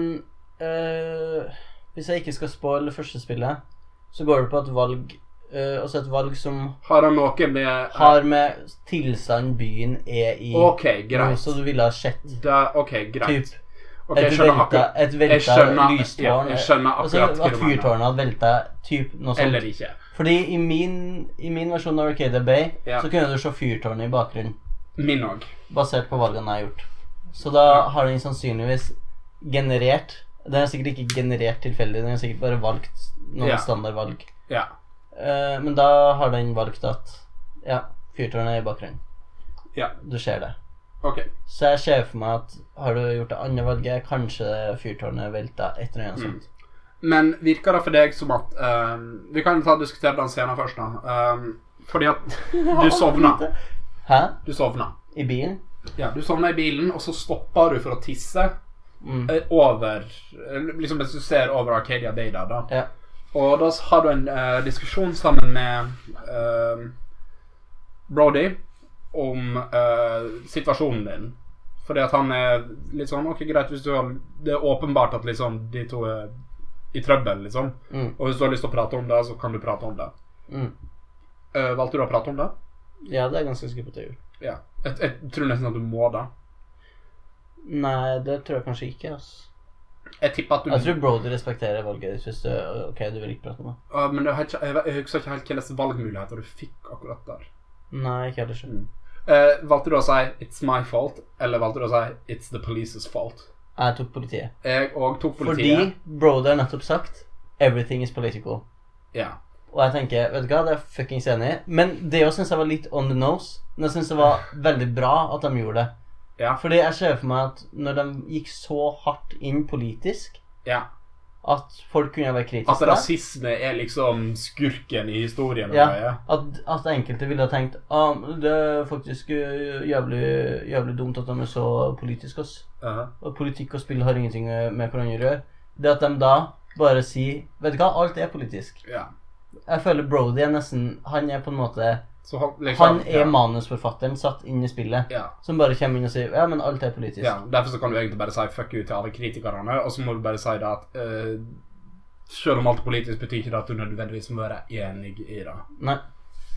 A: eh, hvis jeg ikke skal spoile det første spillet, så går det på et valg eh, Altså et valg som
B: Har han noe med
A: har med tilstand byen er i
B: OK,
A: noe
B: greit.
A: som du ville ha sett.
B: Da, OK, greit.
A: Typ
B: Ok,
A: et
B: jeg skjønner
A: velta,
B: akkurat,
A: et
B: jeg
A: velta
B: skjønner, ja,
A: lystårn.
B: jeg skjønner
A: Altså
B: akkurat hva
A: at
B: du mener.
A: fyrtårnet hadde velta typ noe sånt.
B: Eller ikke.
A: Fordi i min, i min versjon av Arcadia Bay
B: Ja.
A: så kunne du se fyrtårnet i bakgrunnen,
B: Min òg.
A: basert på valgene jeg har gjort. Så da
B: Ja.
A: har den sannsynligvis generert Den er sikkert ikke generert tilfeldig, den har sikkert bare valgt noen
B: Ja.
A: standardvalg.
B: Ja.
A: Eh, men da har den valgt at Ja, fyrtårnet er i bakgrunnen.
B: Ja.
A: Du ser det.
B: OK.
A: Så jeg ser for meg at har du gjort det andre valget, kanskje fyrtårnet velta et eller
B: Mm.
A: annet sånt.
B: Men virker det for deg som at ehm, Vi kan ta og diskutere den scenen først, da. Ehm, fordi at du sovna.
A: Hæ?
B: Du sovna.
A: I bilen?
B: Ja, du sovna i bilen, og så stoppa du for å tisse
A: Mm.
B: eh, over eh, Liksom hvis du ser over Arcadia Bay der, da.
A: Ja.
B: Og da har du en eh, diskusjon sammen med eh, Brody om eh, situasjonen din. Fordi at han er litt sånn Ok, greit, hvis du har Det er åpenbart at liksom de to er i trøbbel, liksom.
A: Mm.
B: Og hvis du har lyst til å prate om det, så kan du prate om det.
A: Mm.
B: Eh, valgte du å prate om det?
A: Ja, det er ganske skummelt å gjøre.
B: Ja. Jeg, jeg tror nesten at du må det.
A: Nei, det tror jeg kanskje ikke. ass.
B: Jeg tipper at du
A: Jeg tror Brody respekterer valget ditt hvis du Ok, du vil ikke prate med meg.
B: Ja, Men jeg, har ikke, jeg, jeg husker ikke helt hvilke valgmuligheter du fikk akkurat der.
A: Nei, ikke heller. selv.
B: Eh, valgte du å si 'it's my fault', eller valgte du å si 'it's the police's fault'?
A: Jeg tok politiet.
B: Jeg òg tok politiet.
A: Fordi Brody har nettopp sagt 'everything is political'.
B: Ja.
A: Og jeg tenker, vet du hva, det er jeg fuckings enig i. Men det òg syns jeg var litt on the nose. Men jeg syns det var veldig bra at de gjorde det.
B: Ja.
A: Fordi jeg ser for meg at når de gikk så hardt inn politisk
B: ja.
A: at folk kunne være kritiske
B: Altså, rasisme er liksom skurken i historien. og
A: Ja.
B: greier.
A: At, at enkelte ville ha tenkt ah, det er faktisk eh, jævlig, jævlig dumt at de er så politiske. Ass.
B: Uh-huh.
A: Og politikk og spill har ingenting eh, med hverandre å gjøre. Det at de da bare sier Vet du hva, alt er politisk.
B: ja.
A: Jeg føler Brody er nesten Han er på en måte
B: Så han, liksom,
A: Han er
B: ja.
A: manusforfatteren satt inn i spillet.
B: Ja.
A: Som bare kommer inn og sier Ja, men alt er politisk.
B: ja. Derfor så kan du egentlig bare si 'fuck you' til alle kritikerne, og så må du bare si det at eh, selv om alt er politisk, betyr ikke det at du nødvendigvis må være enig i det.
A: Nei.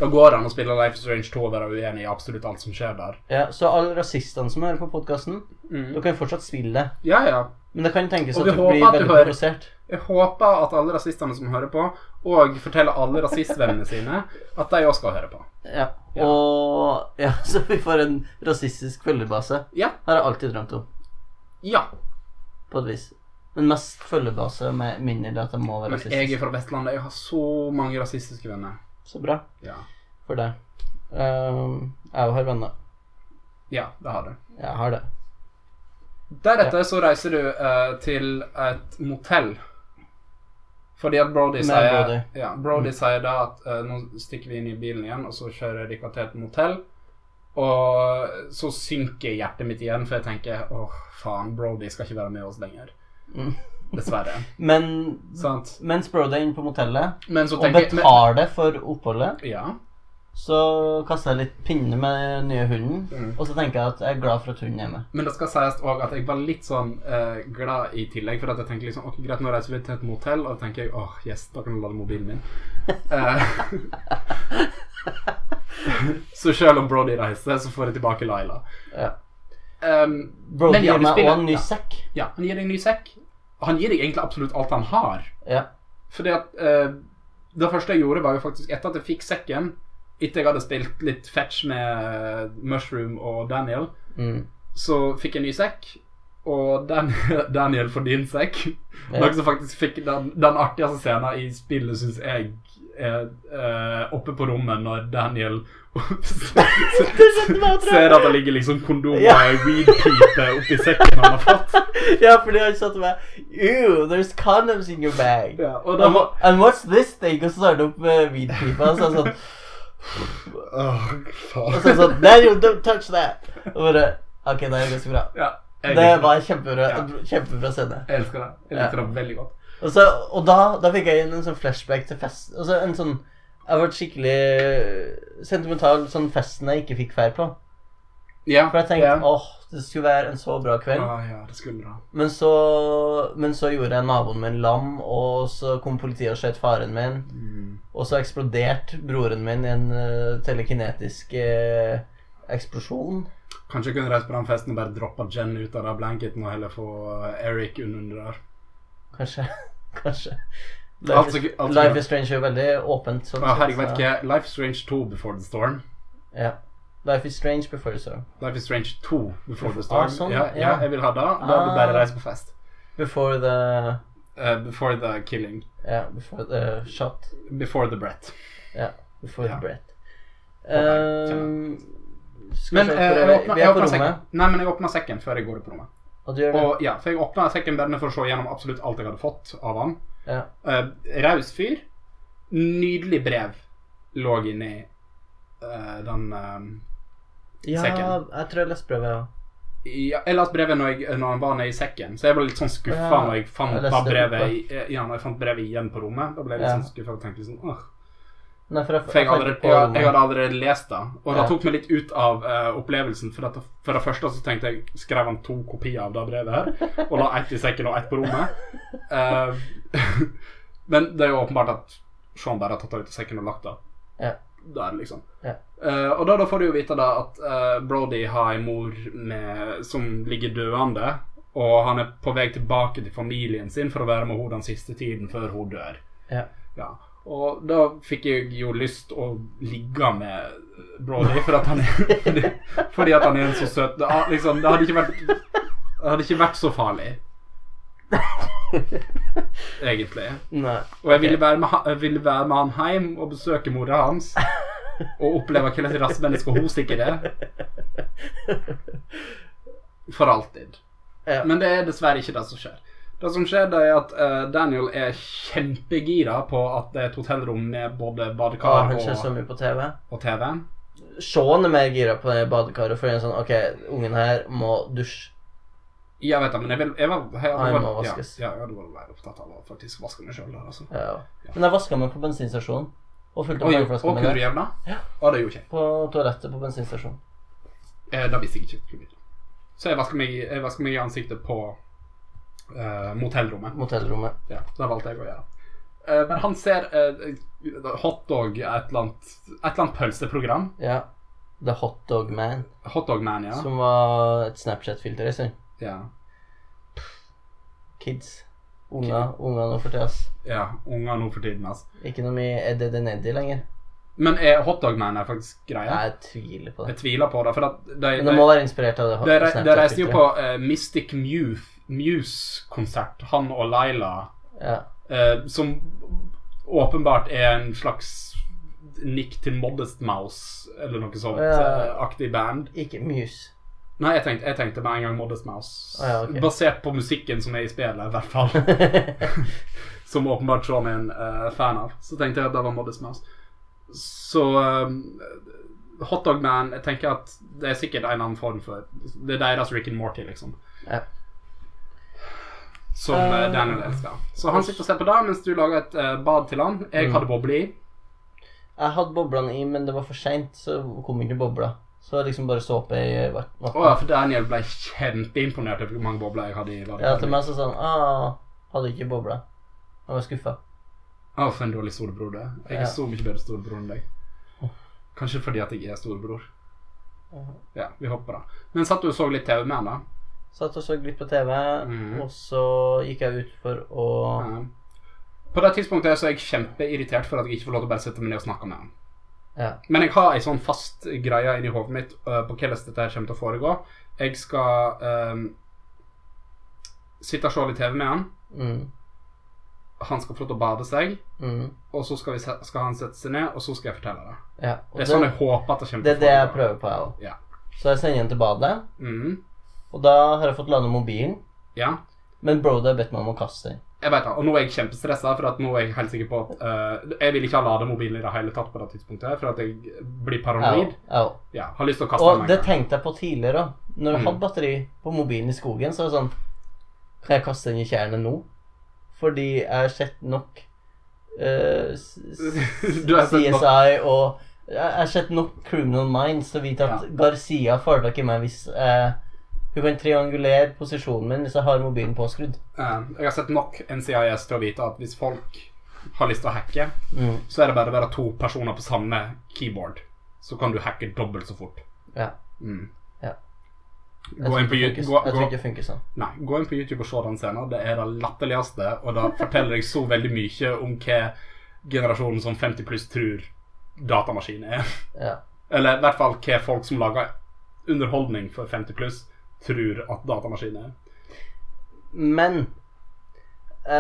B: Da går det an å spille Life is Strange 2 og være uenig i absolutt alt som skjer der.
A: Ja, så alle rasistene som hører på podkasten, dere kan fortsatt spille det.
B: Ja, ja.
A: Men det kan tenkes
B: Mm. Og
A: at
B: vi
A: du
B: håper
A: blir
B: at du
A: veldig
B: hører.
A: provosert.
B: Jeg håper at alle rasistene som hører på, og forteller alle rasistvennene sine at de òg skal høre på.
A: Ja.
B: Ja.
A: Og ja, så vi får en rasistisk følgebase.
B: Ja.
A: Har jeg alltid drømt om,
B: Ja.
A: på et vis. Men mest følgebase med mindre at jeg må være
B: Men
A: rasist.
B: jeg er fra Vestlandet. Jeg har så mange rasistiske venner.
A: Så bra
B: Ja.
A: for deg. Ehm, jeg har venner.
B: Ja, det har du.
A: Jeg har det.
B: Deretter så reiser du eh, til et motell. Fordi at Brody
A: Med
B: sier
A: Brody. Mm.
B: Ja, Brody sier da at eh, nå stikker vi inn i bilen igjen, og så kjører de til et motell. Og så synker hjertet mitt igjen, for jeg tenker åh, faen, Brody skal ikke være med oss lenger.
A: Mm.
B: Dessverre.
A: Men
B: Sant?
A: mens Brody er inne på motellet
B: Men så
A: og
B: tenker jeg men,
A: betaler for oppholdet,
B: Ja.
A: så kaster jeg litt pinne med den nye hunden.
B: Mm.
A: Og så tenker jeg at jeg er glad for at hunden er med.
B: Men det skal sies òg at jeg var litt sånn eh, glad i tillegg. For at jeg tenkte liksom, ok, greit, nå reiser vi til et motell, og da tenker jeg åh, yes, da kan du lade mobilen min. Eh, så selv om Brody reiser, så får jeg tilbake Laila.
A: Ja.
B: Em,
A: Brody
B: Men ja,
A: gir
B: du
A: meg
B: spiller-
A: også en ny
B: ja.
A: sekk.
B: ja, han gir deg en ny sekk. Han gir deg egentlig absolutt alt han har.
A: Ja.
B: Fordi at eh, Det første jeg gjorde, var jo faktisk etter at jeg fikk sekken, etter jeg hadde spilt litt fetch med eh, Mushroom og Daniel,
A: Mm.
B: så fikk jeg en ny sekk. Og Dan Daniel får din sekk.
A: Ja.
B: Noe som faktisk fikk den, den artigste scenen i spillet, syns jeg, er eh, oppe på rommet når Daniel
A: meg og drømmer.
B: ser at det ligger liksom kondom
A: Ja.
B: og ei weedpipe oppi sekken han har fått.
A: ja, fordi han sa til meg Ew, there's condoms in your bag.
B: Ja, og da
A: And, wha- and what's this thing? Og så tar han opp med weedpipa og så er han sånn
B: Åh,
A: Og så er han sånn Daniel, don't touch that. Og bare OK, det er ganske bra.
B: Ja, jeg
A: Det
B: liker
A: var kjempebra,
B: Ja.
A: kjempebra scene.
B: Jeg elsker det. Jeg liker det veldig godt.
A: Og, så, og da, da fikk jeg en, en sånn flashback til fest Altså en sånn Jeg ble skikkelig sentimental sånn festen jeg ikke fikk fær på.
B: Ja,
A: For jeg tenkte
B: ja.
A: åh, det skulle være en så bra kveld.
B: Ja, ja, det skulle det.
A: Men så, men så gjorde jeg naboen min lam, og så kom politiet og skjøt faren min.
B: Mm.
A: Og så eksploderte broren min i en eh, telekinetisk eh, eksplosjon.
B: Kanskje jeg kunne reist på den festen og bare droppa Jen ut av den blanketen og heller få Eric under der.
A: Kanskje. Kanskje. Life,
B: Altså,
A: is-
B: altså-
A: Life is Strange er jo veldig åpent. Sånn,
B: Å, herregud,
A: sett,
B: vet
A: så-
B: ikke. Life is Strange 2 Before the Storm.
A: Ja. Life is Strange before you saw.
B: Life is Strange 2 Before the
A: Ah,
B: Storm.
A: sånn,
B: ja, ja,
A: ja.
B: jeg vil ha det. Da hadde du bare
A: Ah.
B: reist på fest.
A: Before the
B: Eh, before the killing.
A: Ja, before the shot.
B: Before the Brett.
A: Ja, before
B: Ja.
A: the breath.
B: der,
A: Um, skal
B: Men
A: vi se,
B: eh,
A: hvor er
B: jeg
A: vi?
B: åpna-
A: vi
B: jeg
A: er på
B: åpna
A: rommet,
B: sekken. Nei, men jeg åpna sekken før jeg går opp på rommet.
A: og du gjør det?
B: Og, ja, for jeg åpna sekken bare for å se gjennom absolutt alt jeg hadde fått av han.
A: Ja.
B: Uh, Raus fyr. Nydelig brev lå inni eh, den eh,
A: ja,
B: Sekken.
A: jeg tror jeg leste brevet, ja.
B: ja, Jeg leste brevet når, jeg, når han var nede i sekken, så jeg ble litt sånn skuffa
A: Ja,
B: når jeg fant
A: jeg
B: da
A: leste det
B: brevet
A: oppe.
B: i- eh, Ja, når jeg fant brevet igjen på rommet. Da ble jeg litt
A: Ja.
B: sånn skuffa og tenkte liksom Åh.
A: Nei, for jeg,
B: For jeg,
A: fant
B: allerede,
A: på
B: jeg,
A: rommet.
B: jeg hadde allerede lest det, og det
A: Ja.
B: tok meg litt ut av eh, opplevelsen. For, at, for det første så tenkte jeg skrev han to kopier av det brevet her, og la ett i sekken og ett på rommet. Eh, men det er jo åpenbart at Sean bare har tatt det ut av sekken og lagt det
A: Ja.
B: der, liksom.
A: Ja.
B: Eh, og da, da får du jo vite da at eh, Brody har ei mor med, som ligger døende, og han er på vei tilbake til familien sin for å være med henne den siste tiden før hun dør.
A: Ja.
B: Ja. Og da fikk jeg jo lyst å ligge med Brody, for at han er, fordi, fordi at han er en så søt det, har- liksom, det hadde ikke vært Det hadde ikke vært så farlig. Egentlig.
A: Nei.
B: Og jeg ville være med, ha- jeg ville være med han hjem og besøke mora hans. Og oppleve hvordan rassmenneske hun stikker det. For alltid.
A: Ja.
B: Men det er dessverre ikke det som skjer. Det som skjer, det er at eh, Daniel er kjempegira på at det er et hotellrom med både
A: Å,
B: badekar
A: han ser så
B: og,
A: mye på TV.
B: og TV.
A: Sean er mer gira på det badekaret, for han er sånn OK, ungen her må dusje.
B: Ja, vet du, men jeg, vil, jeg var jeg,
A: Han
B: var-
A: Ah, må
B: ja,
A: vaskes.
B: Ja, jeg hadde vært mer opptatt av å faktisk vaske meg sjøl der, altså.
A: Ja. Men jeg vaska meg på bensinstasjonen, og fulgte
B: Og,
A: opp
B: og
A: vannflaska
B: kunne
A: mi
B: du
A: der.
B: gjøre det?
A: Ja.
B: Og det gjorde ikke jeg.
A: På toalettet på bensinstasjonen.
B: Eh, det visste jeg ikke. at det skulle bli. Så jeg vasker meg, jeg vasker meg i ansiktet på eh, motellrommet.
A: Motellrommet.
B: Ja, det valgte jeg å gjøre. Eh, men han ser eh, hotdog, et eller annet, et eller annet pølseprogram.
A: Ja. The Hotdog Man,
B: Hotdog-man, ja.
A: som var et Snapchat-filter. jeg synes.
B: ja.
A: Kids. Unger unger nå for tida. ass.
B: Ja, unger nå for tiden, altså.
A: Ikke noe mye Eddie Neddy lenger.
B: Men er hotdog-man er faktisk greia?
A: Jeg tviler på det.
B: Jeg tviler på det, for at de,
A: Men
B: de,
A: det må være inspirert av det
B: de, re- de reiste jo
A: Snapchat-filteret.
B: på eh, Mystic Muse- Muse-konsert, han og Laila,
A: Ja.
B: eh, som åpenbart er en slags nick til Modest Mouse, eller noe sånt
A: Ja.
B: eh, aktig band.
A: Ikke Muse.
B: Nei, jeg tenkte, jeg tenkte med en gang Modest Mouse.
A: Ah, ja, ok.
B: Basert på musikken som er i spillet, i hvert fall. som åpenbart Sean er en eh, fan av. Så tenkte jeg at det var Modest Mouse. Så eh, Hotdog Man Jeg tenker at det er sikkert en eller annen form for Det er deres Rick and Morty, liksom.
A: Ja.
B: Som eh, Daniel elsker. Så han sitter og ser på det mens du lager et eh, bad til han.
A: Mm.
B: Jeg hadde boble i.
A: Jeg hadde boblene i, men det var for seint, så kom ikke bobla. Så jeg liksom bare såpe i vann.
B: Å ja, for Daniel ble kjempeimponert over hvor mange bobler jeg hadde i badet.
A: Ja, til meg så sa han ah, hadde ikke bobla. Jeg var skuffa.
B: Å, for en dårlig storebror du er. Jeg er
A: Ja.
B: så mye bedre storebror enn deg. Kanskje fordi at jeg er storebror. Ja, vi hopper da. Men satt du og så litt TV med han da?
A: Satt og så litt på TV,
B: Mhm.
A: og så gikk jeg ut for å
B: Ja. Eh, På det tidspunktet så er jeg kjempeirritert for at jeg ikke får lov til å bare sette meg ned og snakke med han.
A: Ja.
B: Men jeg har ei sånn fast greie inni hodet mitt øh, på hvordan dette her kommer til å foregå. Jeg skal øhm, sitte og se litt TV med han.
A: Mm.
B: Han skal få lov til å bade seg.
A: Mm.
B: Og så skal, vi se, skal han sette seg ned, og så skal jeg fortelle det.
A: ja. Og
B: Det
A: det,
B: er sånn jeg håper at det kommer
A: det er
B: til å
A: det jeg
B: foregå.
A: prøver på, jeg òg.
B: Ja.
A: Så jeg sender den til badet,
B: Mhm.
A: og da har jeg fått landa mobilen.
B: Ja.
A: Men Broda har bedt meg om å kaste den.
B: Jeg vet det, og nå er jeg kjempestressa, for at nå er jeg helt sikker på at eh, Jeg vil ikke ha lademobilen i det hele tatt på det tidspunktet, for at jeg blir
A: Jeg
B: paranoid.
A: òg. Jeg òg.
B: Ja, har lyst til å kaste
A: Og
B: meg.
A: det tenkte jeg på tidligere òg. Når jeg
B: Mm.
A: hadde batteri på mobilen i skogen, så var det sånn Kan jeg kaste den i tjernet nå? Fordi jeg har sett nok eh, s- s-
B: Du har sett nok.
A: CSI og Jeg jeg har sett nok Criminal Minds til å vite at
B: Ja.
A: Garcia får tak i meg hvis eh, hun kan triangulere posisjonen min hvis jeg har mobilen påskrudd.
B: Eh, jeg har sett nok NCIS til å vite at hvis folk har lyst til å hacke,
A: Mm.
B: så er det bare å være to personer på samme keyboard. Så kan du hacke dobbelt så fort.
A: Ja.
B: Mm.
A: Ja. Jeg
B: Gå
A: tror
B: inn
A: ikke
B: på
A: det
B: YouTube
A: funker-
B: gå,
A: jeg tror
B: gå,
A: ikke det funker sånn.
B: Nei, gå inn på YouTube og se den scenen. Det er det latterligste, og det forteller deg så veldig mye om hva generasjonen som 50 pluss tror datamaskin er.
A: Ja.
B: Eller i hvert fall hva folk som lager underholdning for 50 pluss, tror at datamaskin er.
A: Men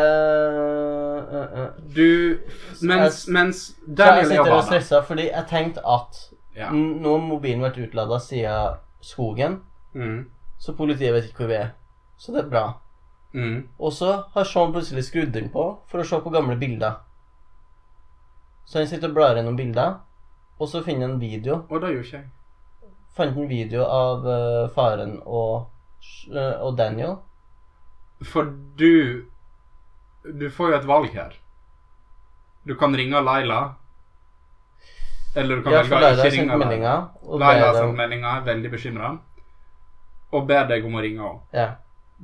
A: eh, eh, eh.
B: Du Mens,
A: Jeg-
B: mens
A: Så jeg
B: Daniel er
A: sitter og
B: Obama.
A: stresser fordi jeg tenkte at
B: Ja.
A: n- nå har mobilen vært utlada siden skogen,
B: Mm.
A: så politiet vet ikke hvor vi er. Så det er bra.
B: Mm.
A: Og så har Sean plutselig skrudd den på for å se på gamle bilder. Så han sitter og blar gjennom bilder, og så finner han en video.
B: Og det gjorde ikke jeg.
A: Fant en video av eh, faren og, eh, og Daniel.
B: For du Du får jo et valg her. Du kan ringe Laila. Eller du kan
A: Ja,
B: velge
A: for
B: å
A: Laila
B: ikke
A: har sendt
B: ringe Laila.
A: meldinger. Og
B: Laila
A: Laila
B: har sendt meldinga, er veldig bekymra, og ber deg om å ringe henne.
A: Ja.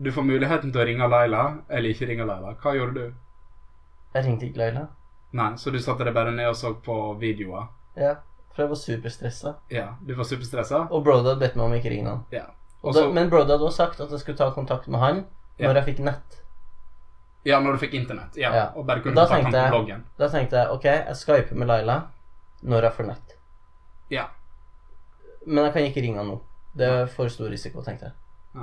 B: Du får muligheten til å ringe Laila eller ikke ringe Laila. Hva gjorde du?
A: Jeg ringte ikke Laila.
B: Nei, så du satte deg bare ned og så på videoer.
A: Ja, for jeg var superstressa.
B: Ja, du var superstressa.
A: Og Broda hadde bedt meg om ikke ringe han.
B: Ja.
A: Og
B: Og
A: da,
B: så-
A: men Brody hadde også sagt at jeg skulle ta kontakt med han
B: Ja.
A: når jeg fikk nett.
B: ja, når du fikk internett. Ja,
A: Ja.
B: Og bare kunne
A: Og da
B: kontakte
A: tenkte
B: ham
A: jeg-
B: på bloggen.
A: Da tenkte jeg ok, jeg skyper med Laila når jeg får nett.
B: Ja.
A: Men jeg kan ikke ringe han nå. Det er for stor risiko, tenkte jeg.
B: Ja.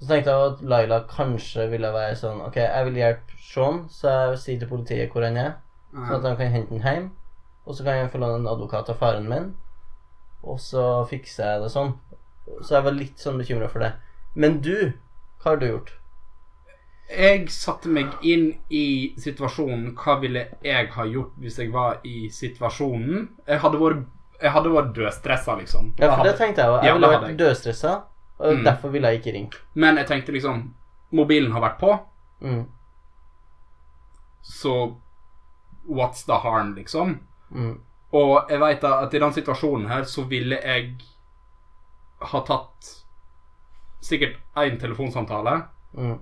A: Så tenkte jeg at Laila kanskje ville være sånn Ok, jeg vil hjelpe Sean, så jeg sier til politiet hvor han er, sånn
B: Ja.
A: at de kan hente han hjem. Og så kan jeg få låne en advokat av faren min, og så fikser jeg det sånn. Så jeg var litt sånn bekymra for det. Men du, hva har du gjort?
B: Jeg satte meg inn i situasjonen. Hva ville jeg ha gjort hvis jeg var i situasjonen? Jeg hadde vært, jeg hadde vært dødstressa, liksom.
A: Ja, for det
B: Jeg hadde-
A: tenkte jeg òg.
B: Ja,
A: Jeg ville
B: det hadde
A: vært
B: jeg.
A: dødstressa, og
B: Mm.
A: derfor ville jeg ikke ringt.
B: Men jeg tenkte liksom Mobilen har vært på,
A: Mm.
B: så what's the harm, liksom?
A: Mm.
B: Og jeg veit at i den situasjonen her så ville jeg ha tatt sikkert én telefonsamtale
A: Mm.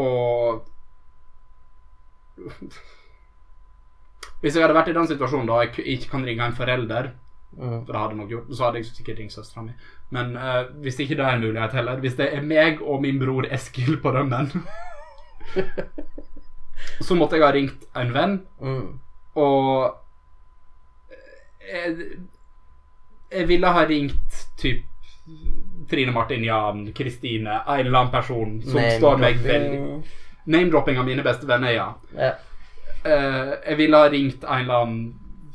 B: og Hvis jeg hadde vært i den situasjonen da jeg k- ikke kan ringe en forelder,
A: Mm.
B: for det hadde jeg nok gjort, så hadde jeg sikkert ringt søstera mi. Men eh, hvis ikke det er en mulighet heller Hvis det er meg og min bror Eskil på rømmen, så måtte jeg ha ringt en venn,
A: Mm.
B: og jeg, jeg ville ha ringt typ Trine Martinian, Kristine, en eller annen person som
A: Name
B: står meg
A: dropping.
B: veldig Name-dropping av mine beste venner, ja.
A: Ja.
B: Eh, jeg ville ha ringt en eller annen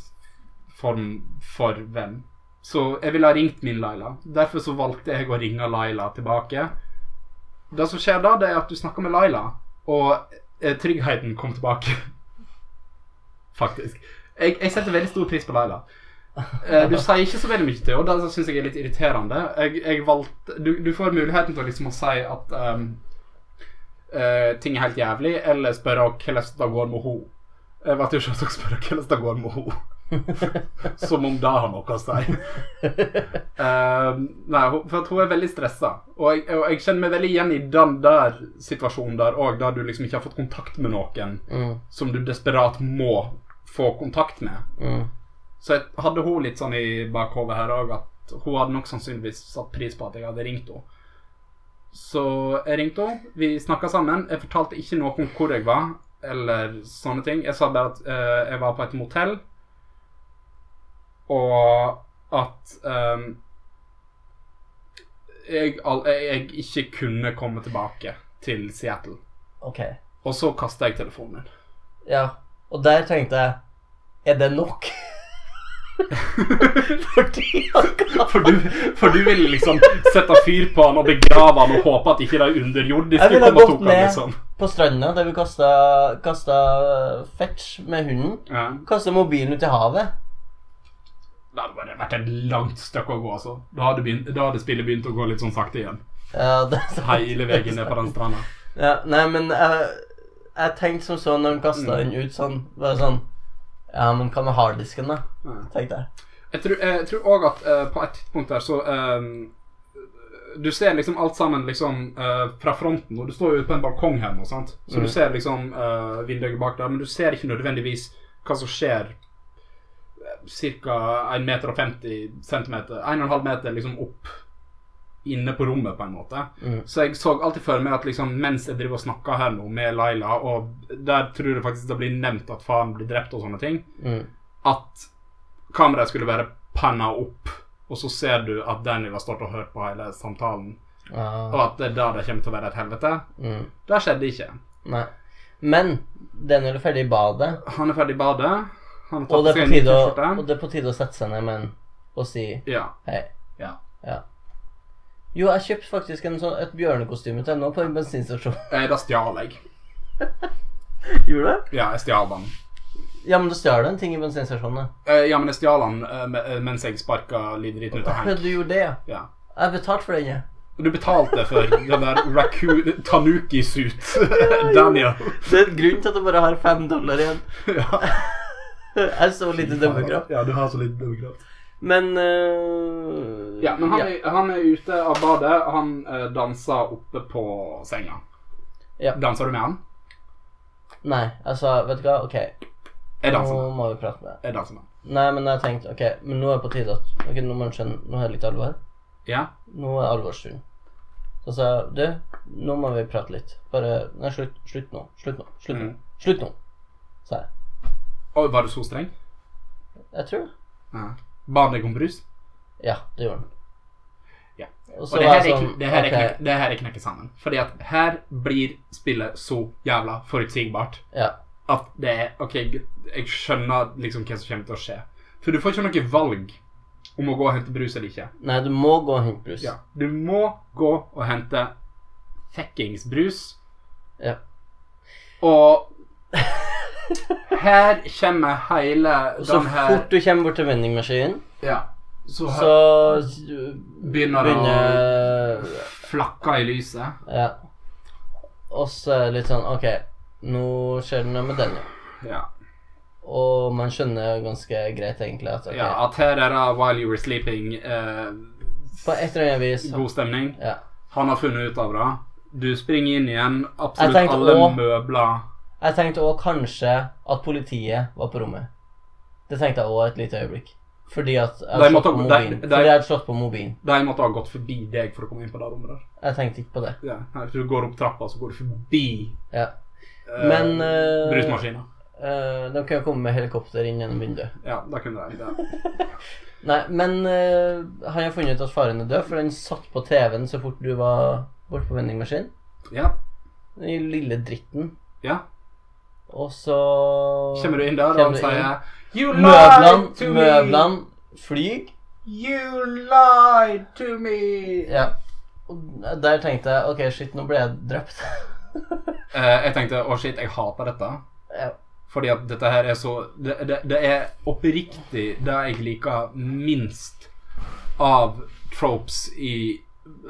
B: form for venn. Så jeg ville ha ringt min Laila. Derfor så valgte jeg å ringe Laila tilbake. Det som skjer da, det er at du snakker med Laila, og eh, tryggheten kom tilbake. Faktisk. Jeg, jeg setter veldig stor pris på Laila. Eh, du sier ikke så veldig mye til, og det syns jeg er litt irriterende. Jeg, jeg valgte, du, du får muligheten til å liksom å si at ehm, eh, ting er helt jævlig, eller spørre hvordan det går med henne. Jeg vet jo ikke at dere spør hvordan det går med henne. Som om det har noe å si. Ehm, nei, hun- for at hun er veldig stressa. Og, jeg- og jeg kjenner meg veldig igjen i den der situasjonen der òg, der du liksom ikke har fått kontakt med noen
A: Mm.
B: som du desperat må få kontakt med.
A: Mm.
B: Så jeg hadde hun litt sånn i bakhodet her òg, at hun hadde nok sannsynligvis satt pris på at jeg hadde ringt henne. Så jeg ringte henne, vi snakka sammen. Jeg fortalte ikke noe om hvor jeg var, eller sånne ting. Jeg sa bare at eh, jeg var på et motell, og at ehm, jeg, al jeg ikke kunne komme tilbake til Seattle.
A: Ok.
B: Og så kasta jeg telefonen min.
A: Ja. Og der tenkte jeg Er det nok? Fordi han
B: For du, for du ville liksom sette fyr på han og begrave han og håpe at ikke de underjordiske
A: Jeg ville ha
B: kom og
A: gått
B: tok han,
A: ned.
B: liksom.
A: På stranda der vi kasta, kasta fetch med hunden.
B: Ja.
A: Kasta mobilen ut i havet.
B: Det hadde bare vært et langt stykke å gå, altså. Da hadde, begynt, da hadde spillet begynt å gå litt sånn sakte igjen.
A: Ja, det,
B: Hele veien ned på den stranda.
A: ja, nei, men jeg, jeg tenkte som så når han kasta den ut sånn. Bare sånn Ja, men hva med harddisken, da?
B: Ja.
A: tenkte jeg.
B: Jeg tror- Jeg tror òg at eh, på et tidspunkt der så eh, Du ser liksom alt sammen liksom eh, fra fronten, og du står jo ute på en balkong her nå, sant. Så du ser liksom eh, vinduet bak der, men du ser ikke nødvendigvis hva som skjer ca. 1,50 meter og 50 centimeter, 1,5 meter liksom opp inne på rommet, på en måte.
A: Mm.
B: Så jeg så alltid for meg at liksom, mens jeg driver og snakker her nå med Laila, og der tror jeg faktisk det blir nevnt at faren blir drept og sånne ting,
A: Mm.
B: at kameraet skulle være panna opp, og så ser du at Danny har stått og hørt på hele samtalen,
A: Ja,
B: og at det er der det kommer til å være et helvete.
A: mm.
B: Det skjedde ikke.
A: Nei. Men den er jo ferdig i badet,
B: Han er ferdig i badet. Han har
A: og det, er
B: tatt på seg
A: på
B: en
A: tide å, og
B: T-skjorte.
A: det er på tide å sette seg ned med en og si
B: Ja.
A: hei.
B: ja.
A: Ja. Jo, jeg kjøpte faktisk en sånn, et bjørnekostyme til henne nå på en bensinstasjon.
B: Eh, Da stjal jeg.
A: Gjorde du?
B: Ja, jeg stjal den.
A: Ja, men du stjal en ting i bensinstasjonen.
B: Eh, Ja, men jeg stjal den eh, me- eh, mens jeg sparka livdriten ut av
A: Ja,
B: Hank.
A: du gjorde det, ja.
B: Ja.
A: Jeg betalte for den, jeg.
B: Du betalte for den der raccoon tanuki-suit. Daniel.
A: Det er grunnen til at jeg bare har fem dollar igjen.
B: Ja.
A: Jeg er så lite dømmekraft.
B: Ja, du har så litt dømmekraft.
A: Men øh,
B: Ja, men han, Er, han er ute av badet. Han eh, danser oppe på senga.
A: Ja.
B: Danser du med han?
A: Nei, altså, vet du hva, ok.
B: Jeg danser
A: Nå
B: med han.
A: må vi prate med deg.
B: Jeg danser med han.
A: Nei, men jeg tenkte, ok, men nå er det på tide at Ok, nå må jeg skjønne, nå er det litt alvor.
B: Ja.
A: Nå er alvorsstund. Så sa jeg, du, nå må vi prate litt. Bare Nei, slutt, slutt nå. Slutt nå. Slutt nå.
B: Mm.
A: Slutt nå, sa jeg.
B: Oi, var du så streng?
A: Jeg tror det.
B: Ja. Ba han deg om brus?
A: Ja, det gjorde han.
B: Ja.
A: Og
B: Og det her, er,
A: sånn,
B: det, her er,
A: ok,
B: knek- det her er knekke sammen. Fordi at her blir spillet så jævla forutsigbart
A: Ja.
B: at det er OK, jeg skjønner liksom hva som kommer til å skje. For du får ikke noe valg om å gå og hente brus eller ikke.
A: Nei, du må gå og hente brus.
B: Ja. Du må gå og hente fuckings brus.
A: Ja.
B: Og her kommer hele
A: Og så
B: den her
A: fort du kommer bort til vendingmaskinen,
B: ja, så,
A: så
B: begynner det
A: begynner
B: å flakke i lyset.
A: Ja. Og så er det litt sånn Ok, nå skjer det noe med den, ja.
B: Ja.
A: Og man skjønner jo ganske greit, egentlig, at ok,
B: ja, At her er det 'While You Were Sleeping'. Eh,
A: på et eller annet vis
B: god stemning.
A: ja.
B: Han har funnet ut av det. Du springer inn igjen.
A: Jeg
B: Absolutt
A: tenkte
B: alle
A: også-
B: møbler
A: Jeg tenkte òg kanskje at politiet var på rommet. Det tenkte jeg òg et lite øyeblikk. Fordi at jeg hadde
B: De måtte-
A: slått på mobilen.
B: de- de-
A: Fordi jeg hadde slått på mobilen.
B: De måtte ha gått forbi deg for å komme inn på det rommet der.
A: Jeg tenkte ikke på det.
B: Ja, her, du går opp trappa, så går du forbi
A: Ja.
B: eh,
A: Men, eh,
B: brusmaskina.
A: Eh, de kunne komme med helikopter inn gjennom vinduet.
B: Ja, da kunne de det.
A: Nei, men eh, han har funnet ut at faren er død, for den satt på TV-en så fort du var borte på vendingmaskinen.
B: Ja,
A: Den lille dritten.
B: ja.
A: Og så
B: Kommer du inn der, og
A: Kommer
B: han
A: du
B: sier You lied
A: Møblene,
B: to me!
A: møblene flyr.
B: You lied to me!
A: Ja. Og der tenkte jeg OK, shit, nå ble jeg drept.
B: Eh, jeg tenkte å shit, jeg hater dette.
A: ja.
B: Fordi at dette her er så Det, det, det er oppriktig det jeg liker minst av tropes i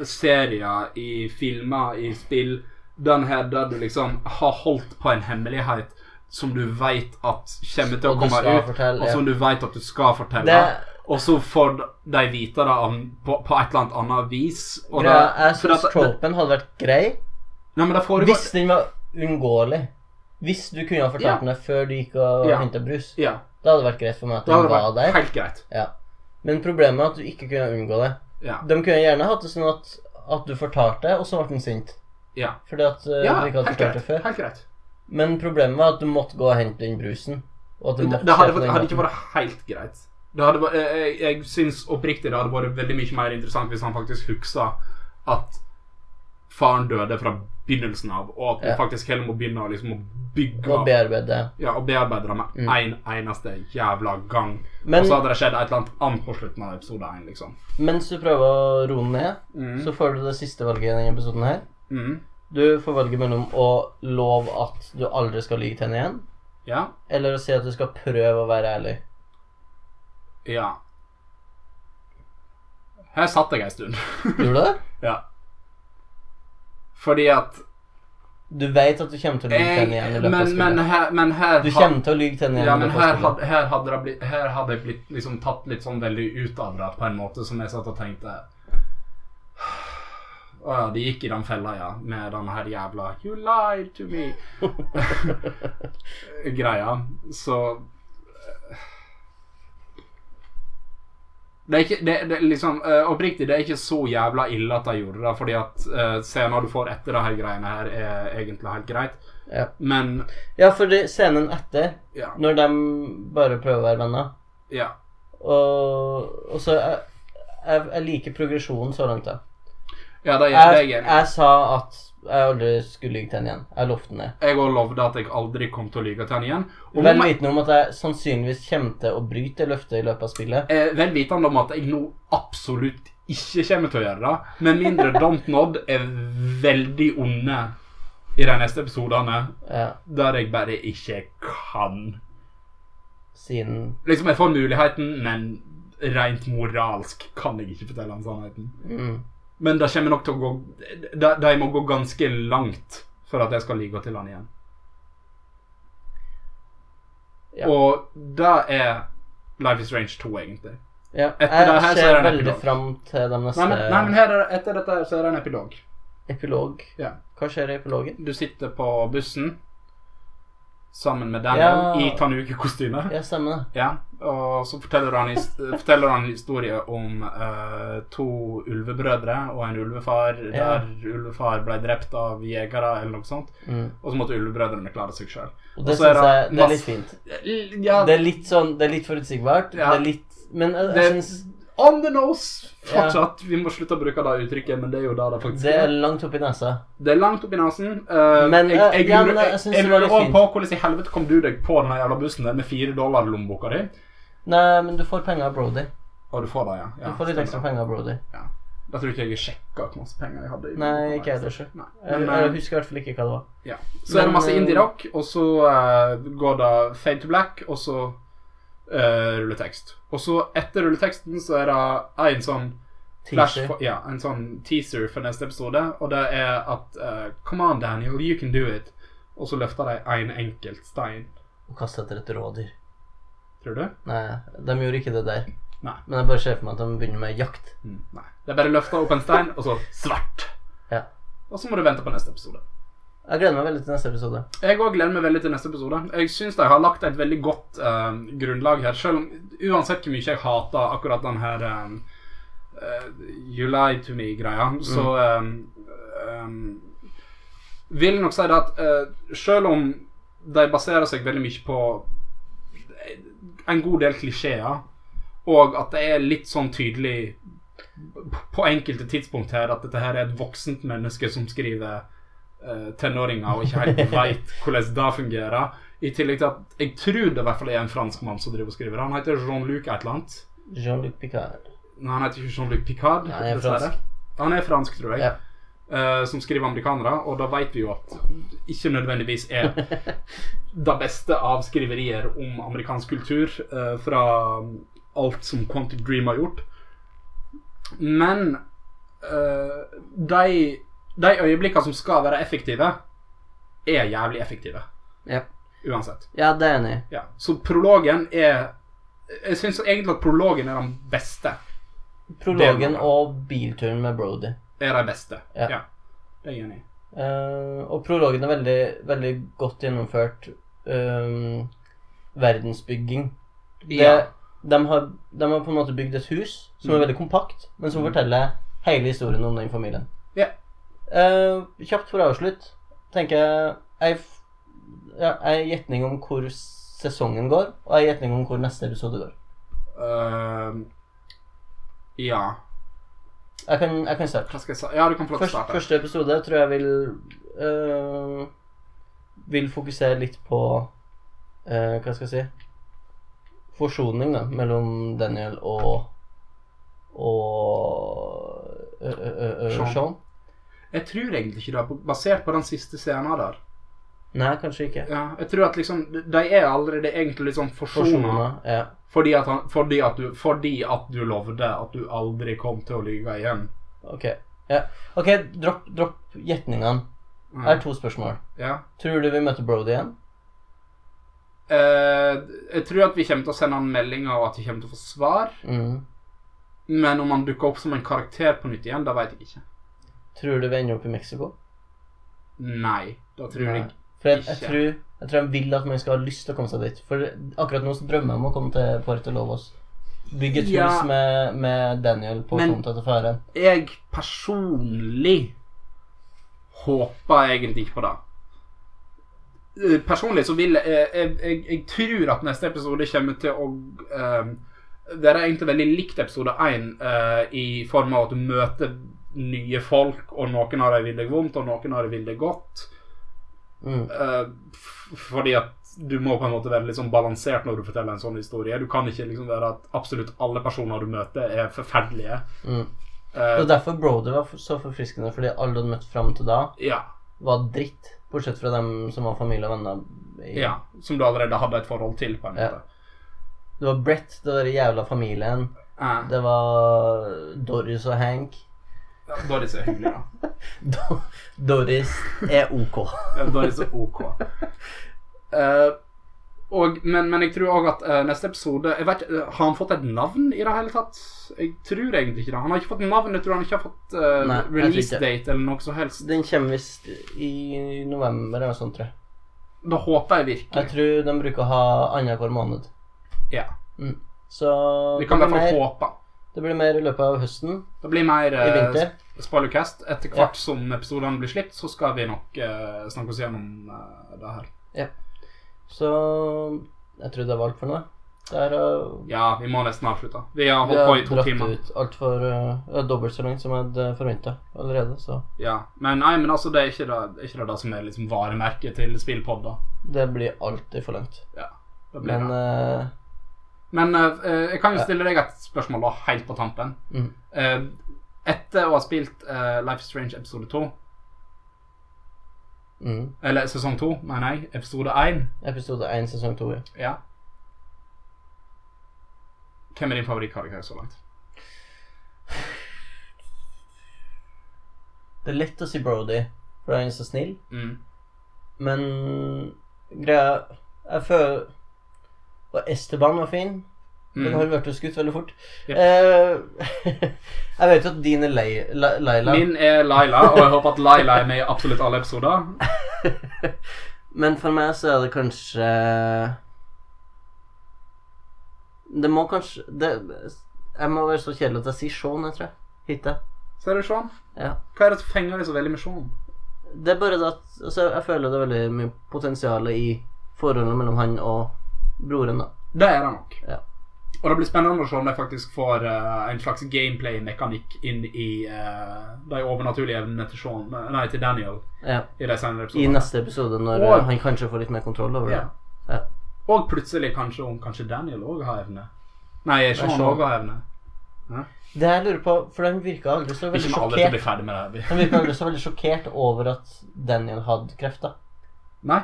B: serier, i filmer, i spill. Den her der du liksom har holdt på en hemmelighet som du veit at kommer til å
A: Og du
B: komme
A: skal
B: ut,
A: fortelle,
B: og som du veit at du skal fortelle.
A: Det-
B: og så får de vite det av- på, på et eller annet annet vis. Og
A: Greia, jeg
B: det- for
A: syns
B: at det-
A: tropen hadde vært grei
B: Nei, men det foregår
A: hvis den var unngåelig. Hvis du kunne ha fortalt den det før du gikk og
B: Ja.
A: henta brus.
B: Ja,
A: Da hadde det vært greit for meg at
B: det hadde
A: den var
B: vært
A: der.
B: helt greit.
A: Ja. Men problemet er at du ikke kunne unngå det.
B: Ja.
A: De kunne gjerne hatt det sånn at, at du fortalte, og så ble den sint.
B: Ja,
A: Fordi at eh,
B: ja
A: du ikke
B: helt,
A: hadde fortalt
B: greit.
A: det før.
B: helt greit.
A: Men problemet var at du måtte gå og hente den brusen. Og at du
B: Det,
A: måtte
B: det
A: se
B: hadde,
A: på den
B: hadde ikke
A: måten.
B: vært helt greit. Det hadde, vært- jeg jeg, jeg syns oppriktig det hadde vært veldig mye mer interessant hvis han faktisk huksa at faren døde fra begynnelsen av, og at
A: Ja.
B: han faktisk heller må begynne å liksom, å bygge
A: Og bearbeide.
B: ja, og bearbeide det med
A: Mm.
B: én eneste jævla gang.
A: Men-
B: og så hadde det skjedd et eller annet annet på slutten av episode én, liksom.
A: Mens du prøver å roe den ned,
B: Mm.
A: så får du det siste valget i denne episoden her.
B: Mm.
A: Du får valget mellom å love at du aldri skal lyve til henne igjen,
B: Ja.
A: eller å si at du skal prøve å være ærlig.
B: Ja. Her satt jeg ei stund.
A: Gjorde du det?
B: ja. Fordi at
A: Du vet at du kommer til å lyve til henne igjen i
B: jeg,
A: løpet av
B: Eh, men, men
A: spillet.
B: her, men her
A: Du
B: had-
A: kommer til å lyve til henne igjen.
B: ja,
A: i
B: men
A: løpet av
B: her,
A: spillet.
B: had, her, hadde det blitt, her hadde jeg blitt liksom, tatt litt sånn veldig ut av det på en måte som jeg satt og tenkte Å ja, de gikk i den fella, ja, med den her jævla You lied to me greia. Så eh, Det er ikke det, det, er liksom, eh, Oppriktig, det er ikke så jævla ille at de gjorde det, fordi at eh, scener du får etter det her greiene her, er egentlig helt greit.
A: Ja.
B: Men
A: Ja, for det, scenen etter,
B: ja.
A: når de bare prøver å være venner
B: ja.
A: Og, og så jeg, jeg, jeg liker progresjonen så langt, da.
B: Ja, det er det er
A: Jeg,
B: jeg enig i.
A: jeg sa at jeg aldri skulle lyve til henne igjen. Jeg lovte henne det.
B: Jeg òg lovde at jeg aldri kom til å lyve til han igjen. Og nå
A: Vel
B: må jeg-
A: vitende om at jeg sannsynligvis kommer til å bryte det løftet i løpet av spillet.
B: eh, vel vitende om at jeg nå absolutt ikke kommer til å gjøre det. Med mindre Don't Nod er veldig onde i de neste episodene,
A: Ja,
B: der jeg bare ikke kan.
A: siden
B: Liksom, jeg får muligheten, men rent moralsk kan jeg ikke fortelle han sannheten.
A: mm.
B: Men det kommer nok til å gå De, de må gå ganske langt for at jeg skal lyve til han igjen.
A: Ja.
B: Og det er Life is Strange 2, egentlig.
A: ja.
B: Etter det
A: Jeg
B: her så
A: ser
B: er det en
A: veldig
B: epilog.
A: fram til de
B: Nei,
A: neste
B: men, nei, men her er, etter dette her så er det en epilog.
A: Epilog.
B: Ja.
A: Hva skjer i epilogen?
B: Du sitter på bussen sammen med Daniel
A: Ja.
B: i Tanuki-kostyme. Ja.
A: Ja, stemmer det.
B: og så forteller han, his- forteller han en historie om eh, to ulvebrødre og en ulvefar,
A: Ja.
B: der ulvefar ble drept av jegere eller noe sånt.
A: Mm.
B: Og så måtte ulvebrødrene klare seg sjøl.
A: Og
B: Og
A: det
B: så er
A: syns jeg det
B: masse-
A: er litt fint.
B: Ja,
A: Det er litt sånn Det er litt forutsigbart.
B: Ja.
A: Det er litt Men jeg, jeg
B: Det-
A: syns
B: on the nose!
A: Ja.
B: Fortsatt. Vi må slutte å bruke det uttrykket, men det er jo det det faktisk
A: det er
B: er.
A: langt oppi nesa.
B: Det er langt opp i nesen. eh,
A: Men,
B: jeg,
A: eh,
B: jeg,
A: ja, men
B: lurer-
A: jeg
B: jeg,
A: synes
B: jeg
A: det var
B: lurer
A: litt
B: også
A: fint.
B: på hvordan i helvete kom du deg på den jævla bussen der med fire dollar i lommeboka di?
A: Nei, men du får penger av Brody.
B: Og du får det, ja. ja
A: Du får litt ekstra
B: stemmer.
A: penger av Brody.
B: Da tror ikke jeg sjekka hvor masse penger jeg hadde. i
A: Nei,
B: lommeboka,
A: ikke jeg heller,
B: altså.
A: ikke.
B: Nei.
A: Jeg,
B: Men,
A: jeg
B: eh,
A: husker i hvert fall ikke hva det var.
B: ja. Så er det
A: Men,
B: masse
A: eh,
B: indie-rock, og så eh, går det fade to black, og så eh, rulletekst. Og så etter rulleteksten så er det en sånn flash
A: Teaser.
B: for, ja, en sånn teaser for neste episode, og det er at eh, Come on, Daniel, you can do it. Og så løfter de en enkelt stein.
A: Å kaste etter et rådyr.
B: Tror du?
A: Nei, de gjorde ikke det der.
B: Nei.
A: Men jeg bare ser for meg at de begynner med jakt.
B: Mm, Nei. Det er bare løfta opp en stein, og så svart.
A: Ja.
B: Og så må du vente på neste episode.
A: Jeg gleder meg veldig til neste episode.
B: Jeg òg gleder meg veldig til neste episode. Jeg syns de har lagt et veldig godt eh, grunnlag her. Selv om, uansett hvor mye jeg hater akkurat den her eh, eh, You lie to me-greia, så eh, eh, vil jeg nok si det at eh, selv om de baserer seg veldig mye på eh, en god del klisjeer, og at det er litt sånn tydelig på enkelte tidspunkt her at dette her er et voksent menneske som skriver eh, tenåringer og ikke helt veit hvordan det fungerer. I tillegg til at jeg tror det i hvert fall er en franskmann som driver og skriver. Han heter Jean-Luc et eller annet.
A: Jean-Luc Picard.
B: Nei, han heter ikke Jean-Luc Picard.
A: Nei, han er
B: dessverre.
A: fransk.
B: Han er fransk, tror jeg.
A: Ja.
B: eh, som skriver amerikanere, og da veit vi jo at ikke nødvendigvis er det beste av skriverier om amerikansk kultur eh, fra alt som Quantic Dream har gjort. Men eh, de, de øyeblikkene som skal være effektive, er jævlig effektive.
A: Ja.
B: Uansett.
A: ja, det er jeg enig i.
B: Ja. Så prologen er Jeg syns egentlig at prologen er den beste. Det er
A: Prologen
B: bra.
A: og bilturen med Brody.
B: Er de beste.
A: Ja.
B: Det er jeg enig i.
A: Eh, og prologen er veldig, veldig godt gjennomført eh, verdensbygging. Det,
B: Ja.
A: de, har, de har på en måte bygd et hus som er
B: Mm.
A: veldig kompakt, men som
B: Mm.
A: forteller hele historien om den familien.
B: Ja.
A: Eh, kjapt for å avslutte tenker jeg Jeg f- ja, jeg har gjetning om hvor sesongen går, og jeg har gjetning om hvor neste episode går.
B: Ehm, ja
A: Jeg kan, jeg kan starte.
B: Hva skal jeg si? Ja, du kan få lov til å
A: Først,
B: starte.
A: første episode tror jeg vil øh, Vil fokusere litt på øh, Hva skal jeg si Forsoning da mellom Daniel og Og øh, øh, øh,
B: Sean.
A: Sean.
B: Jeg tror egentlig ikke det, basert på den siste scenen der.
A: Nei, kanskje ikke.
B: Ja, jeg tror at liksom De er allerede egentlig litt sånn forsona
A: Forsona. Ja.
B: fordi at, han, fordi, at du, fordi at du lovde at du aldri kom til å lyve igjen.
A: Ok. Ja. Ok, dropp, dropp gjetningene.
B: Ja.
A: Her er to spørsmål.
B: Mm, ja.
A: Tror du vi møter Brody igjen?
B: Eh, jeg tror at vi kommer til å sende han meldinger, og at vi kommer til å få svar.
A: Mm.
B: Men om han dukker opp som en karakter på nytt igjen, det vet jeg ikke.
A: Tror du vi ender opp i Mexico?
B: Nei. Da tror jeg
A: For jeg, jeg,
B: Ikke.
A: tror, jeg tror jeg vil at man skal ha lyst til å komme seg dit. For akkurat nå så drømmer jeg om å komme til Puerto Lovos. Bygge et
B: Ja.
A: hus med, med Daniel på
B: Men-
A: tomta til faren.
B: Jeg personlig håper egentlig ikke på det. Eh, Personlig så vil jeg eh, Jeg, jeg, jeg tror at neste episode kommer til å eh, Være egentlig veldig likt episode 1 i form av at du møter nye folk, og noen av dem vil deg vondt, og noen av dem vil deg godt.
A: Mm.
B: Eh, f- fordi at du må på en måte være litt sånn balansert når du forteller en sånn historie. Du kan ikke liksom være at absolutt alle personer du møter, er forferdelige.
A: Mm.
B: Eh,
A: Det var derfor Brody var for- så forfriskende, fordi alle du hadde møtt fram til da,
B: ja.
A: var dritt. Bortsett fra dem som var familie og venner. i-
B: Ja, som du allerede hadde et forhold til, på en
A: Ja.
B: måte.
A: Det var Brett, det var den jævla familien.
B: Eh,
A: Det var Doris og Hank.
B: ja, Doris er hyggelig, da.
A: Do Doris er ok.
B: Ja, Doris er OK. Eh, og, men, men jeg tror òg at eh, neste episode jeg vet, eh, Har han fått et navn i det hele tatt? Jeg tror egentlig ikke det. Han har ikke fått navn, jeg tror han ikke har fått eh,
A: Nei, jeg tror
B: release
A: ikke.
B: date eller noe som helst.
A: Den kommer visst i november eller noe sånt, tror jeg.
B: Da håper jeg virkelig
A: Jeg tror de bruker å ha annenhver måned.
B: Ja.
A: Mm. Så
B: Vi
A: det
B: kan i
A: blir,
B: hvert fall
A: mer,
B: håpe.
A: det blir mer i løpet av høsten.
B: Det blir mer
A: I
B: eh,
A: vinter.
B: spoilercast. Etter hvert som episodene blir slitt, så skal vi nok eh, snakke oss gjennom eh, det her.
A: Så jeg tror det var alt for nå. Det er å
B: Ja, vi må nesten avslutte. Vi har
A: Vi
B: holdt på
A: har
B: i to
A: dratt
B: timer.
A: ut altfor uh, Dobbelt så langt som jeg hadde forventa allerede, så
B: Ja, men nei, men altså, det er ikke det, er ikke det, da som er liksom varemerket til spillpodda.
A: det blir alltid for langt.
B: Det blir
A: Men
B: det.
A: eh,
B: Men eh, eh, jeg kan jo stille deg et spørsmål da, helt på tampen.
A: mm.
B: Eh, etter å ha spilt eh, Life is Strange episode 2,
A: Mm.
B: eller sesong 2, mener jeg, episode 1,
A: Episode 1 sesong 2.
B: ja. Hvem er din favorittkarakter så langt?
A: Det er lett å si Brody, for han er så snill.
B: Mm.
A: Men greia Jeg føler Og Esteban var fin. Den
B: Mm.
A: har vært skutt veldig fort.
B: Ja.
A: Eh, jeg vet jo at din er Lei- La- Laila,
B: Min er Laila, og jeg håper at Laila er med i absolutt alle episoder.
A: men for meg så er det kanskje Det må kanskje det, Jeg må være så kjedelig at jeg sier Shaun, jeg tror. jeg. Hittil.
B: Ser du Sean?
A: Ja.
B: Hva er det som fenger deg så veldig med Sean?
A: Det er bare det at altså, Jeg føler det er veldig mye potensial i forholdet mellom han og broren, da.
B: Det er det nok.
A: Ja.
B: Og det blir spennende å se om de faktisk får eh, en slags gameplay-mekanikk inn i eh, de overnaturlige evnene til, Sean, nei, til Daniel
A: Ja.
B: i de senere
A: I
B: episodene.
A: neste episode, når
B: Og-
A: eh, han kanskje får litt mer kontroll over det.
B: Ja.
A: Ja.
B: Og plutselig kanskje om kanskje Daniel òg har evne. Nei, Sean
A: Sean.
B: òg har evne.
A: Det jeg lurer på, for den virka aldri så veldig
B: Ikke alle til å
A: sjokkert
B: bli ferdig med det.
A: Den virka aldri så veldig sjokkert over at Daniel hadde krefter.
B: Nei.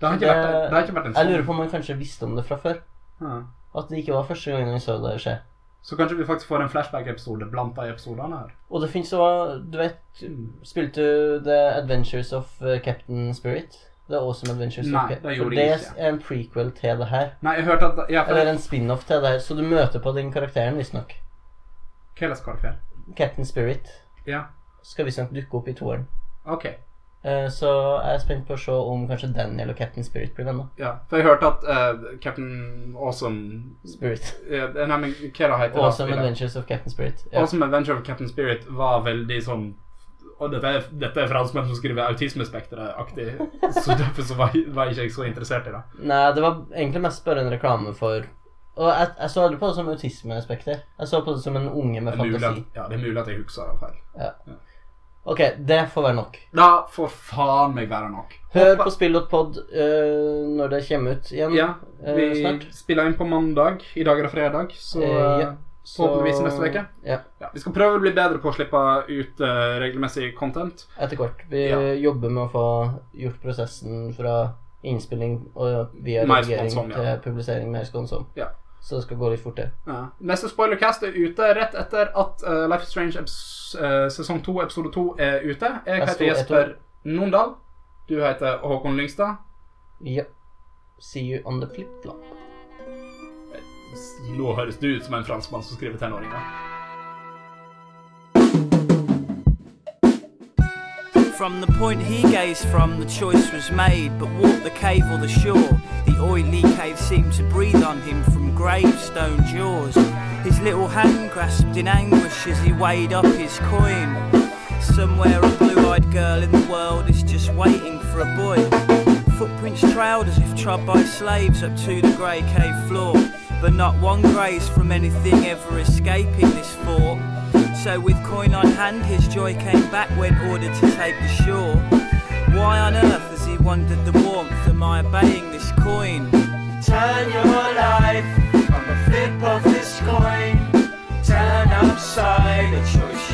B: Det har ikke
A: Det-
B: vært, det har ikke vært en
A: Jeg
B: sånn.
A: lurer på om han kanskje visste om det fra før.
B: Ja.
A: At det ikke var første gangen han så det skje.
B: Så kanskje vi faktisk får en flashback-episode blant de episodene her.
A: Og det fins òg Du vet Spilte du The Adventures of eh, Captain Spirit? The Awesome Adventures
B: Nei,
A: of
B: det
A: Captain
B: gjorde
A: det
B: jeg ikke.
A: er en prequel til det her.
B: Nei, jeg hørte at ja, for
A: Eller en spin-off til det her. Så du møter på den karakteren, visstnok.
B: Hva ellers var det for?
A: Captain Spirit
B: Ja,
A: skal visstnok dukke opp i toeren.
B: OK.
A: Eh, Så jeg er spent på å se om kanskje Daniel og Captain Spirit blir venner.
B: Ja, for jeg hørte at eh, Captain Awesome
A: Spirit.
B: eh, Nei, men hva det heter
A: Awesome
B: det? spillet?
A: Adventures of Captain Spirit. Ja.
B: Awesome Adventure of Captain Spirit var veldig sånn og dette er, dette er franskmenn som skriver autismespekteret-aktig, så derfor så var, var ikke jeg så interessert i det.
A: Nei, det var egentlig mest bare en reklame for Og jeg, jeg så aldri på det som autismespekter. Jeg så på det som en unge med
B: Det er mulig at,
A: fantasi.
B: ja, det er mulig at jeg husker det feil.
A: Ok, det får være nok.
B: Da får faen meg være nok.
A: Hør på spill.pod øh, når det kommer ut igjen.
B: Ja,
A: eh,
B: vi
A: snart.
B: spiller inn på mandag. I dag er det fredag, så
A: Eh, ja.
B: eh, forhåpentligvis neste
A: Så-
B: uke.
A: Ja,
B: Ja, vi skal prøve å bli bedre på å slippe ut eh, regelmessig content.
A: etter hvert. Vi
B: Ja.
A: jobber med å få gjort prosessen fra innspilling og via
B: Mer
A: redigering
B: skånsom, ja.
A: til publisering mer skånsom.
B: Ja.
A: Så det skal gå litt fortere.
B: Ja. Neste spoilercast er ute rett etter at eh, Life is Strange eps eh, sesong 2, episode 2 er ute. Jeg
A: Jeg
B: heter
A: sto ett
B: Jesper Nondal. Du heter Håkon Lyngstad.
A: Ja. See you on the flip flop.
B: Nå høres du ut som en franskmann som skriver tenåringer.
C: From the point he gazed from, the choice was made. But walk the cave or the shore, the oily cave seemed to breathe on him from gravestone jaws. His little hand grasped in anguish as he weighed up his coin. Somewhere a blue-eyed girl in the world is just waiting for a boy. Footprints trailed as if trod by slaves up to the grey cave floor. But not one graze from anything ever escaping this fort. So with coin on hand, his joy came back when ordered to take the shore. Why on earth, as he wondered the warmth, am I obeying this coin? Turn your life on the flip of this coin. Turn upside, a choice